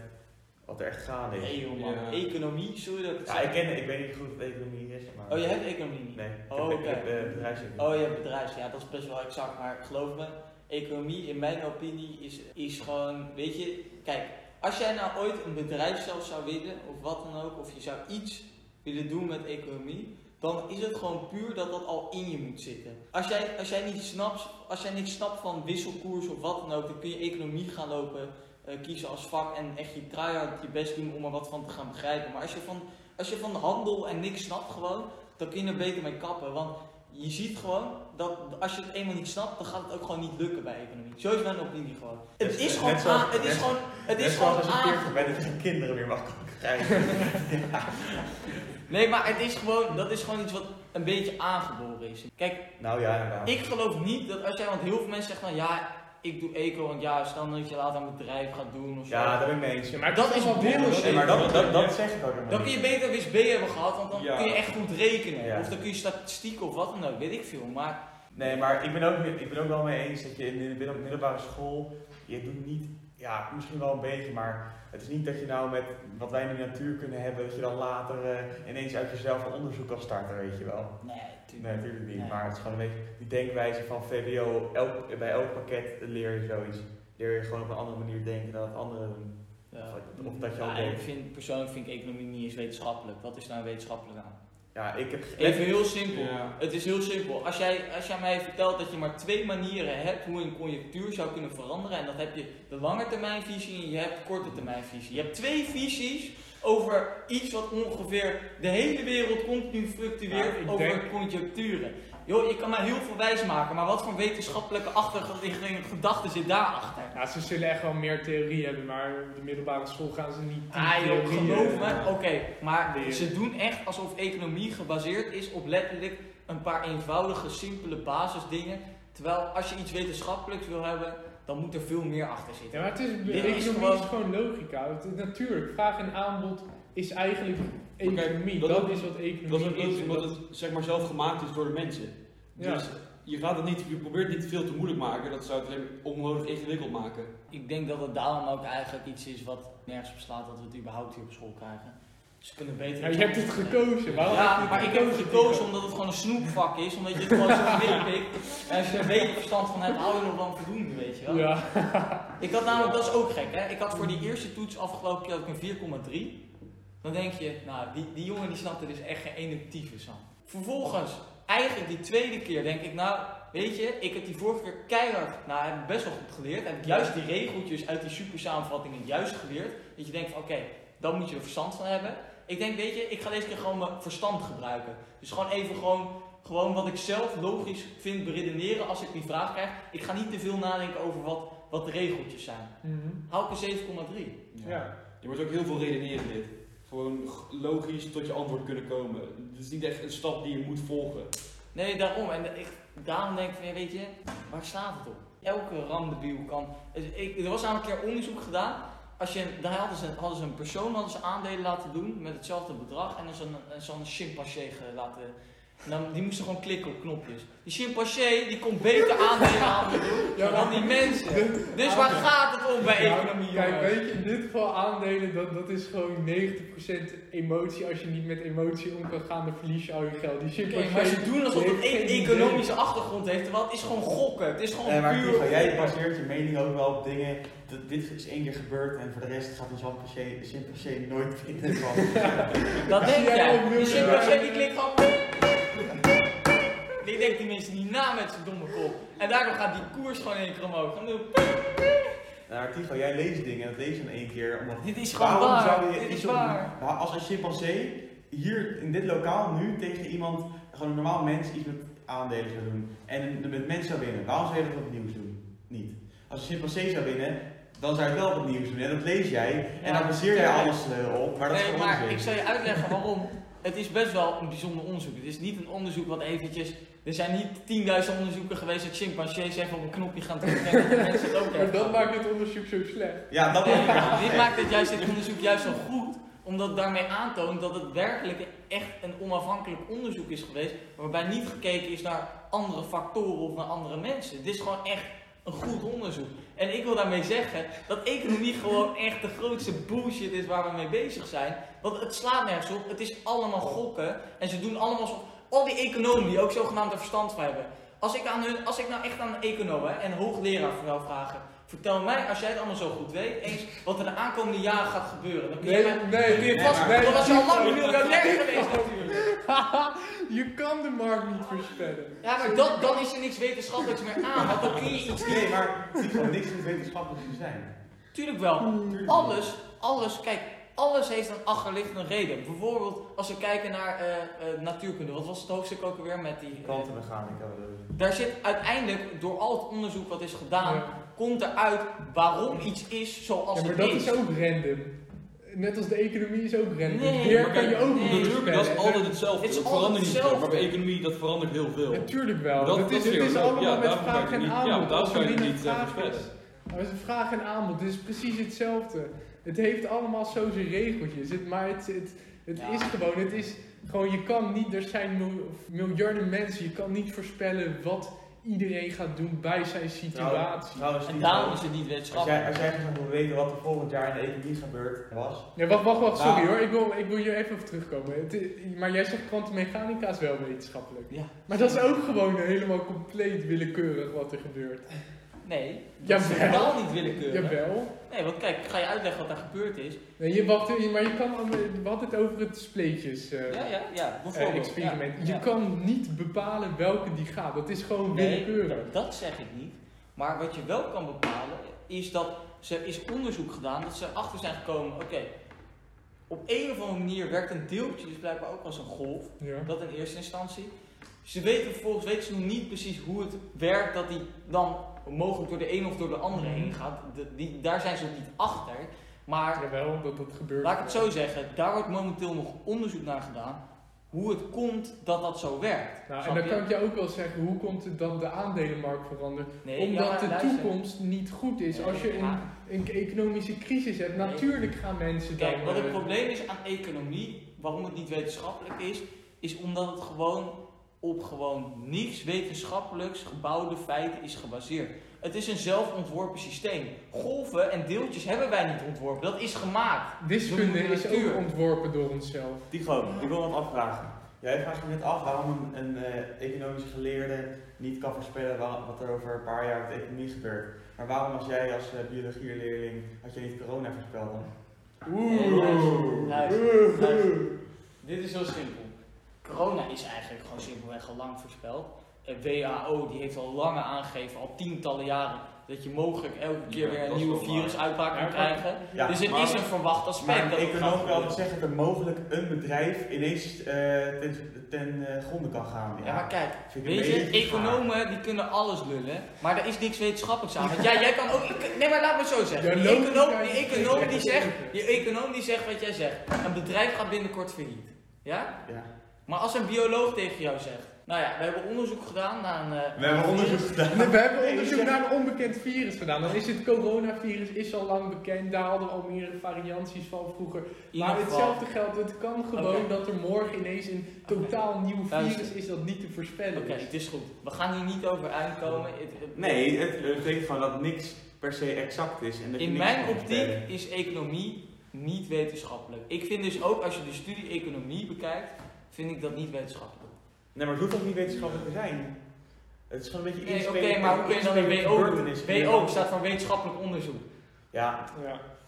[SPEAKER 3] wat er echt gaande is.
[SPEAKER 1] Nee joh man,
[SPEAKER 4] Ja.
[SPEAKER 1] economie, sorry dat ik het
[SPEAKER 3] Ja,
[SPEAKER 1] zeg.
[SPEAKER 3] ik ken ik weet niet goed wat economie is, maar...
[SPEAKER 1] Oh, je hebt economie niet?
[SPEAKER 3] Nee, ik
[SPEAKER 1] Oh,
[SPEAKER 3] heb, ik
[SPEAKER 1] oké.
[SPEAKER 3] heb, eh, bedrijfseconomie.
[SPEAKER 1] Oh, je hebt bedrijfs, ja, dat is best wel exact, maar geloof me, economie in mijn opinie is, is gewoon, weet je, kijk, als jij nou ooit een bedrijf zelf zou willen, of wat dan ook, of je zou iets willen doen met economie, dan is het gewoon puur dat dat al in je moet zitten. Als jij, als jij, niet, snapt, als jij niet snapt van wisselkoers of wat dan ook, dan kun je economie gaan lopen eh, kiezen als vak en echt je tryhard je best doen om er wat van te gaan begrijpen. Maar als je van, als je van handel en niks snapt gewoon, dan kun je er beter mee kappen. Want je ziet gewoon dat als je het eenmaal niet snapt, dan gaat het ook gewoon niet lukken bij economie. Zo is mijn opinie gewoon. Het
[SPEAKER 3] Net-
[SPEAKER 1] is gewoon
[SPEAKER 3] net zoals-
[SPEAKER 1] aan- het is
[SPEAKER 3] net-
[SPEAKER 1] gewoon, het
[SPEAKER 3] Net
[SPEAKER 1] is
[SPEAKER 3] zoals
[SPEAKER 1] gewoon
[SPEAKER 3] als ik
[SPEAKER 1] aan-
[SPEAKER 3] veertig ben dat ik geen kinderen meer mag
[SPEAKER 1] [laughs]
[SPEAKER 3] krijgen.
[SPEAKER 1] Nee, maar het is gewoon, dat is gewoon iets wat een beetje aangeboren is. Kijk,
[SPEAKER 3] nou ja, inderdaad.
[SPEAKER 1] ik geloof niet dat als jij, want heel veel mensen zeggen van ja, ik doe eco, want ja, stel dat je later een bedrijf gaat doen of zo.
[SPEAKER 3] Ja, daar ben ik mee eens.
[SPEAKER 2] Ja, maar
[SPEAKER 1] Dat
[SPEAKER 2] het
[SPEAKER 1] is
[SPEAKER 2] allemaal
[SPEAKER 1] bullshit.
[SPEAKER 3] Nee, maar dat, dat, dat zeg ik ook helemaal
[SPEAKER 1] dan kun
[SPEAKER 3] niet.
[SPEAKER 1] je beter WSB hebben gehad, want dan
[SPEAKER 4] Ja.
[SPEAKER 1] kun je echt goed rekenen.
[SPEAKER 3] Ja.
[SPEAKER 1] Of dan kun je statistiek of wat dan ook, weet ik veel. Maar
[SPEAKER 3] Nee, maar ik ben, ook, ik ben ook wel mee eens dat je in de middel- middelbare school, je doet niet, ja, misschien wel een beetje, maar het is niet dat je nou met wat wij in de natuur kunnen hebben, dat je dan later eh, ineens uit jezelf een onderzoek kan starten, weet je wel.
[SPEAKER 1] nee, tuurlijk.
[SPEAKER 3] Nee, natuurlijk niet,
[SPEAKER 1] Nee.
[SPEAKER 3] maar het is gewoon een beetje die denkwijze van VWO, elk, bij elk pakket leer je zoiets. Leer je gewoon op een andere manier denken dan het andere doen.
[SPEAKER 1] Ja.
[SPEAKER 3] Of- of dat je al
[SPEAKER 1] eh, Ja,
[SPEAKER 3] denkt.
[SPEAKER 1] ik vind, persoonlijk vind ik economie niet eens wetenschappelijk. Wat is nou wetenschappelijk aan?
[SPEAKER 3] Ja, ik heb...
[SPEAKER 1] Even heel simpel.
[SPEAKER 4] Ja.
[SPEAKER 1] Het is heel simpel. Als jij, als jij mij vertelt dat je maar twee manieren hebt hoe een conjectuur zou kunnen veranderen. En dat heb je de lange termijnvisie en je hebt korte termijnvisie. Je hebt twee visies over iets wat ongeveer de hele wereld continu fluctueert
[SPEAKER 2] Ja, ik
[SPEAKER 1] over
[SPEAKER 2] denk-
[SPEAKER 1] conjecturen. Joh, je kan mij heel veel wijs maken, maar wat voor wetenschappelijke achterliggende gedachte zit daarachter?
[SPEAKER 2] Ja, ze zullen echt wel meer theorie hebben, maar op de middelbare school gaan ze niet die
[SPEAKER 1] Ah joh,
[SPEAKER 2] theorieën-
[SPEAKER 1] geloof me. Oké, maar
[SPEAKER 2] Leren.
[SPEAKER 1] ze doen echt alsof economie gebaseerd is op letterlijk een paar eenvoudige, simpele basisdingen. Terwijl als je iets wetenschappelijks wil hebben, dan moet er veel meer achter
[SPEAKER 2] Ja,
[SPEAKER 1] zitten.
[SPEAKER 2] maar het is,
[SPEAKER 1] Dit
[SPEAKER 2] economie
[SPEAKER 1] is
[SPEAKER 2] is
[SPEAKER 1] gewoon-
[SPEAKER 2] gewoon, logica. Het is natuurlijk, vraag en aanbod is eigenlijk
[SPEAKER 4] kijk,
[SPEAKER 2] economie.
[SPEAKER 4] dat-
[SPEAKER 2] dat, is wat economie
[SPEAKER 4] Dat is ook
[SPEAKER 2] is.
[SPEAKER 4] leuk,
[SPEAKER 2] en
[SPEAKER 4] omdat
[SPEAKER 2] dat-
[SPEAKER 4] het zeg maar, zelf gemaakt is door de mensen.
[SPEAKER 2] Ja.
[SPEAKER 4] Dus je, gaat het niet, je probeert het niet veel te moeilijk maken, dat zou het alleen maar onnodig ingewikkeld maken.
[SPEAKER 1] Ik denk dat het daarom ook eigenlijk iets is wat nergens op slaat dat we het überhaupt hier op school krijgen. Ze kunnen beter.
[SPEAKER 2] Ja, je hebt het gekozen. Waarom heb
[SPEAKER 1] Ja,
[SPEAKER 2] je
[SPEAKER 1] maar
[SPEAKER 2] het
[SPEAKER 1] ik heb gekozen omdat het gewoon een snoepvak is, omdat je het gewoon zo [laughs] meepikt. En als je er een beetje verstand van hebt, hou je nog dan voldoende, weet je wel.
[SPEAKER 2] Ja,
[SPEAKER 1] Ik had namelijk, dat is ook gek hè, ik had voor die eerste toets afgelopen jaar ook een 4,3. Dan denk je, nou die, die jongen die snapt er dus echt geen ene tyfus aan. Vervolgens, eigenlijk die tweede keer denk ik, nou weet je, ik heb die vorige keer keihard, nou heb ik best wel goed geleerd. Heb ik juist die regeltjes uit die super samenvattingen juist geleerd. Dat je denkt van oké, dan moet je er verstand van hebben. Ik denk, weet je, ik ga deze keer gewoon mijn verstand gebruiken. Dus gewoon even gewoon, gewoon wat ik zelf logisch vind beredeneren als ik die vraag krijg. Ik ga niet te veel nadenken over wat, wat de regeltjes zijn.
[SPEAKER 2] Mhm.
[SPEAKER 1] Hou ik een 7,3.
[SPEAKER 2] Ja.
[SPEAKER 4] Je wordt ook heel veel redeneren dit. Gewoon g- logisch tot je antwoord kunnen komen. Het is niet echt een stap die je moet volgen.
[SPEAKER 1] Nee, daarom. En ik, daarom denk ik van, ja, weet je, waar staat het op? Elke randebiel kan... Dus ik, er was namelijk een keer onderzoek gedaan. Als je, daar hadden ze, hadden ze een persoon hadden ze aandelen laten doen met hetzelfde bedrag. En dan zo'n en zo'n chimpansee ge- laten... en Dan, die moesten gewoon klikken op knopjes. Die chimpansee die kon beter aandelen aan doen
[SPEAKER 2] Ja,
[SPEAKER 1] dan
[SPEAKER 2] maar-
[SPEAKER 1] die mensen. Dus waar
[SPEAKER 2] Aandelen.
[SPEAKER 1] gaat het om bij
[SPEAKER 2] Ja,
[SPEAKER 1] economie,
[SPEAKER 2] Kijk,
[SPEAKER 1] jongens?
[SPEAKER 2] weet je, in dit geval aandelen, dat, dat is gewoon 90% emotie. Als je niet met emotie om kan gaan, dan verlies je al je geld. Die shit
[SPEAKER 1] Oké,
[SPEAKER 2] was
[SPEAKER 1] maar
[SPEAKER 2] je-
[SPEAKER 1] ze doen alsof
[SPEAKER 2] die
[SPEAKER 1] het
[SPEAKER 2] heeft
[SPEAKER 1] één
[SPEAKER 2] geen idee.
[SPEAKER 1] economische achtergrond heeft, terwijl het is gewoon gokken. Het is gewoon
[SPEAKER 3] Eh, maar
[SPEAKER 1] puur
[SPEAKER 3] Tigo, jij
[SPEAKER 1] gokken.
[SPEAKER 3] baseert je mening ook wel op dingen. Dat dit is één keer gebeurd en voor de rest gaat een Jean-Paché Jean nooit vinden van.
[SPEAKER 1] Dat denk
[SPEAKER 2] Ja,
[SPEAKER 1] jij.
[SPEAKER 2] dat
[SPEAKER 1] Die
[SPEAKER 2] wil
[SPEAKER 1] zit
[SPEAKER 2] je.
[SPEAKER 1] per se die klik gewoon. Die denkt die mensen niet na met zijn domme kop. En daardoor gaat die koers gewoon in één keer omhoog. Gewoon doen.
[SPEAKER 3] Nou, maar Tigo, jij leest dingen en dat lees je in één keer. Omdat
[SPEAKER 1] Dit is gewoon
[SPEAKER 3] Waarom
[SPEAKER 1] waar.
[SPEAKER 3] zou je
[SPEAKER 1] Dit is
[SPEAKER 3] iets op-
[SPEAKER 1] waar.
[SPEAKER 3] Nou, als een chimpansee hier in dit lokaal nu tegen iemand, gewoon een normaal mens, iets met aandelen zou doen. En een- met mensen zou winnen. Waarom zou je dat opnieuw doen? Niet. Als een chimpansee zou winnen, dan zou je het wel opnieuw doen. En dat lees jij. En
[SPEAKER 1] Ja,
[SPEAKER 3] daar baseer jij
[SPEAKER 1] tuurlijk.
[SPEAKER 3] alles eh, op. Maar dat is
[SPEAKER 1] Nee,
[SPEAKER 3] gewoon
[SPEAKER 1] maar
[SPEAKER 3] onzin.
[SPEAKER 1] ik zal je uitleggen waarom. Het is best wel een bijzonder onderzoek. Het is niet een onderzoek wat eventjes. Er zijn niet 10.000 onderzoeken geweest dat chimpansees even op een knopje gaan drukken en dat de mensen het ook
[SPEAKER 2] Maar
[SPEAKER 1] hebben.
[SPEAKER 2] dat maakt dit onderzoek zo slecht.
[SPEAKER 3] Ja, dat
[SPEAKER 1] Nee,
[SPEAKER 3] is
[SPEAKER 1] maar dit maakt het juist dit onderzoek juist zo goed, omdat het daarmee aantoont dat het werkelijk echt een onafhankelijk onderzoek is geweest, waarbij niet gekeken is naar andere factoren of naar andere mensen. Dit is gewoon echt een goed onderzoek. En ik wil daarmee zeggen dat economie gewoon echt de grootste bullshit is waar we mee bezig zijn. Want het slaat nergens op, het is allemaal gokken en ze doen allemaal alsof al die economen die ook zogenaamd er verstand van hebben. Als ik, aan hun, als ik nou echt aan een econoom hè, en een hoogleraar vooral vragen, vertel mij als jij het allemaal zo goed weet, eens wat er de aankomende jaren gaat gebeuren. Dan kun je
[SPEAKER 2] Nee,
[SPEAKER 1] mij-
[SPEAKER 2] nee,
[SPEAKER 1] dan kun je
[SPEAKER 2] nee,
[SPEAKER 1] vast,
[SPEAKER 2] maar-
[SPEAKER 1] dan was je al lang
[SPEAKER 2] nee. [laughs]
[SPEAKER 1] miljonair geweest natuurlijk.
[SPEAKER 2] Haha, je kan de markt niet voorspellen.
[SPEAKER 1] Ja, maar dat, dan is er niks wetenschappelijks meer aan, want dan kun je iets
[SPEAKER 3] Nee, maar het is gewoon niks met wetenschappelijk te zijn.
[SPEAKER 1] Tuurlijk wel.
[SPEAKER 2] Hmm.
[SPEAKER 1] Alles, alles, kijk, alles heeft een achterliggende reden. Bijvoorbeeld als we kijken naar eh, eh, natuurkunde, wat was het hoofdstuk ook alweer met die... eh,
[SPEAKER 3] Kwantummechanica.
[SPEAKER 1] daar zit uiteindelijk, door al het onderzoek wat is gedaan,
[SPEAKER 2] Ja.
[SPEAKER 1] komt eruit waarom iets is zoals
[SPEAKER 2] Ja, maar
[SPEAKER 1] het
[SPEAKER 2] dat
[SPEAKER 1] is.
[SPEAKER 2] is ook random. Net als de economie is ook random.
[SPEAKER 1] Nee,
[SPEAKER 2] Weer
[SPEAKER 1] maar
[SPEAKER 2] kan je
[SPEAKER 1] kijk,
[SPEAKER 2] ook
[SPEAKER 1] nee.
[SPEAKER 2] niet
[SPEAKER 4] Natuurlijk, dat is
[SPEAKER 2] voorspellen.
[SPEAKER 4] altijd hetzelfde.
[SPEAKER 1] Het is
[SPEAKER 4] dat
[SPEAKER 1] altijd
[SPEAKER 4] verandert niet zo.
[SPEAKER 1] hetzelfde.
[SPEAKER 4] Maar bij economie, dat verandert heel veel.
[SPEAKER 2] Natuurlijk wel.
[SPEAKER 4] Dat-
[SPEAKER 2] het is,
[SPEAKER 4] dat
[SPEAKER 2] het is
[SPEAKER 4] vind ik ook.
[SPEAKER 2] allemaal
[SPEAKER 4] Ja,
[SPEAKER 2] met
[SPEAKER 4] daarom kan
[SPEAKER 2] vraag
[SPEAKER 4] je
[SPEAKER 2] en
[SPEAKER 4] het niet- ja,
[SPEAKER 2] aanbod.
[SPEAKER 4] daarom
[SPEAKER 2] Als
[SPEAKER 4] kan
[SPEAKER 2] er
[SPEAKER 4] je het
[SPEAKER 2] niet een
[SPEAKER 4] niet, eh,
[SPEAKER 2] vraag is.
[SPEAKER 4] voorspellen.
[SPEAKER 2] Maar het is een vraag en aanbod. Het is precies hetzelfde. Het heeft allemaal zo zijn regeltjes. Het, maar het, het, het
[SPEAKER 1] Ja.
[SPEAKER 2] is gewoon, het is gewoon, je kan niet, er zijn mil- miljarden mensen, je kan niet voorspellen wat iedereen gaat doen bij zijn situatie.
[SPEAKER 3] Trouwens,
[SPEAKER 1] En
[SPEAKER 3] Tigo,
[SPEAKER 1] daarom is het niet
[SPEAKER 3] als jij,
[SPEAKER 1] wetenschappelijk.
[SPEAKER 3] als jij graag wil weten wat er volgend jaar in de economie gebeurd was,
[SPEAKER 2] Nee, wacht, wacht, wacht, sorry
[SPEAKER 3] Nou.
[SPEAKER 2] hoor, ik wil, ik wil hier even op terugkomen. Het i- maar jij zegt kwantummechanica is wel wetenschappelijk.
[SPEAKER 1] Ja.
[SPEAKER 2] Maar dat is ook gewoon helemaal compleet willekeurig wat er gebeurt.
[SPEAKER 1] Nee, dat is
[SPEAKER 2] Jawel.
[SPEAKER 1] totaal niet willekeurig.
[SPEAKER 2] Jawel.
[SPEAKER 1] Nee, want kijk, ik ga je uitleggen wat daar gebeurd is.
[SPEAKER 2] Nee, je, wacht, eh, maar je kan, we hadden het over het spleetjes eh,
[SPEAKER 1] Ja, ja, ja,
[SPEAKER 2] eh,
[SPEAKER 1] bijvoorbeeld.
[SPEAKER 2] experiment.
[SPEAKER 1] Ja,
[SPEAKER 2] Je
[SPEAKER 1] ja.
[SPEAKER 2] kan niet bepalen welke die gaat. Dat is gewoon
[SPEAKER 1] Nee,
[SPEAKER 2] willekeurig.
[SPEAKER 1] dat- dat zeg ik niet. Maar wat je wel kan bepalen, is dat ze is onderzoek gedaan, dat ze achter zijn gekomen, oké, op een of andere manier werkt een deeltje dus blijkbaar ook als een golf.
[SPEAKER 2] Ja.
[SPEAKER 1] Dat in eerste instantie. Ze weten vervolgens weten ze nog niet precies hoe het werkt dat die dan mogelijk door de een of door de andere heen
[SPEAKER 2] Hm.
[SPEAKER 1] gaat. De- die, daar zijn ze nog niet achter. Maar
[SPEAKER 2] Jawel, dat dat gebeurt.
[SPEAKER 1] laat ik het zo zeggen, daar wordt momenteel nog onderzoek naar gedaan. Hoe het komt dat dat zo werkt.
[SPEAKER 2] Nou, en
[SPEAKER 1] Snap
[SPEAKER 2] dan
[SPEAKER 1] je?
[SPEAKER 2] kan ik je ook wel zeggen, hoe komt het dat de aandelenmarkt verandert?
[SPEAKER 1] Nee, ja,
[SPEAKER 2] Omdat
[SPEAKER 1] maar
[SPEAKER 2] de
[SPEAKER 1] luister.
[SPEAKER 2] toekomst niet goed is.
[SPEAKER 1] Nee,
[SPEAKER 2] Als je
[SPEAKER 1] ja.
[SPEAKER 2] een, een economische crisis hebt,
[SPEAKER 1] Nee.
[SPEAKER 2] natuurlijk gaan mensen
[SPEAKER 1] Kijk,
[SPEAKER 2] dan...
[SPEAKER 1] wat het
[SPEAKER 2] eh,
[SPEAKER 1] probleem is aan economie, waarom het niet wetenschappelijk is, is omdat het gewoon op gewoon niets wetenschappelijks gebouwde feiten is gebaseerd. Het is een zelfontworpen systeem. Golven en deeltjes hebben wij niet ontworpen, dat is gemaakt.
[SPEAKER 2] Wiskunde
[SPEAKER 1] de
[SPEAKER 2] is
[SPEAKER 1] natuur.
[SPEAKER 2] ook ontworpen door onszelf.
[SPEAKER 3] Tigo, ik wil wat afvragen. Jij vraagt je net af waarom een, een eh, economische geleerde niet kan voorspellen wa- wat er over een paar jaar met de economie gebeurt. Maar waarom als jij als eh, biologieleerling, had jij niet corona voorspeld dan?
[SPEAKER 1] Nee, luister, luister, luister.
[SPEAKER 2] Oeh.
[SPEAKER 1] Dit is heel simpel. Corona is eigenlijk gewoon simpelweg al lang voorspeld. Eh, WHO die heeft al lange aangegeven, al tientallen jaren, dat je mogelijk elke keer
[SPEAKER 4] Ja,
[SPEAKER 1] weer een
[SPEAKER 4] dat is
[SPEAKER 1] nieuwe
[SPEAKER 4] wel waar.
[SPEAKER 1] virusuitbraak kan
[SPEAKER 2] Ja,
[SPEAKER 1] krijgen.
[SPEAKER 3] Ja,
[SPEAKER 1] dus het
[SPEAKER 4] maar-
[SPEAKER 1] is een verwacht aspect.
[SPEAKER 3] Maar
[SPEAKER 1] dat
[SPEAKER 3] ik
[SPEAKER 1] het gaat
[SPEAKER 3] kan ook wel
[SPEAKER 1] gebeuren.
[SPEAKER 3] zeggen dat er mogelijk een bedrijf ineens eh ten, ten eh, gronde kan gaan.
[SPEAKER 1] Ja, maar kijk,
[SPEAKER 3] vind ik een
[SPEAKER 1] Weet je,
[SPEAKER 3] beetje gevaar.
[SPEAKER 1] economen die kunnen alles lullen, maar daar is niks wetenschappelijks aan. Want
[SPEAKER 3] [laughs]
[SPEAKER 1] jij, jij kan ook. ik- Nee, maar laat me zo zeggen.
[SPEAKER 2] Ja,
[SPEAKER 1] Die
[SPEAKER 2] logica
[SPEAKER 1] econoom die,
[SPEAKER 2] is
[SPEAKER 1] econoom die,
[SPEAKER 2] niet
[SPEAKER 1] zegt,
[SPEAKER 2] wetenschappelijk.
[SPEAKER 1] die econoom die zegt wat jij zegt. Een bedrijf gaat binnenkort failliet. Ja?
[SPEAKER 3] Ja.
[SPEAKER 1] Maar als een bioloog tegen jou zegt. Nou ja, we hebben onderzoek gedaan naar een. eh,
[SPEAKER 3] We hebben onderzoek gedaan.
[SPEAKER 2] We hebben
[SPEAKER 3] Nee,
[SPEAKER 2] onderzoek
[SPEAKER 3] zeg-
[SPEAKER 2] naar een onbekend virus gedaan. Dan is het coronavirus, is al lang bekend. Daar hadden we al meerdere varianties van vroeger.
[SPEAKER 1] in
[SPEAKER 2] Maar
[SPEAKER 1] ieder geval-
[SPEAKER 2] hetzelfde geldt, het kan gewoon
[SPEAKER 1] Oké.
[SPEAKER 2] dat er morgen ineens een totaal nieuw
[SPEAKER 1] Luister.
[SPEAKER 2] virus is dat niet te
[SPEAKER 1] Oké,
[SPEAKER 2] voorspellen is.
[SPEAKER 1] het is goed. We gaan hier niet over uitkomen. Het- het-
[SPEAKER 3] Nee, het eh, betekent gewoon dat niks per se exact is. En dat je
[SPEAKER 1] In
[SPEAKER 3] niks
[SPEAKER 1] mijn
[SPEAKER 3] kan
[SPEAKER 1] optiek
[SPEAKER 3] vertellen.
[SPEAKER 1] is economie niet wetenschappelijk. Ik vind dus ook als je de studie economie bekijkt, vind ik dat niet wetenschappelijk.
[SPEAKER 3] Nee, maar het hoeft ook niet wetenschappelijk te zijn. Het is gewoon een beetje
[SPEAKER 1] Nee, oké,
[SPEAKER 3] inspelen-
[SPEAKER 1] maar hoe kun je dan een
[SPEAKER 3] inspelen
[SPEAKER 1] WO
[SPEAKER 3] op
[SPEAKER 1] doen?
[SPEAKER 3] gebeurtenissen.
[SPEAKER 1] WO staat voor wetenschappelijk onderzoek,
[SPEAKER 3] Ja,
[SPEAKER 2] Ja.
[SPEAKER 3] nee,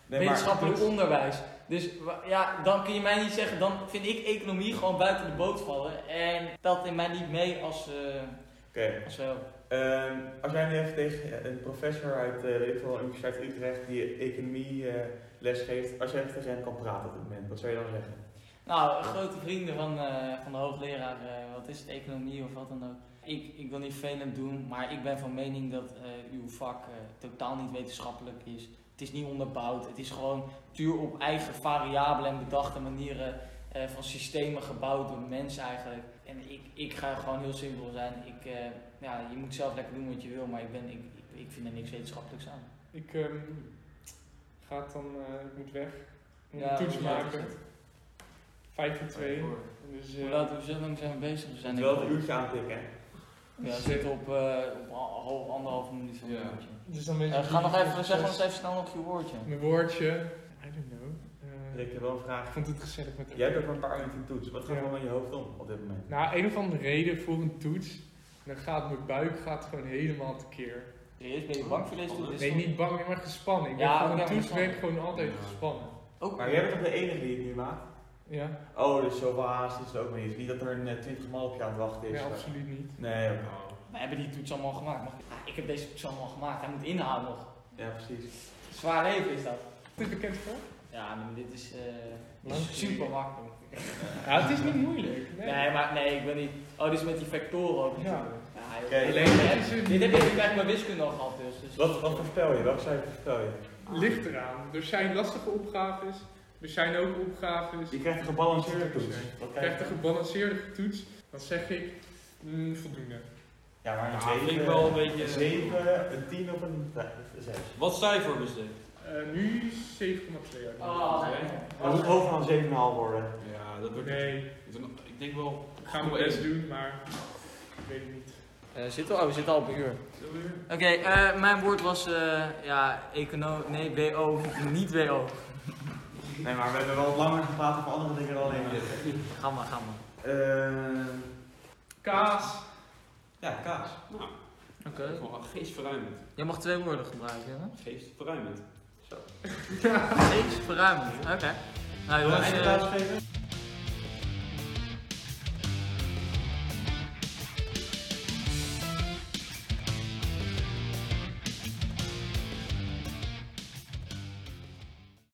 [SPEAKER 3] maar-
[SPEAKER 1] wetenschappelijk onderwijs. Dus wa- ja, dan kun je mij niet zeggen, dan vind ik economie gewoon buiten de boot vallen. En telt in mij niet mee als, eh
[SPEAKER 3] Oké,
[SPEAKER 1] als wel.
[SPEAKER 3] ehm, als jij nu even tegen een professor uit, eh weet ik veel, Universiteit Utrecht die economie eh, les geeft, als jij even tegen hem kan praten op dit moment, wat zou je dan zeggen?
[SPEAKER 1] Nou, grote vrienden van, eh, van de hoogleraar, eh, wat is het, economie of wat dan ook. Ik, ik wil niet velend doen, maar ik ben van mening dat eh, uw vak eh, totaal niet wetenschappelijk is. Het is niet onderbouwd, het is gewoon puur op eigen variabelen en bedachte manieren eh, van systemen gebouwd door mensen eigenlijk. En ik, ik ga gewoon heel simpel zijn. Ik, eh, ja, je moet zelf lekker doen wat je wil, maar ik, ben, ik, ik, ik vind er niks wetenschappelijks aan.
[SPEAKER 2] Ik ehm, ga het dan, eh, ik moet weg. Ik moet
[SPEAKER 1] Ja,
[SPEAKER 2] een toets
[SPEAKER 1] hoe laat
[SPEAKER 2] maken.
[SPEAKER 1] is het?
[SPEAKER 2] Vijf voor twee. Dus, eh,
[SPEAKER 1] Hoe laat we zo lang zijn we bezig? We zijn denk
[SPEAKER 3] Wel
[SPEAKER 1] ik-
[SPEAKER 3] een uurtje aantikken. hè?
[SPEAKER 1] Ja, we zitten op, eh, op al- half, anderhalf minuut van
[SPEAKER 4] Ja.
[SPEAKER 1] het uurtje.
[SPEAKER 2] dus dan
[SPEAKER 1] Eh,
[SPEAKER 2] ben je
[SPEAKER 1] ga nog even,
[SPEAKER 2] zes.
[SPEAKER 1] zeg nog eens even snel nog je woordje.
[SPEAKER 2] Mijn woordje. I don't know. Eh,
[SPEAKER 3] Ik heb wel een vraag.
[SPEAKER 2] ik vond het gezellig met
[SPEAKER 3] Jij hebt ook maar een paar minuten toets. Wat gaat er allemaal in je hoofd om op dit moment?
[SPEAKER 2] Nou, een of andere reden voor een toets. Dan gaat mijn buik gaat gewoon helemaal tekeer.
[SPEAKER 1] Serieus, ben je bang voor deze toets?
[SPEAKER 2] Nee, niet bang, maar gespannen. Ik ben
[SPEAKER 1] Ja,
[SPEAKER 2] voor
[SPEAKER 1] ja,
[SPEAKER 2] een toets
[SPEAKER 1] gespannen.
[SPEAKER 2] ben ik gewoon altijd
[SPEAKER 4] Ja.
[SPEAKER 2] gespannen.
[SPEAKER 1] Ook,
[SPEAKER 3] Maar jij bent toch de enige die het nu maakt?
[SPEAKER 2] Ja,
[SPEAKER 3] Oh, dus zoveel haast is het ook maar niet. Niet dat er een eh, twintig man op je aan het wachten is.
[SPEAKER 2] nee, absoluut niet.
[SPEAKER 3] Nee, oké.
[SPEAKER 1] we hebben die toets allemaal gemaakt. Mag ik, Ah, ik heb deze toets allemaal gemaakt, hij moet inhouden nog.
[SPEAKER 3] Ja, precies.
[SPEAKER 1] Zwaar leven is dat.
[SPEAKER 2] Is dit bekend voor?
[SPEAKER 1] Ja, maar dit is, eh, dit
[SPEAKER 2] Lang
[SPEAKER 1] is super makkelijk.
[SPEAKER 2] Ja, het is niet moeilijk.
[SPEAKER 1] Nee. maar nee, ik ben niet... Oh, dit is met die vectoren ook
[SPEAKER 2] Ja.
[SPEAKER 1] natuurlijk. Ja, joh.
[SPEAKER 3] Oké,
[SPEAKER 1] Dit
[SPEAKER 3] alleen
[SPEAKER 1] heb-
[SPEAKER 2] dat je ze-
[SPEAKER 1] Dit heb ik eigenlijk mijn wiskunde al gehad dus. dus-
[SPEAKER 3] Wat, wat voorspel je? Welk cijfer voorspel je?
[SPEAKER 2] Ligt eraan. Er zijn lastige opgaves. Er zijn ook opgaves.
[SPEAKER 3] Je krijgt een gebalanceerde toets. Wat
[SPEAKER 2] Je krijgt een
[SPEAKER 3] je?
[SPEAKER 2] gebalanceerde toets. Dan zeg ik mm, voldoende.
[SPEAKER 3] Ja, maar een
[SPEAKER 4] Ja,
[SPEAKER 3] zeven,
[SPEAKER 4] vind ik wel een beetje-
[SPEAKER 3] Een 7, een 10 of een 6.
[SPEAKER 4] Wat cijfer dus dit?
[SPEAKER 2] Eh, nu 7,2 uit.
[SPEAKER 1] Oh,
[SPEAKER 4] nee.
[SPEAKER 3] Dat moet hoger dan 7,5 worden.
[SPEAKER 4] Ja, dat wordt...
[SPEAKER 2] Nee,
[SPEAKER 4] het wordt een- Ik denk wel...
[SPEAKER 2] ik ga mijn best doen, maar ik weet het niet.
[SPEAKER 1] Eh, zitten we? Oh, we zitten al op een uur. Oké, eh, mijn woord was, eh, ja, econo... Nee, BO, niet BO.
[SPEAKER 3] Nee, maar we hebben wel langer gepraat over andere dingen dan alleen maar.
[SPEAKER 1] Ga maar, ga maar.
[SPEAKER 3] Ehm,
[SPEAKER 2] Kaas.
[SPEAKER 3] ja, kaas.
[SPEAKER 4] Nou,
[SPEAKER 1] Oké.
[SPEAKER 4] gewoon geestverruimend.
[SPEAKER 1] Jij mag twee woorden gebruiken, hè?
[SPEAKER 4] Geestverruimend.
[SPEAKER 1] Steeds verruimend. Oké. Nou
[SPEAKER 3] Wil je
[SPEAKER 1] jongens,
[SPEAKER 3] een
[SPEAKER 1] eh,
[SPEAKER 3] kaas geven?